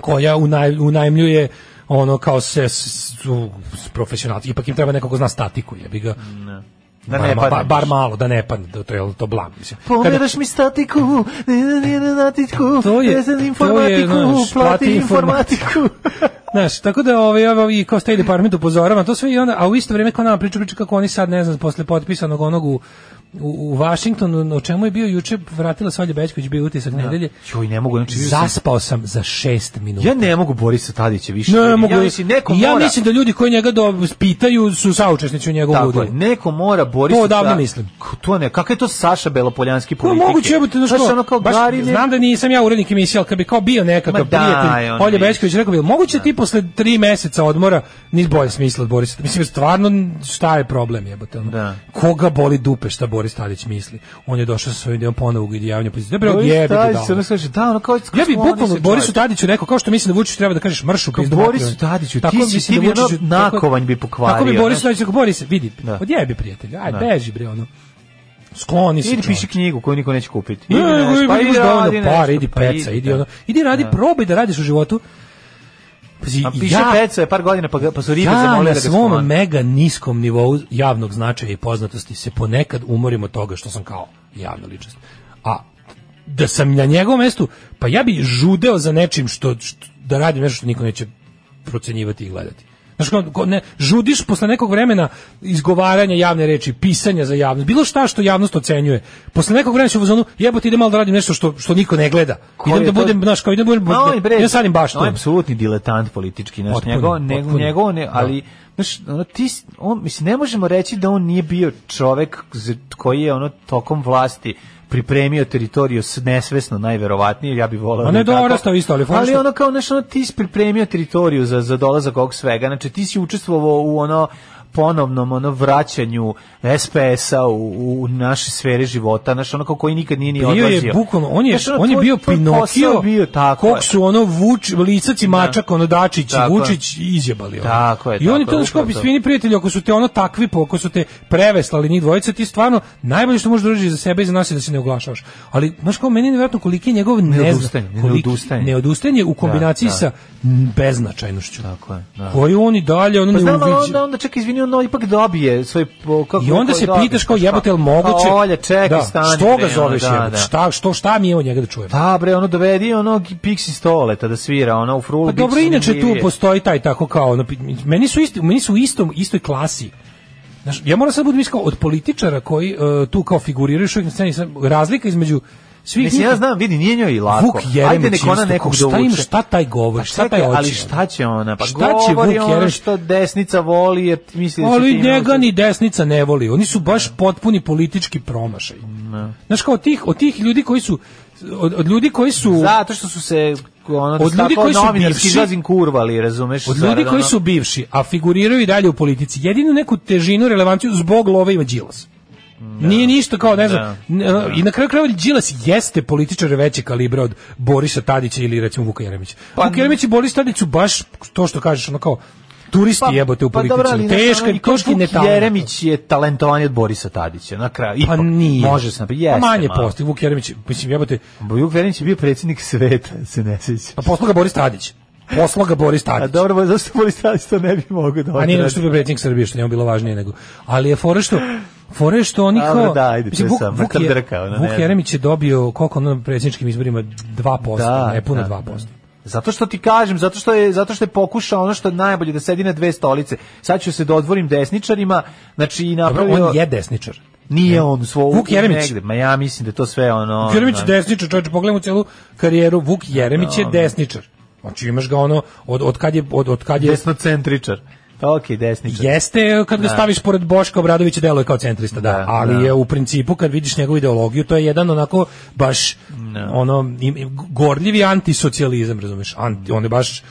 koja unaj, unajmljuje ono kao se s- su s- profesionalci ipak im treba neko ko zna statiku jebi ga Da bar, ne Pa ma- padneš. ba- bar malo da ne padne da to je to blam mislim Kada- Pomeraš mi statiku, ne, ne, ne, ne, natitku, To je- ne znam to je, informatiku, znaš, plati plati informatiku. Znaš, tako da ovaj, ovaj, i kao State Department upozorava, to sve i onda, a u isto vrijeme kao nama priča, priča kako oni sad, ne znam, posle potpisanog onog u, u, u Washingtonu, o čemu je bio juče, vratila se Olja Bećković, bio je utisak nedelje. Da. Joj, ne mogu, znači, bio sam- Zaspao sam za šest minuta. Ja ne mogu Borisa Tadića više. Ne, ja mogu, mislim, neko ja mora, mislim da ljudi koji njega do, pitaju su saučesnici u njegovom tako je, ludilu. neko mora Borisa To odavno Ta- mislim. K- To ne, kakav je to Saša Belopoljanski Ko politik? moguće jebote da Znaš, ono kao baš, Gari ne- Znam da nisam ja urednik emisije, ali kad bi kao bio nekakav Ma da, prijatelj, ono Da. Olje vidiš. Bećković rekao bi, moguće ti posle tri meseca odmora nis bolje smisla od Borisa. Mislim, stvarno šta je problem jebote? ono? Da. Koga boli dupe šta Boris Tadić misli? On je došao sa svojim delom ponovog i javnja pozicija. Dobro, Boris jebote Tadić, da. ono kaže, da, ono kao... Ja bi skloni bukvalno se Borisu čovjek. Tadiću rekao kao što mislim da Vučić treba da kažeš mršu Kao pizdu. Borisu materinu. Tadiću, Tako ti si- mislim ti da bi Vučiću- ono tako- nakovanj bi pokvario, Tako bi Boris znaš. Tadić rekao Boris, vidi, Da. odjebi prijatelju. Aj Da. beži bre ono. Skloni se. Idi čovječe. piši knjigu koju niko neće kupiti. Ne, Idi nego nešto, imaš pa dovoljno radi para, nešto, idi pa peca, idi da. ono. Idi radi, Da. probaj da radiš u životu. Pazi, A piše peca je Pa par godina, pa, ga- pa su ribe ja na zamolile da ga svom sklone. mega niskom nivou javnog značaja i poznatosti se ponekad umorim od toga što sam kao javna ličnost. A da sam na njegovom mestu, pa ja bi žudeo za nečim što, što- da radim nešto što niko neće procenjivati i gledati. Znaš, kao, ko- ne, žudiš posle nekog vremena izgovaranja javne reči, pisanja za javnost, bilo šta što javnost ocenjuje. Posle nekog vremena se u zonu, jebote, idem malo da radim nešto što, što niko ne gleda. Koji idem je da to- budem, znaš, kao idem da budem, Ma, on je, bre, ja sadim baš On je apsolutni diletant politički, znaš, Potpuno, njegov, ne- potpuno. njegov ne, Da. ali, znaš, ono, ti, si- on, mislim, ne možemo reći da on nije bio čovek za- koji je, ono, tokom vlasti pripremio teritoriju s- nesvesno najverovatnije, ja bih voleo. On da je tako. dorastao isto, ali fora ali što- ono kao znaš, ono ti si pripremio teritoriju za za dolazak ovog svega. Znači ti si učestvovao u ono ponovnom ono vraćanju SPS-a u, u naše sfere života, znaš, ono kao koji nikad nije ni bio odlazio. je bukvalno, on je, Znaš, ono, on je tvoj- bio tvoj Pinokio, posao bio tako. kog je. Da. su ono Vuč, Lisac i Mačak, ono Dačić i Tako je. Vučić izjebali. Ono. Tako je, I oni tako to je, znaš kao upravo to. fini prijatelji, ako su te ono takvi, po- ako su te preveslali njih dvojica, ti stvarno najbolje što možeš da uradiš za sebe i za nas je da se ne oglašavaš. Ali, znaš kao, meni je nevjerojatno koliki je njegov ne Neodustajanje, neodustajanje. neodustajanje u kombinaciji Da, da. sa mm, beznačajnošću. Tako je, da. Koju on i dalje, ono Pa ne znam, ali uviđa. onda, onda čak izvini, on ipak dobije svoj... po- Kako, I onda kako se dobije, pitaš kao znaš, jebote jel kao, moguće? kao, Olja, pa čekaj, da, stani. Što bre, ga ono, zoveš da, jebote? da. Šta, što, šta mi je od njega da čujemo? Da, bre, ono dovedi ono Pixi stoleta da svira, ono u frulu. Pa da bit dobro, će inače tu zanimljivije. postoji taj tako kao, ono, pi- meni su isti, meni su u istom, istoj klasi. Znaš, ja moram sad da budem iskao od političara koji e, tu kao figuriraju što na sceni, sad razlika između svih Mislim, njih- ja znam, vidi, nije njoj i lako. Vuk Jeremić nek ona isto, nekog kao, šta im- dovuče. šta taj govor, Pa šta čekaj, taj oči, Ali ono? šta će ona? Pa Šta će govori Vuk ono Jeremić? što desnica voli, jer misli da će Ali time njega ući. ni desnica ne voli. Oni su baš potpuni politički promašaj. Znaš, kao od tih, od tih ljudi koji su, od, od ljudi koji su... Zato što su se ono, Od od ljudi ljudi koji su novinarski bivši- gazin kurvali, razumeš? Od zarad, ljudi koji ono- su bivši, a figuriraju i dalje u politici, jedinu neku težinu, relevanciju zbog love ima Đilas. Nije ništa kao, ne znam, Da. n- i na kraju krajeva Đilas jeste političar veće kalibra od Borisa Tadića ili recimo Vuka Jeremića. Pa- Vuk Jeremić i Boris Tadić su baš to što kažeš, ono kao, turisti jebote u politici. Pa, dobro, ali, znaš, teška, ono, i i teški Vuk ne Jeremić je talentovan od Borisa Tadića, na kraju. Pa ipak. nije. Može se napraviti. Pa Jeste, manje malo. posti, Vuk Jeremić, mislim, jebote, Vuk Jeremić je bio predsjednik sveta, se ne sjeća. pa posla ga Boris Tadić. Posla ga Boris A Tadić. dobro, zašto Boris Tadić to ne bi mogao da A nije nego odradi? što je bio predsjednik Srbije, što je njemu bilo važnije nego. Ali je fora što, fora je što oni Dobro, kao... da, ajde, mislim, to Vuk- je sad Vuk mrtav je- drka, ono, ne Vuk znam. Jeremić je dobio koliko ono na predsjedničkim izborima? 2%, Da, ne puno 2%. Zato što ti kažem, zato što je zato što je pokušao ono što je najbolje da sedi na dve stolice. Sad ću se dodvorim desničarima, znači i Dobro, napravio on je desničar. nije on svoj Vuk Jeremić. negde. Ma ja mislim da je to sve ono. Vuk Jeremić ono- je desničar, čovječe, pogledamo celu karijeru, Vuk Jeremić je desničar. Znači imaš ga ono, od, od kad je, od, od kad je desnocentričar. Pa okej, desničar. Jeste kad ga staviš pored Boška Obradovića deluje kao centrista, da, Da, ali da. je u principu kad vidiš njegovu ideologiju, to je jedan onako baš Da. ono im- im- gorljivi antisocijalizam, razumeš? Anti, on je baš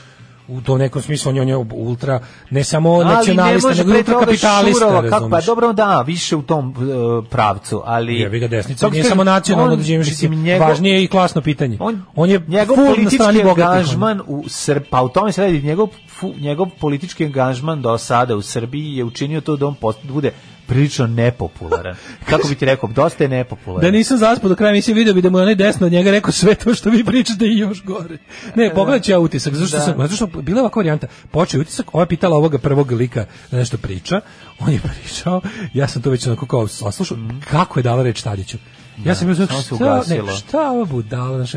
u tom nekom smislu on je, on je ultra ne samo nacionalista, nego i pre ultra toga kapitalista, Šurova, kako, pa razumeš? dobro da, više u tom e, pravcu, ali Jebi ga desnica, Kako nije kažem, samo nacionalno on, da živim, mislim, njegov- važnije je i klasno pitanje. On, je njegov full na strani politički bogatih. ono. angažman u Srb, pa u tome se radi njegov fu- njegov politički angažman do sada u Srbiji je učinio to da on post, bude prilično nepopularan. Kako bi ti rekao, dosta je Da nepopularan. nisam zaspao do kraja emisije, video bi da mu je onaj desno od njega rekao sve to što vi pričate i još gore. Ne, pogledat ću ja utisak, zato što, E, Da. sam, zato što bila je ovakva varijanta. Počeo je utisak, ova je pitala ovoga prvog lika da nešto priča, on je pričao, ja sam to već onako kao saslušao, kako je dala reč Tadiću. Ja sam bio Mhm. Da, samo se znači, šta, ne, ugasilo. šta ova budala, znaš,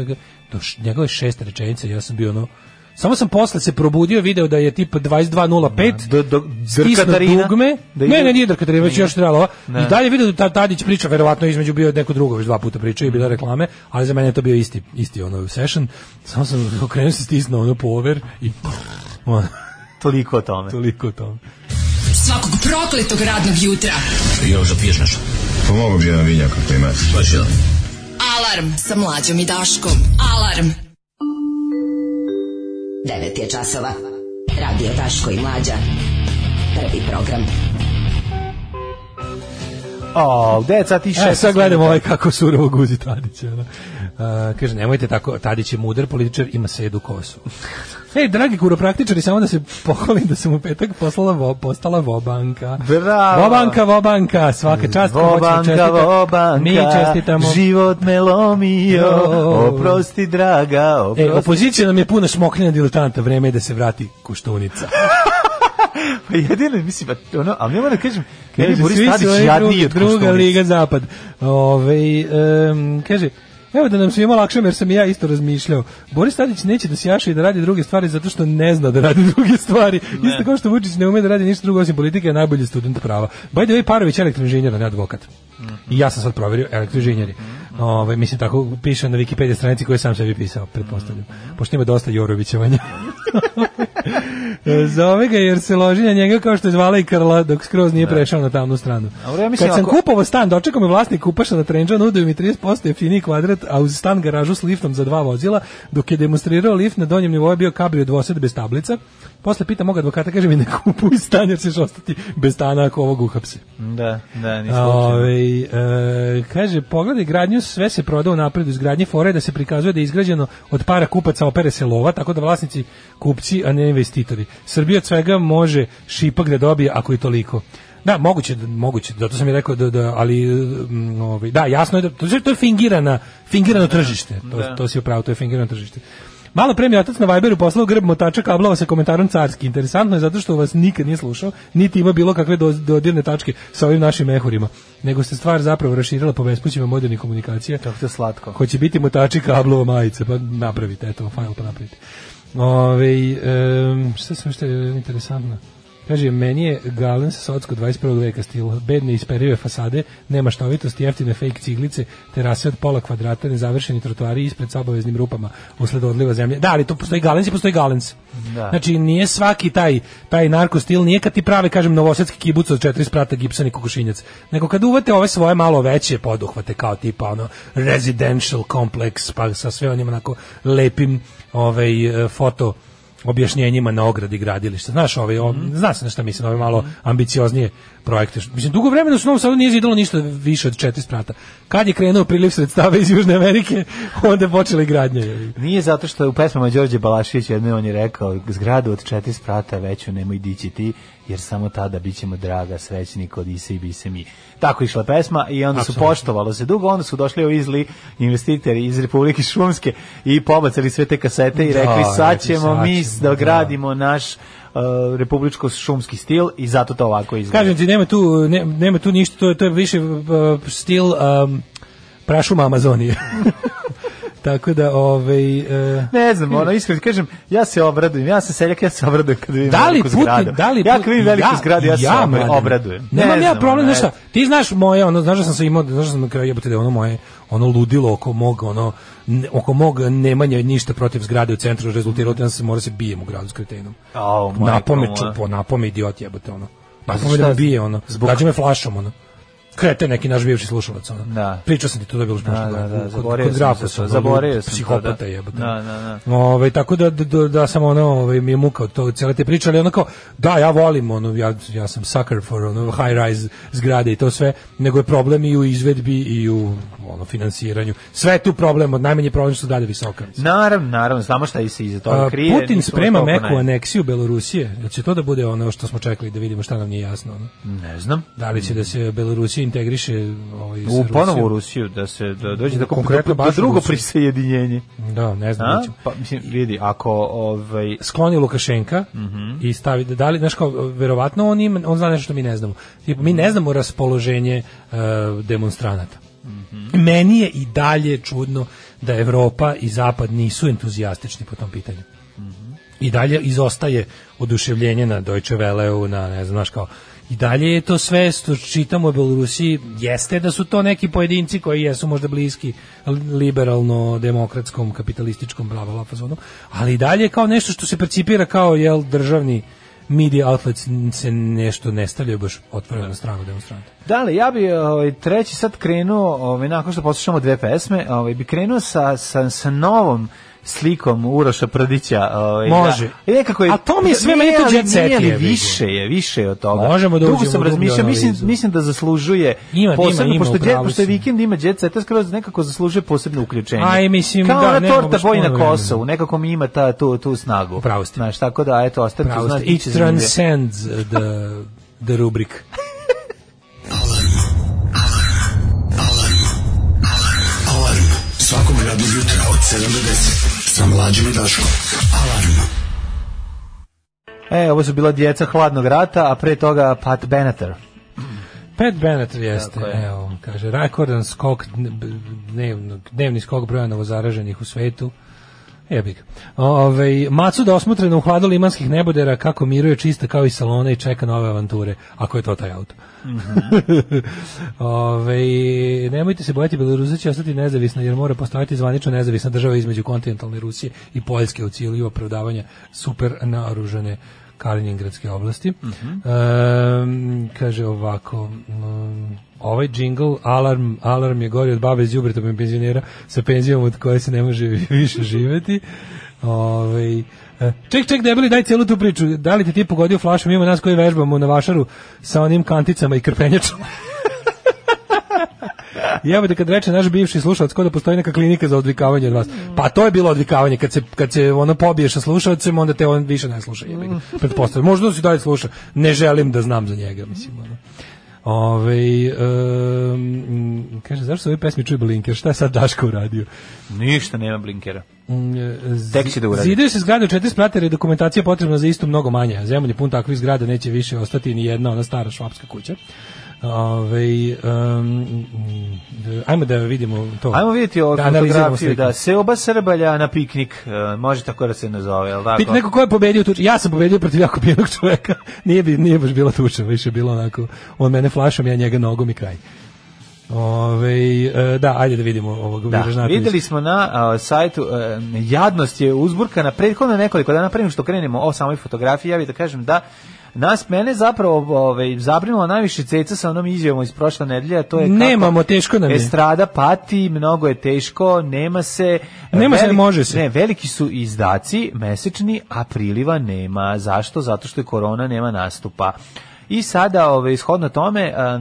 do š- njegove šeste rečenice, ja sam bio ono, Samo sam posle se probudio, video da je tipa 22.05, Do- do- stisnu Drkatarina? Da, dugme. ne, Da ide- ne, nije Drkatarina, već još trebalo. Ne. I dalje video da ta- Tadić priča, verovatno je između bio neko drugo, već dva puta priča i bila reklame, ali za mene je to bio isti, isti ono session. Samo sam okrenuo se stisnuo ono pover i ono, Toliko o tome. toliko o tome. Svakog prokletog radnog jutra. Još da piješ nešto? Pomogu Pa bi jedan vinjak ako imate. Pa ću da. Alarm sa mlađom i Daškom. Alarm. 9 je časova. Radio Daško i Mlađa. Prvi program. O, deca ti E, šest. sad gledamo ovaj kako surovo guzi Tadića. ono. A, kaže, nemojte tako, Tadić je mudar političar, ima sedu kosu. Ej, dragi kuropraktičari, samo da se pohvalim da sam u petak poslala vo, postala vobanka. Bravo. Vobanka, vobanka, svaka čast. moćno Vobanka, čestita. vobanka, Mi čestitamo. E, život me lomio, Jo. oprosti draga, oprosti. E, opozicija nam je puna smokljena diletanta, vreme je da se vrati kuštunica. Pa jedino, mislim, pa, ono, ali nema da kažem, Kaže, kaže, Boris svi su Tadić ovi jadniji drugi- od Druga Koštunice. liga zapad. Ove, em, kaže, Evo da nam svima lakše, jer sam i ja isto razmišljao. Boris Tadić neće da sjaša i da radi druge stvari zato što ne zna da radi druge stvari. Isto kao što Vučić ne ume da radi ništa drugo osim politike, je najbolji student prava. By the way, Parović je elektroinženjer, a ne advokat. Mhm. I ja sam sad proverio elektroinženjeri. Ovaj mislim tako piše na Wikipedia stranici koju sam sebi pisao, pretpostavljam. Mhm. Pošto ima dosta Jorovićevanja. E, Zove ga jer se loži na njega kao što je zvala i Karla dok skroz nije prešao na tamnu stranu. Da. Dobro, ja mislim Kad sam ako- kupovao stan, dočekao me vlasnik kupaša na trenđa, nudio mi 30% jeftiniji kvadrat, a uz stan garažu s liftom za dva vozila, dok je demonstrirao lift na donjem nivou je bio kabrio dvosed bez tablica. Posle pita mog advokata, kaže mi ne kupuj stan jer ćeš ostati bez stana ako ovog uhapsi. Da, da, ni slučajno. Ove, e, kaže, pogledaj gradnju, sve se proda u napredu izgradnje fore da se prikazuje da je izgrađeno od para kupaca opere se lova, tako da vlasnici kupci, a ne investitori. Srbija od svega može šipak da dobije ako i toliko. Da, moguće, da- moguće, zato sam i rekao da, da ali mm, ovaj, da, jasno je da to, je- to je fingirana, fingirano tržište. To, to si upravo, to je fingirano tržište. Malo pre mi je otac na Viberu poslao grb motača kablova sa komentarom carski. Interesantno je zato što vas nikad nije slušao, niti ima bilo kakve do- dodirne tačke sa ovim našim mehurima, nego se stvar zapravo raširila po bespućima modernih komunikacija. Kako to je slatko. Hoće biti motači kablova majice, pa napravite, eto, fajl pa napravite. Ove, em, šta sam što je interesantno? Kaže, meni je Galen sa Socko 21. veka stil, bedne isperive fasade, nema štovitosti, jeftine fake ciglice, terase od pola kvadrata, nezavršeni trotoari ispred sa obaveznim rupama usled odliva zemlje. Da, ali to postoji Galens i postoji Galens. Da. Znači, nije svaki taj, taj narko stil, nije kad ti prave, kažem, novosadski kibuc od četiri sprata, gipsan i kokošinjac, nego kad uvate ove svoje malo veće poduhvate, kao tipa ono residential complex, pa sa sve onim onako lepim ovaj, e, foto objašnjenjima na ogradi gradilišta. Znaš, ovaj, o, zna se na šta mislim, ove malo ambicioznije projekte. Mislim, dugo vremena u Novom Sadu nije zidalo ništa više od četiri sprata. Kad je krenuo priliv sredstava iz Južne Amerike, onda je počela i gradnja. jebi ga. Nije zato što je u pesmama Đorđe Balašić jedne on je rekao zgradu od četiri sprata veću nemoj dići ti jer samo tada bit ćemo draga srećni kod Ise i bise mi. Tako je išla pesma i onda su poštovalo se dugo, onda su došli ovi zli investitori iz Republike Šumske i pobacali sve te kasete i Da, rekli sad rekli, ćemo sad mi ćemo, da da." gradimo naš uh, republičko-šumski stil i zato to ovako izgleda. Kažem ti, nema tu, ne, nema tu ništa, to je, to je više uh, stil um, prašuma Amazonije. Tako da, ovaj... Uh, Ne znam, ono iskreno ti kažem, ja se obradujem, ja sam seljak, ja se obradujem kad vidim da li veliku putni, zgradu. da li ja put- kad vidim veliku zgradu, ja, se obra- mladen, obradujem. Ne Nemam ja znam, problem, ono, znaš šta, ti znaš moje, ono, znaš da sam se imao, znaš da sam na kraju jebote da je ono moje, ono ludilo oko mog, ono, ne- oko mog nemanja ništa protiv zgrade u centru rezultiralo, da sam se mora se bijem u gradu s kretenom. Au, majko napome moja. Pa čupo, napome idiot jebote, ono. šta Napome da me z- bije, ono. zbog- Gađa me flašom, ono. Krete neki naš bivši slušalac, ono. Da. Pričao sam ti to da je bilo prošle da, godine, da, kod- zaboravio kod sam Grafa se to, ono, zaboravio sam to, da. Psihopata jebote. Da, da, da. Ove, tako da, da, da sam ono, ove, mi je muka od to, cele te priče, ali ono kao, da, ja volim, ono, ja, ja sam sucker for ono, high-rise zgrade i to sve, nego je problem i u izvedbi i u ono, finansiranju. Sve je tu problem, od najmanji problem što su dalje visoka. Naravno, naravno, znamo šta i se iza toga A, krije. Putin nismo sprema toliko meku naj- aneksiju Belorusije. Da će to da bude ono što smo čekali da vidimo šta nam nije jasno. Ono. Ne znam. Da li će da se Belorusija integriše ovaj, sa U ponovo u Rusijom? Rusiju, da se da dođe da, Konkretno da, da baš u drugo Rusiju. prisjedinjenje. Da, ne znam. A? da ćemo- Pa, mislim, vidi, ako ovaj, skloni Lukašenka i stavi da- da li znaš kao verovatno on ima on zna nešto što mi ne znamo. Tipa, mi ne znamo raspoloženje e, demonstranata. Meni je i dalje čudno da Evropa i Zapad nisu entuzijastični po tom pitanju. i dalje izostaje oduševljenje na Deutsche Welleu, na ne znam, znaš kao, i dalje je to sve što čitamo o Belorusiji, jeste da su to neki pojedinci koji jesu možda bliski liberalno-demokratskom, kapitalističkom, bla, bla, bla, fazonu, ali i dalje je kao nešto što se percipira kao, jel, državni media outlets se nešto ne stavljaju baš otvoreno na stranu demonstranta. Da li, ja bi ovaj, treći sad krenuo, ovaj, nakon što poslušamo dve pesme, ovaj, bi krenuo sa, sa, sa novom slikom Uroša Prdića. Ovaj, Može. Da. I nekako je, A to mi je sve meni to ali- jet set nije, ali je, vidim. Više je, više je od toga. Možemo da Dugo uđemo sam u dublju razmišljao, mislim, analizu. mislim da zaslužuje Ima, posebno, ima, ima, pošto, u pravu pošto je si. vikend ima jet seta, skroz nekako zaslužuje posebno uključenje. Aj, mislim, Kao da, ona nemamo torta baš boji puno na vremena. Kosovu, nekako mi ima ta, tu, tu snagu. Upravo ste. Znaš, tako da, eto, ostavim tu, Pravo znaš, ste. It bit će zanimljivo. transcends uh, the, the rubric. Alarm svakog radnog jutra od 7 do 10 sa mlađom i Daškom. Alarm. E, ovo su bila djeca hladnog rata, a pre toga Pat Benatar. Pat Bennett jeste, Tako je. evo, kaže, rekordan skok dn- dnevnog, dnevni skok broja novozaraženih u svetu. Jebi ga. Ove, Macuda osmotrena da u hladu limanskih nebodera kako miruje čista kao i salona i čeka nove avanture, ako je to taj auto. Mhm. Ove, nemojte se bojati, Belorusija će ostati nezavisna jer mora postojati zvanično nezavisna država između kontinentalne Rusije i Poljske u cilju opravdavanja super naoružane Kaliningradske oblasti. Ehm, kaže ovako, mm, ovaj džingl, alarm, alarm je gori od babe iz Đubretom i penzionera sa penzijom od koje se ne može više živeti. Ovaj e, Ček, ček, debeli, daj cijelu tu priču. Da li ti ti pogodio flašom mimo nas koji vežbamo na vašaru sa onim kanticama i krpenjačama? Jebote kad reče naš bivši slušalac kao da postoji neka klinika za odvikavanje od vas. Pa to je bilo odvikavanje kad se kad se ono pobiješ sa slušalcem, onda te on više ne sluša, jebi ga. Pretpostavljam. Možda se dalje sluša. Ne želim da znam za njega, mislim ono. Ove, um, kaže, zašto se ove pesmi čuje Blinker? Šta je sad Daško uradio? Ništa, nema blinkera. Mm, e, z- Tek će da uradi. Zidaju se zgrade u četiri splata jer je dokumentacija potrebna za isto mnogo manje. Zemlje pun takvih zgrada neće više ostati ni jedna ona stara švapska kuća. Ove, um, mm, ajmo da vidimo to. Ajmo vidjeti ovu Da analiziramo fotografiju, sliku. da, seoba Srbalja na piknik, e, može tako da se nazove, jel tako? Pit neko ko je pobedio tuču. Ja sam pobedio protiv jako pijenog čoveka. Nije, bi, nije baš bila tuča, više je bilo onako. On mene flašom, ja njega nogom i kraj. Ove, e, da, ajde da vidimo ovog Da, Mira Žnatovića. videli smo na a, sajtu, e, jadnost je uzburkana prethodno nekoliko dana, prije nego što krenemo o samoj fotografiji, ja bih da kažem da nas mene zapravo ovaj zabrinula najviše ceca sa onom izjavom iz prošle nedelje, a to je kako E, Nemamo, teško nam je. Estrada pati, mnogo je teško, nema se. Nema se, ne može se. Ne, veliki su izdaci mesečni, a priliva nema. Zašto? Zato što je korona, nema nastupa. I sada, ove, ishodno tome, a,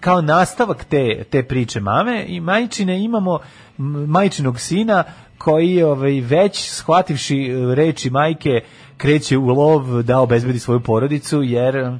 kao nastavak te, te priče mame i majčine imamo m, majčinog sina koji ovaj već shvativši e, reči majke kreće u lov da obezbedi svoju porodicu jer e,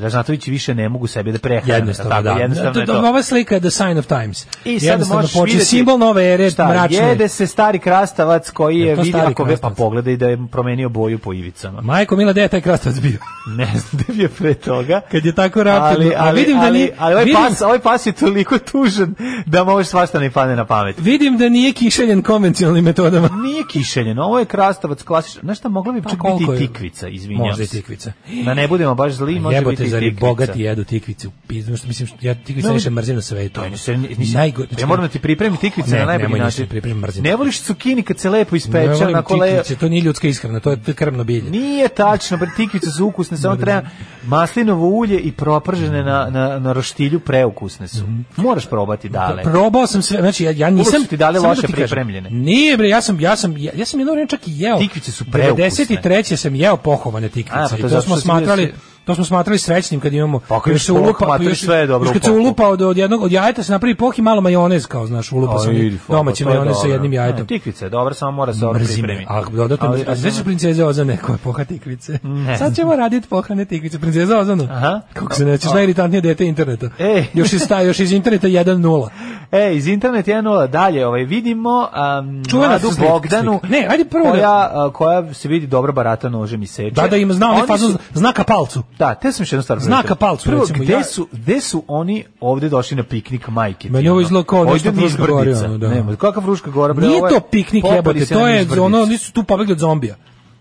Ražnatovići više ne mogu sebe da prehrane. Jednostavno, tako, da. Jednostavno Da, je da, to. Ova slika je The Sign of Times. I sad Jednostavno možeš počinje vidjeti simbol nove ere, šta, mračne. Jede se stari krastavac koji Je je, to vidi stari ako ve pa krastavac? pogledaj da je promenio boju po ivicama. Majko Mila, gde je taj krastavac bio? Ne znam da bi je pre toga. Kad je tako rapidno. Ali, A ali, vidim da ali, nije- ali ovaj, vidim- pas, ovaj pas je toliko tužan da možeš svašta ne padne na pamet. Vidim da nije kišeljen konvencionalnim metodama. Nije kišeljen, ovo je krastavac klasičan. Znaš šta, mogla bi čak biti Pa koliko i je? tikvica, izvinjam Možda i se. tikvica. Pa Da ne budemo baš zli, može biti Jebote, i zar i tikvica. bogati jedu tikvice u pizdu, što mislim, što ja tikvice Ne, više mrzim na svetu. To je nisam- nisam- Najgo- ja moram da ti pripremim tikvice Ne, na najbolji nemoj ništa način. da pripremim, mrzim. Ne voliš cukini kad se lepo Ne ispeče, volim onako le, tikvice, to nije ljudska ishrana, to je to je krvno bilje. Nije tačno, bre, tikvice su ukusne, samo treba maslinovo ulje i propržene na, na, na roštilju preukusne su. Mhm. Moraš probati Da, dale. Dakle, Probao sam sve, znači ja, ja nisam su ti dali samo loše ti kažem, pripremljene. Nije bre, ja sam ja sam ja, ja sam jedno vrijeme čak i jeo. Tikvice su preukusne. 93. sam jeo pohovane tikvice. A, pa to i to, zato što smo si smatrali bio to smo smatrali srećnim kad imamo Pa kad imaš polk, mater, sve je dobro još u kad se polku. ulupa od, od jednog od jajeta se napravi poh i malo majonez kao znaš ulupa A, pa sam vidi, fopa, domaći to je majonez sa dobro. jednim Ne, jajetom Tikvice je dobra, samo mora se dobro mrzim. pripremiti. A dodatno, Ali- ali, a sveća princeze Ozane koja poha tikvice. Ne. Sad ćemo raditi pohane tikvice. Princeza Ozana. Aha. E. Kako se nećeš, najiritantnije dete interneta. Ej. Još, iz, ta- još iz interneta 1.0. E, iz internet 1.0 dalje, ovaj, vidimo um, Čuvena Mladu slika, Bogdanu, slika. Ne, ajde prvo da- koja, a, koja se vidi dobro barata nožem i seče. Da, da ima, znao Oni ne fazon su- znaka palcu. Da, te sam još jednu stvar. Znaka pročitao. palcu, Prvo, recimo, gde, ja- su, gde su oni ovde došli na piknik majke? ti, Meni ovo ono? izgleda kao Ovdje nešto niz Fruška gora, brdica. ono, da. Nema, kakva Fruška gora? bre, Nije ovo je- to piknik popeli jebote, se na to je niz brdica. ono, nisu tu pobegli od zombija.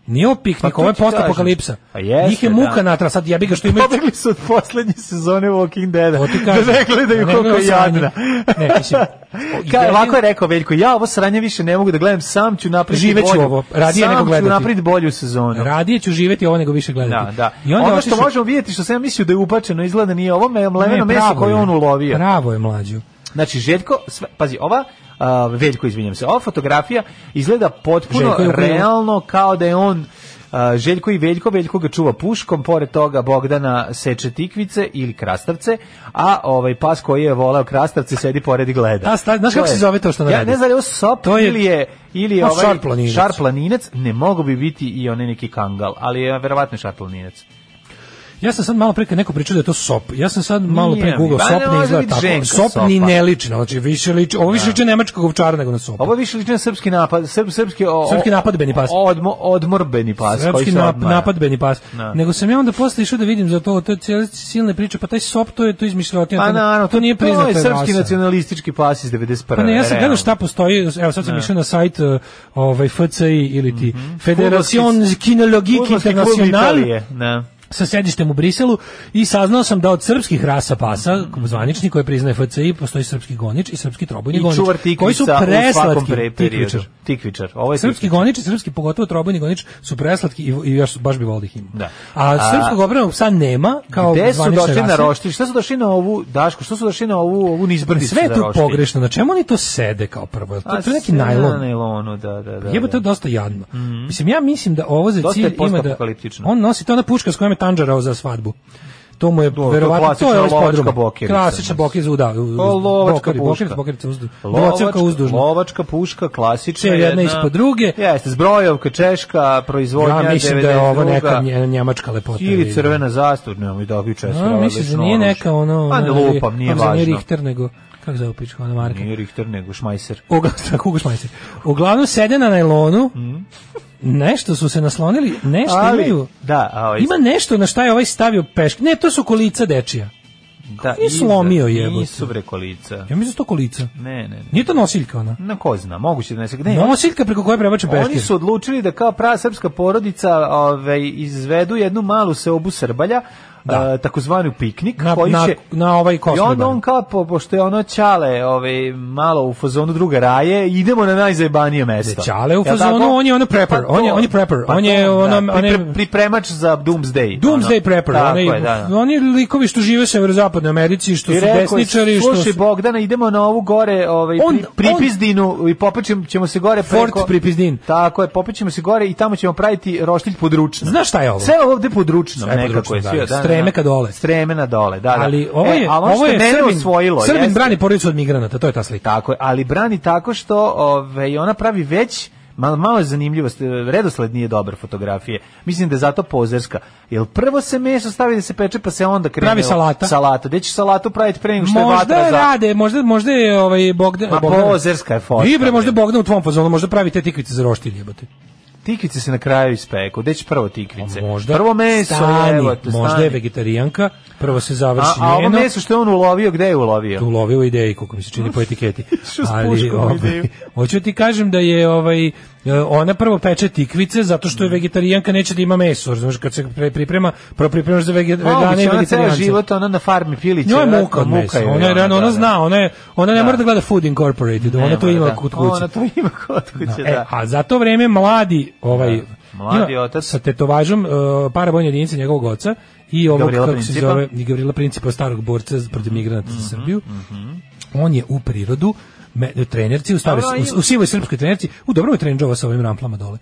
Nije ovo piknik, to ovo je ti kažem. postapokalipsa. Pa jeste, Njih je muka da. natra, sad jebi ga što imaju... Pobegli su od poslednje sezone Walking Dead-a. To ti kažem. Da ne gledaju Da ne koliko je gledaju sranje. jadna. Ne, mislim, o, Ka, idealni- ovako je rekao Veljko, ja ovo sranje više ne mogu da gledam, sam ću napraviti Živeću bolju. ovo, radije sam nego gledati. ću napraviti bolju sezonu. Radije ću živjeti ovo nego više Da, gledati. da. I onda ono otišao- što možemo vidjeti, što sam ja mislio da je upačeno, izgleda nije ovo me- mleveno Ne, meso pravo koje je. on ulovio. Pravo je mlađu. Znači, Željko, sve, pazi, ova, a, Veljko, izvinjam se, ova fotografija izgleda potpuno Željko je u krivu. realno kao da je on a, Željko i Veljko, Veljko ga čuva puškom, pored toga Bogdana seče tikvice ili krastavce, a ovaj pas koji je voleo krastavce sedi pored i gleda. A, sta- znaš To kako je- se zove to što ona Ja radi? ne znam, je li ovo sop To je- ili je, ili je Pa, ovaj šarplaninec. šarplaninec, ne mogu bi biti i onaj neki kangal, ali je verovatno šarplaninec. Ja sam sad malo pre kad neko pričao da je to sop. Ja sam sad malo Nije pre mi. Google Pa ne sop ne može izgleda biti tako. ženka Sop ni sopa. Da. ne liči, na- znači više liči, ovo više liči na nemačkog ovčara nego na sopa. Ovo je više liči na srpski napad, srp, srpski, o, o- Srpski napadbeni pas. Odmo, odmorbeni pas. koji Srpski se nap, odmara. napadbeni pas. Da. Nego sam ja onda posle išao da vidim za to, to je cijela silne priče, pa taj sop to je to je izmišljotina. Pa to, naravno, to nije priznato. To je srpski rasa. nacionalistički pas iz 91. Pa ne, ja sam gledao realno. Da. šta postoji, evo sad sam išao na sajt eh, ovaj, FCI ili ti Federacion Fudbalski- Kinologike Mhm. Fudbalski klub Internacional Italije, Da. sa sedištem u Briselu i saznao sam da od srpskih rasa pasa, zvanični koje priznaje FCI, postoji srpski gonič i srpski trobojni I gonič, čuvar koji su tikvica u svakom preslatki pre, periodu. tikvičar. Tikvičar. Ovo je Srpski tikvičar. gonič i srpski pogotovo trobojni gonič su preslatki i, i još baš bi volio da ih ima. Da. A, A- srpskog obrenog psa nema kao Gde su zvanične došli na rase. roštilj? Šta su došli na ovu, Daško, što su došli na ovu, ovu nizbrdicu Sve je za to roštilj? pogrešno. Na čemu oni to sede kao prvo? Jel To, A, to je neki sve najlon. Na najlonu, da, da, da. Jebo to je da. dosta jadno. Mislim ja mislim da ovo za Dosta je cilj ima da postapokaliptično. on nosi to na puška s kojom je tanđarao za svadbu. To mu je je verovatno to klasična je ovaj lovačka podrum. bokerica. Klasična bokerica uda. uz- uz- O, lovačka bokeri- puška. Bokerica, bokerica uzdu. Lovačka, Dvocevka uzdužna. lovačka puška, klasična. Sve jedna ispod druge. Jeste, zbrojovka, češka, proizvodnja, Ja mislim da je ovo 92.. neka nje- njemačka lepota. Ili crvena zastor, nemam i dobiju često. da. A, mislim da nije neka ono... Pa ne ono, lupam, nije kako se zove, važno. Richter, nego... Kako zove pička ona marka? Nije Richter, nego Šmajser. Uglavnom, tako, Hugo Schmeiser. Uglavnom sede na najlonu, Mm. nešto su se naslonili, nešto imaju... da, a ovaj, Ima nešto na šta je ovaj stavio peške. Ne, to su kolica dečija. da, nije slomio, jebote. Nisu bre kolica. Ja mislim da su to kolica. Ne, ne, ne. Nije to nosiljka ona. Na ko zna, moguće da ne se... Ne, Nosiljka preko koje prebače Oni peške. su odlučili da kao prava srpska porodica ovaj, izvedu jednu malu seobu Srbalja, da. takozvanu piknik, Na- koji na- će... na ovaj I onda Kosmobar. on kao, po, pošto je ono Ćale ovaj, malo u fazonu druga raje, idemo na najzajbanije mesto. Ćale u Jel fazonu, tako? Pa on je ono prepper, on je- on je prepper, on je ono- da, on je- pripre- pripremač za Doomsday. Doomsday ono. Prepper. Tako Oni, je, da, da. oni likovi što žive u severozapadnoj Americi, što I su rekao je, desničari, što slušaj su... Bogdana, idemo na ovu gore, ovaj On- pri- pripizdinu i popećemo ćemo se gore Fort preko Pripizdin. Tako je, popećemo se gore i tamo ćemo praviti roštilj područna. Znaš šta je ovo? Sve ovde područno, Sve nekako područno, je da. sve, da, da, Streme da. ka dole. Streme na dole, da, da. Ali ovo E, je, ali ono ovo što je mene Srbin, osvojilo, Srbin jeste- brani porodicu od migranata, to je ta slika. Tako je, ali brani tako što ovaj ona pravi već Malo, malo je zanimljivo, ste- redosled nije dobar fotografije. Mislim da je zato pozerska. Jer prvo se meso stavi da se peče, pa se onda krene... Pravi salata. Salata. Gde će salatu praviti pre nego što je Možda vatra je za... rade, možda, možda je ovaj Bogdan... Ma Bogdan- pozerska je fotka, Ibre, možda je bre. Bogdan u tvom fazonu, možda pravi te tikvice za roštilj, jebote. Tikvice se na kraju ispeku. Gde će prvo tikvice? A Možda, prvo meso, stani, evo te, možda stani. je vegetarijanka, prvo se A, završi a ovo njeno, meso što je on ulovio, gde je ulovio? tu ulovio u ideji, koliko mi se čini po etiketi. Išao s Ali, puškom u ovaj, ideju. hoću ti kažem da je ovaj, e, ona prvo peče tikvice zato što je Mm. vegetarijanka neće da ima meso, razumiješ, kad se pre- priprema, prvo pripremaš za vege- vegane Moguće, i ona ceo vegetarijance. život, ona na farmi piliće. Njoj je vjerojatno, muka od mesa, je, ona, je, rano- ona da, da. zna, ona, je, ona ne mora da gleda Food Incorporated, ona Nema, to ima da. kod kuće. Ona to ima kod kuće, E, da. a za to vreme mladi ovaj mladi ima otac. sa tetovažom uh, parabojne jedinice njegovog oca i ovog Gavrila kako se Principa. Mhm, zove i Gavrila Principa starog borca protiv migranata za Srbiju. On je u prirodu me- trenerci u staroj Dobro, u, u sivoj srpskoj trenerci, u dobro je trenđova sa ovim ramplama dole.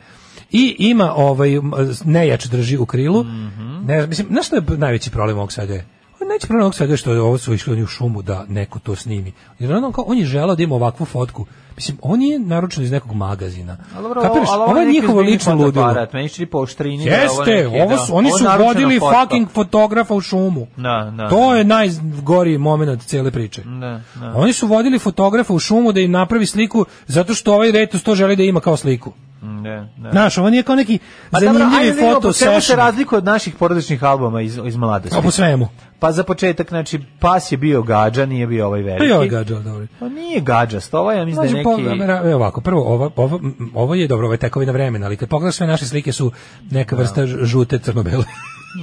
I ima ovaj m, nejač drži u krilu. Mhm. Ne, mislim, znaš što je b- najveći problem ovog sada je? Najveći problem ovog sada je što je ovo su išli oni u šumu da neko to snimi. Jer on, kao, on je želao da ima ovakvu fotku. Mislim, on je naručen iz nekog magazina. Ali dobro, Kapiraš, ali ovo je neki njihovo izmeni lično ludilo. fotoaparat, Meni čini po oštrini. da je ovo Jeste, neki, ovo da. su, oni Ovo su naručena vodili fotka. fucking fotografa u šumu. Da, da, to da. je najgori moment cijele priče. Da, da. Oni su vodili fotografa u šumu da im napravi sliku zato što ovaj retus to želi da ima kao sliku. Ne, ne. Znaš, ovo nije kao neki Ma dobro, zanimljivi ajde da vidimo foto po čemu se session. razlikuje od naših porodičnih albuma iz, iz mladosti? A po svemu. Pa za početak, znači, pas je bio gađa, nije bio ovaj veliki. Pa i ovo je gađao, dobro. Pa nije gađast, ovo je, ja mislim da je Znači, neki... pogledam, ra- evo ovako, prvo, ovo, ovo, m, ovo je dobro, ovo je tekovina vremena, ali kad pogledaš sve naše slike su neka vrsta ž- žute crno-bele.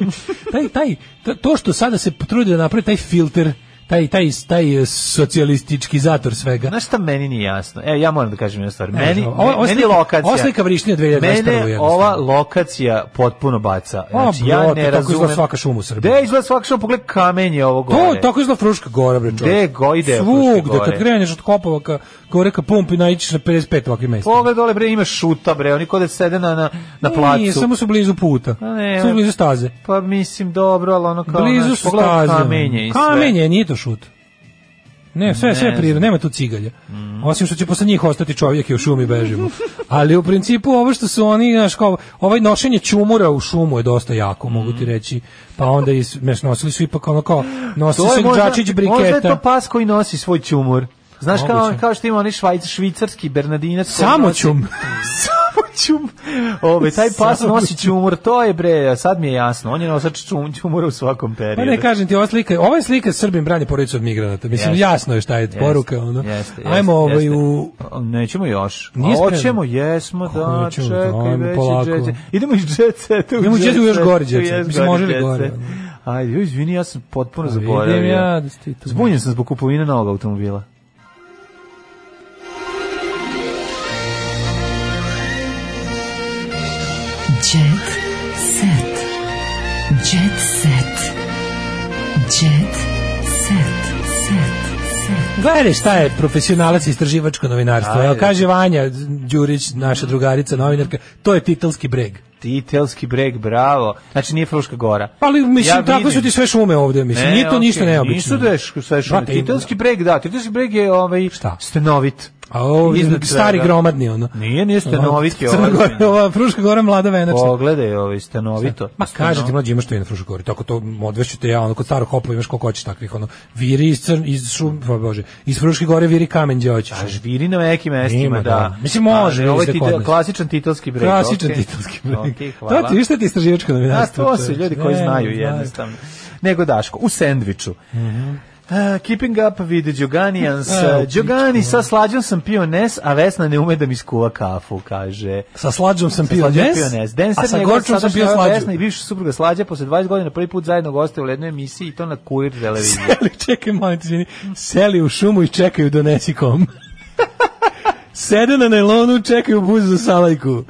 taj, taj, to- to što sada se potrudi da napravi taj filter, taj, taj, taj eh, socijalistički zator svega, Znaš šta meni nije jasno? E, ja moram da kažem jednu stvar. Meni, znam, ovo- ovo meni slika- lokacija... ovo slika vrištine 2021 Mene jednostavno. ova lokacija potpuno baca. Znači, bro, ja to ne tako razumem... izgleda svaka šuma u Srbiji. Da, izgleda svaka šuma, pogled kamenje ovo gore. To tako izgleda Fruška gora, bre čovječe. Gde go- ide Svugde, Fruške gore? kad kreneš od Kopova ka gore ka pumpi, naićiš na 55 ovakvih mesta. Pogled dole, bre, ima šuta, bre, oni kod da sede na, na, na placu. Nije, samo su blizu puta. A ne, Samo blizu staze. Pa mislim, dobro, ali ono kao... blizu znaš, su pogledaj staze. Kamenje i sve. Kamenje, nije to šut. Ne, sve, sve Ne prirodno, nema tu cigalja. Osim što će posle njih ostati čovjek i u šumi bežimo. Ali u principu ovo što su oni, znaš, kao, ovaj nošenje čumura u šumu je dosta Mm. jako, mogu ti reći. Pa onda i, znaš, nosili su ipak ono kao, nosili To su je možda, džačić možda je to pa- briketa. pas koji nosi svoj čumur. Znaš kao, Moguće. kao što ima onaj švajc, švicarski bernardinac. koji Samo nosi- čum. Samo čum. Ove, taj pas Samo nosi čumur, to je bre, sad mi je jasno. On je nosač čum, čumura u svakom Pa periodu. ne kažem ti, ova slika, ova je slika Srbim brani porodicu od migranata. Mislim, Jeste. jasno je šta je Jeste, poruka. Ono. jeste, Ajmo jeste, ovaj jeste. u... A, Nećemo još. Nije A, spremno. Hoćemo, jesmo, da, Hoćemo, čekaj, ajmo već polako. i jet set. Idemo iz jet seta. Idemo u jet set, u još gori jet u set. još Mislim, gori može li jet gore, set. ono? Pa Ajde, joj, izvini, ja sam potpuno Vidim zaboravio. ja da ste i tu. Zbunjen sam zbog kupovine novog automobila. Jet set. Jet set. Jet set. Set. Set. Gledaj šta je profesionalac istraživačko novinarstvo. Evo, Ajde. kaže Vanja Đurić, naša drugarica novinarka, to je titelski breg. Titelski breg, bravo. Znači nije Fruška gora. Pa Ali mislim, Ja tako su vidim. ti sve šume ovde, mislim, nije to okej, ništa neobično. Nisu da je š- sve šume. Brate, Titelski breg, da. Titelski breg je ovaj Šta? stenovit. A ovo je Iznad stari svega. gromadni, ono. Nije, nije stenovit je Crna ovaj. Gora, ova Fruška Gora mlada venačna. Pogledaj ovaj stenovito. Ma kaže ti mlađi imaš to i na Fruškoj Gori. Tako to odvešću te ja, ono kod starog hopa imaš koliko hoćeš takvih ono. Viri iz crn iz šum, pa bože, iz Fruške Gore viri kamen gdje hoćeš. A žviri na nekim mestima, Ima, da. da. Mislim, može, Ali, Ovo je izde kod titel- nas. klasičan titelski breg. Klasičan okej. titelski breg. Okej, hvala. to ti vište ti istraživačko A novinarstvo. to su čoveče. ljudi koji Ne, znaju ne, Mhm. jednostavno. Nego Daško, u sendviču. Uh, keeping up with the Djoganians. E, Uh, Djogani, sa slađom sam pio nes, a Vesna ne ume da mi skuva kafu, kaže. Sa slađom sam pio Slađa nes, pio nes. Denser a sa njegova gorčom sam sadašnja pio slađu. Vesna i bivša supruga Slađa posle 20 godina prvi put zajedno gostuje u jednoj emisiji i to na Kurir televiziji. Seli, čekaj, molim te, izvini. Seli u šumu i čekaju donesi kom. Sede na najlonu, čekaju buzu za salajku.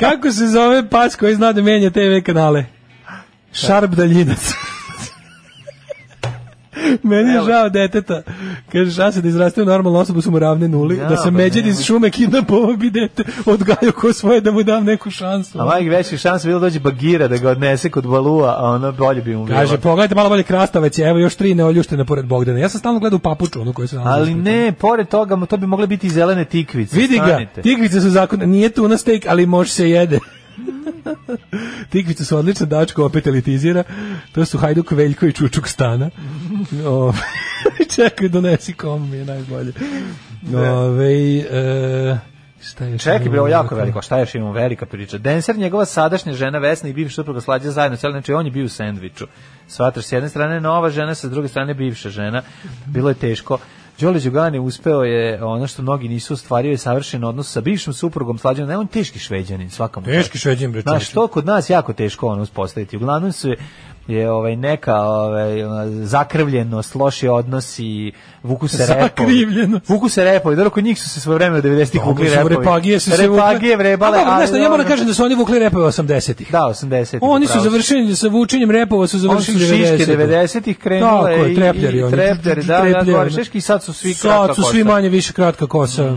Kako se zove pas koji zna da menja TV kanale? Šarp daljinac. Meni je žao deteta. Kaže, šanse da izraste u normalnu osobu su mu ravne nuli. Ja, da se pa međed ne. iz šume kidnapovao bi dete, odgajao ko svoje da mu dam neku šansu. A majke veći šans bilo dođe Bagira da ga odnese kod Balua, a ono bolje bi mu bilo. Kaže, pogledajte malo bolje krastavec, evo još tri neoljuštene pored Bogdana. Ja sam stalno gledao u papuču, onu koju se nalazi. Ali ispred. ne, pored toga, mu to bi mogle biti i zelene tikvice. Vidi ga, stanite. tikvice su zakon, nije tuna steak, ali može se jede. tikvice su odlične, Dačko opet elitizira. To su Hajduk Veljko i Čučuk Stana. O, čekaj, donesi kom mi je najbolje. Ove, e, šta je Čekaj, bre, ovo je jako veliko. Šta još imamo velika priča? Denser, njegova sadašnja žena Vesna i bivša supruga slađa zajedno, celo znači on je bio u sendviču. Svatraš s jedne strane nova žena, sa druge strane bivša žena. Bilo je teško. Đole Đugani uspeo je ono što mnogi nisu ostvario je savršen odnos sa bivšim suprugom Slađanom. Ne, on je teški šveđanin, svakam. Teški šveđin, bre, Znaš, čoveče. to kod nas jako teško ono uspostaviti. Uglavnom su je ovaj neka ovaj zakrvljenost, loši odnosi, vuku se repovi. Zakrivljenost. Vuku se repovi. Dobro, kod njih su se svoje vreme 90-ih vukli Dobro, repovi. su Repagije su se Repagije vrebale, A dobro, znaš šta, ja moram dobro. kažem da su oni vukli repove 80-ih. Da, 80. Oni su završili sa vučenjem repova, su Oni su završili šiške 90-ih. 90-ih krenule Tako je, i- trepljari i oni. trepljari, da, da, Trepljari, gore, ono. šiške i sad su svi kratka Sad su svi kosa. Mm, manje više kratka kosa.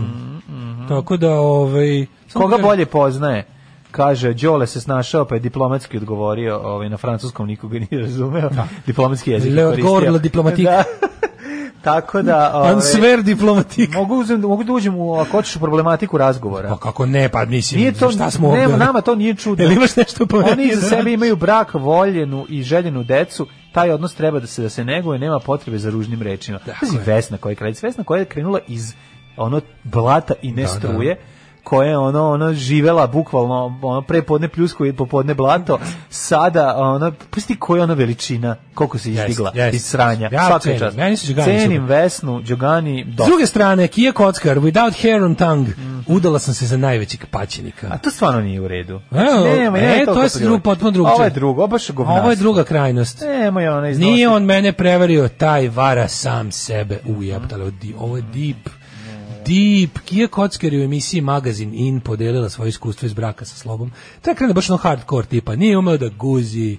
Tako da, ovaj... samo Koga kažem- bolje poznaje? Kaže, Đole se snašao, pa je diplomatski odgovorio, ovaj, na francuskom nikoga nije razumeo, diplomatski jezik je Le koristio. odgovorila Da. diplomatik. Da. Tako da, ovaj, Answer diplomatik. mogu, uzem, mogu da uđem u, ako hoćeš, u problematiku razgovora. Pa kako ne, pa mislim, Nije to, šta smo ovdje? ne, ono? nama to nije čudno. Jel imaš nešto pametnije Oni iza da sebe radiš? imaju brak, voljenu i željenu decu, taj odnos treba da se da se neguje, nema potrebe za ružnim rečima. Pazi, je. Vesna koja je kraljica, Vesna koja je krenula iz ono blata i ne Da, da. struje, koja je ono, ono živela bukvalno ono prepodne pljusku i popodne blato, sada ono, pusti koja je ona veličina, koliko se izdigla Jest, jest. iz sranja. Ja Svaka cenim, čast. meni su Đugani Cenim super. Vesnu, Đogani, S do. druge strane, Kija Kockar, without hair on tongue, Mhm. udala sam se za najvećeg paćenika. A to stvarno nije u redu. Znači, Evo, Nema, e, nema to toliko je drugo- prilike. potpuno drugčije. Ovo je drugo, ovo je baš govnarstvo. Ovo je druga krajnost. Nemoj ona iznositi. Nije on mene prevario, taj vara sam sebe ujebtale. Ovo di- Ovo je deep. Deep. Kija Kockar je u emisiji Magazin In podelila svoje iskustvo iz braka sa slobom. To je krenuo baš ono hardcore tipa. Nije umeo da guzi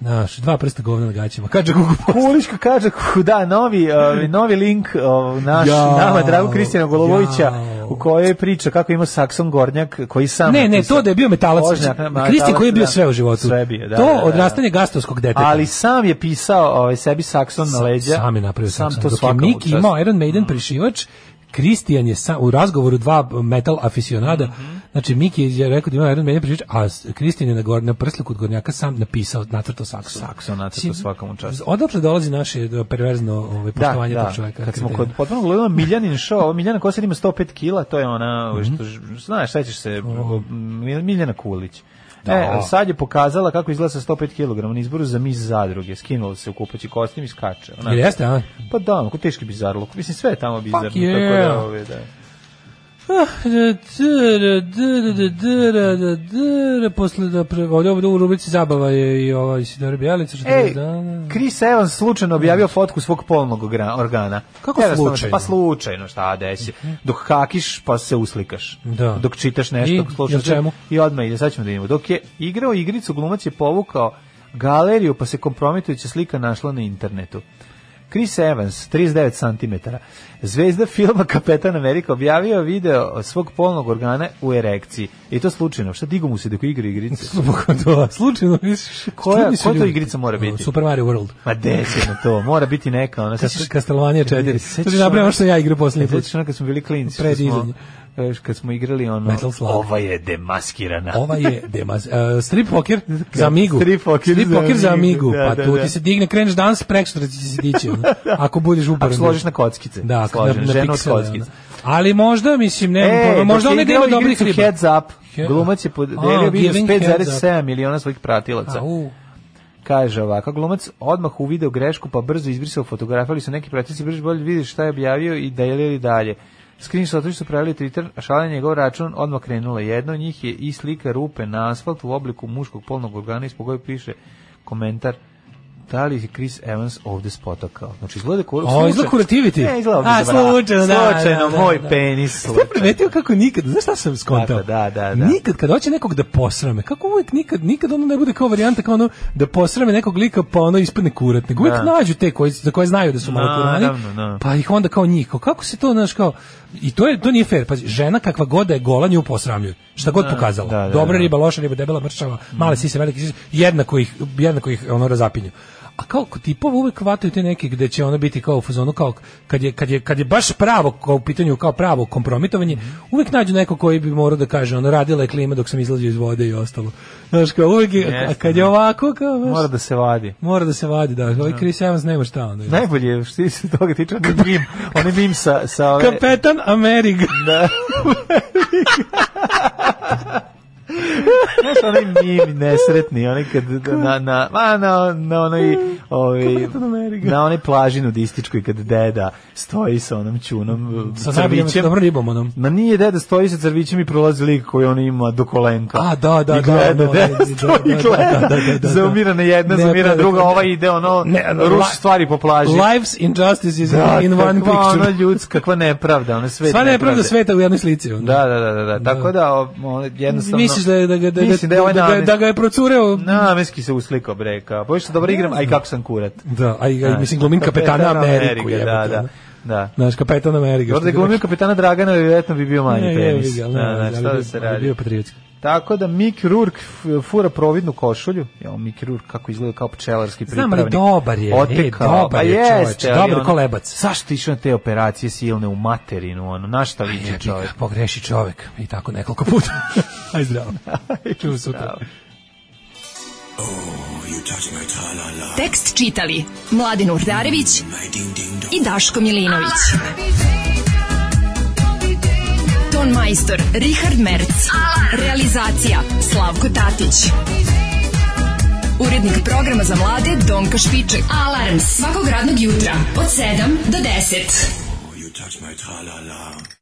Naš, dva prsta govna na gaćima. Kaže Gugu Post. Kuliška kaže, ku- da, novi, uh, novi link uh, naš, Jao, nama, drago Kristijana Golovovića, jao. u kojoj priča kako ima Sakson Gornjak, koji sam... Ne, ne, napisao. to da je bio metalac. Kožnjak, ma, Kristi koji je bio da. sve u životu. Sve bio, da, to da, da, da. odrastanje gastovskog deteta. Ali sam je pisao ovaj, sebi Sakson na leđa. Sam je napravio sam, sam. to Dok je svakam Miki imao Iron Maiden prišivač, Kristijan je sam, u razgovoru dva metal aficionada, znači Miki je rekao da ima Iron Maiden prišivač, a s- Kristijan je na, gor, na prslu kod Gornjaka sam napisao, nacrto sakso. Sakson, nacrto svaka mu čast. Odakle dolazi naše da, perverzno ovaj, poštovanje da, tog čoveka? Kad smo kretena? kod potpuno gledali Miljanin show, ova Miljana Kosar ima 105 kila, to je ona, Mhm. što, ž- znaš, šta ćeš se, Mil- Miljana Kulić. Da. E, sad je pokazala kako izgleda sa 105 kg na izboru za mis zadruge. Skinula se u kupaći kostim i skače. Ona, Jel Jeste, a? Pa da, onako teški bizarluk. Mislim, sve je tamo bizarno. Fuck yeah. yeah. Tako da, ove, da. Posle da pre, ovdje ovdje u rubrici zabava je i ova Isidora Bjelica 40 Ej, dana. E, Chris Evans slučajno objavio fotku svog polnog ogra- organa. Kako Jednostavno, slučajno? Pa slučajno, šta desi. Dok hakiš, pa se uslikaš. Da. Dok čitaš nešto, I? dok slušaš. Jel čemu? I odmah ide, sad ćemo da vidimo. Dok je igrao igricu, glumac je povukao galeriju, pa se kompromitujuća slika našla na internetu. Chris Evans, 39 cm, zvezda filma Kapetan Amerika, objavio video svog polnog organa u erekciji. I to slučajno. Šta digu mu se dok igra igrice? Slobodno, slučajno misliš. Koja- čudni su koja to ljudi. igrica mora biti? Super Mario World. Ma desi na Pa to, mora biti neka. Ona, sad- Sećaš Castlevania 4. To Sećaš ti napravimo ono- što ja igram posljednji put. Sećaš ono kad smo bili klinci, Pred što smo, izanje. e, kad smo igrali ono, Metal Slug. ova je demaskirana. Ova Ovaj je demas, uh, strip poker za Amigu. Strip poker Strip za poker za Amigu, Amigu. da, pa da, tu da. ti se digne, kreneš danas, prekštra da ti se dići. ono. Ako budeš uporan. Ako složiš na kockice. Da, Složen, na, na ženu od piksele, kockice. ono. Ali možda, mislim, ne, E, možda dok one je igrao nema dobrih igricu riba. Heads Up, Head- glumac je A, podelio video s Giving Heads Up. 5,7 miliona svojih pratilaca. Au. Kaže ovako, glumac odmah uvideo grešku pa brzo izbrisao fotografiju, ali su neki pratici brže bolje vidiš šta je objavio i da je li dalje. Screenshot su pravili Twitter, a šala na njegov račun odmah krenula. Jedno od njih je i slika rupe na asfaltu u obliku muškog polnog organa ispod koje piše komentar da li je Chris Evans ovde spotakao. Znači, izgleda kao... O, izgleda Curativity. Ne, izgleda ovde A, za vrat. slučajno, da, Slučajno, da, da, moj da. penis. Jeste primetio kako nikad, znaš šta sam skontao? Kako, da, da, da. Nikad kad hoće nekog da posrame, kako uvek nikad, nikad ono ne bude kao varijanta kao ono da posrame nekog lika pa ono ispadne kurat, nego uvek Da. nađu te koji, za koje znaju da su malo kurani, Naravno, da. pa ih onda kao njih, kao kako se to, znaš, kao, i to, je, to nije fair, pazi, žena kakva god da je gola nju posramljuju, šta god pokazala, da, da, dobra da. riba, loša riba, debela mršava, male sise, velike sise, jednako ih, jednako ih ono razapinju. A kao kod tipova uvek hvataju te neke gde će ono biti kao u fazonu kao kad je, kad je, kad je baš pravo kao u pitanju kao pravo kompromitovanje, uvek nađu neko koji bi morao da kaže ono radila je klima dok sam izlazio iz vode i ostalo. Znaš kao uvek je, a kad je ovako kao baš, Mora da se vadi. mora da se vadi da, ovaj Chris Evans nema šta onda. Najbolje je što se toga tiče onaj mim, onaj mim sa, sa ove... Kapetan Amerika. Da. Znaš, onaj mim nesretni, onaj kad na, na, ma, na, na onoj, ovaj, na onoj plaži nudističkoj kad deda stoji sa onom čunom Sa najboljom, sa crvićem. dobrom ribom onom. Ma nije deda stoji sa crvićem i prolazi lik koji on ima do kolenka. A, da, da, I da, gleda ono, desno da, i da, gleda. da, da, da, da. Zaumira na jedna, Ne, zaumira pravi- druga, ova ide ono, ruši li- stvari po plaži. Life's injustice is Da, in one kakva picture. Ona ljudska, kakva nepravda, ona sve. Sva nepravda sveta u jednoj slici. ono. Da, da, da, da, da. Tako da o, o, jednostavno Misliš da je da ga da, da, Mislim da je ovaj da, ga- namens- da ga je procureo? namenski se uslikao breka. Pa što dobro igram, aj kako sam kurat. Da, a i a i, Da. mislim glumim kapetana Kapetan Ameriku, Amerika, jebote, da, ono. da. Da. Znaš, kapetan Amerika. Dobro da je što glumio kapetana Dragana, vjerojatno bi bio Ne, manji jebi penis. ga, Da, ne, da, ali šta da bio- se ali radi. Bio pa- patriotski. Tako da Mick Rourke f- fura providnu košulju. Jo, Mick Rourke kako izgleda kao pčelarski Znam, pripravnik. ali dobar je, e, dobar pa je čoveče, jeste, ali dobar ono- kolebac. Zašto išao na te operacije silne u materinu, ono, na šta liči čovjek? Pogreši čovek i tako nekoliko puta. Aj zdravo. Čujemo sutra. Tekst čitali Mladin Urdarević i Daško Milinović. Ton majstor Richard Merc. Realizacija Slavko Tatić. Urednik programa za mlade Donka Špiček. Alarms svakog radnog jutra od 7 do 10. You touch my tra-la-la.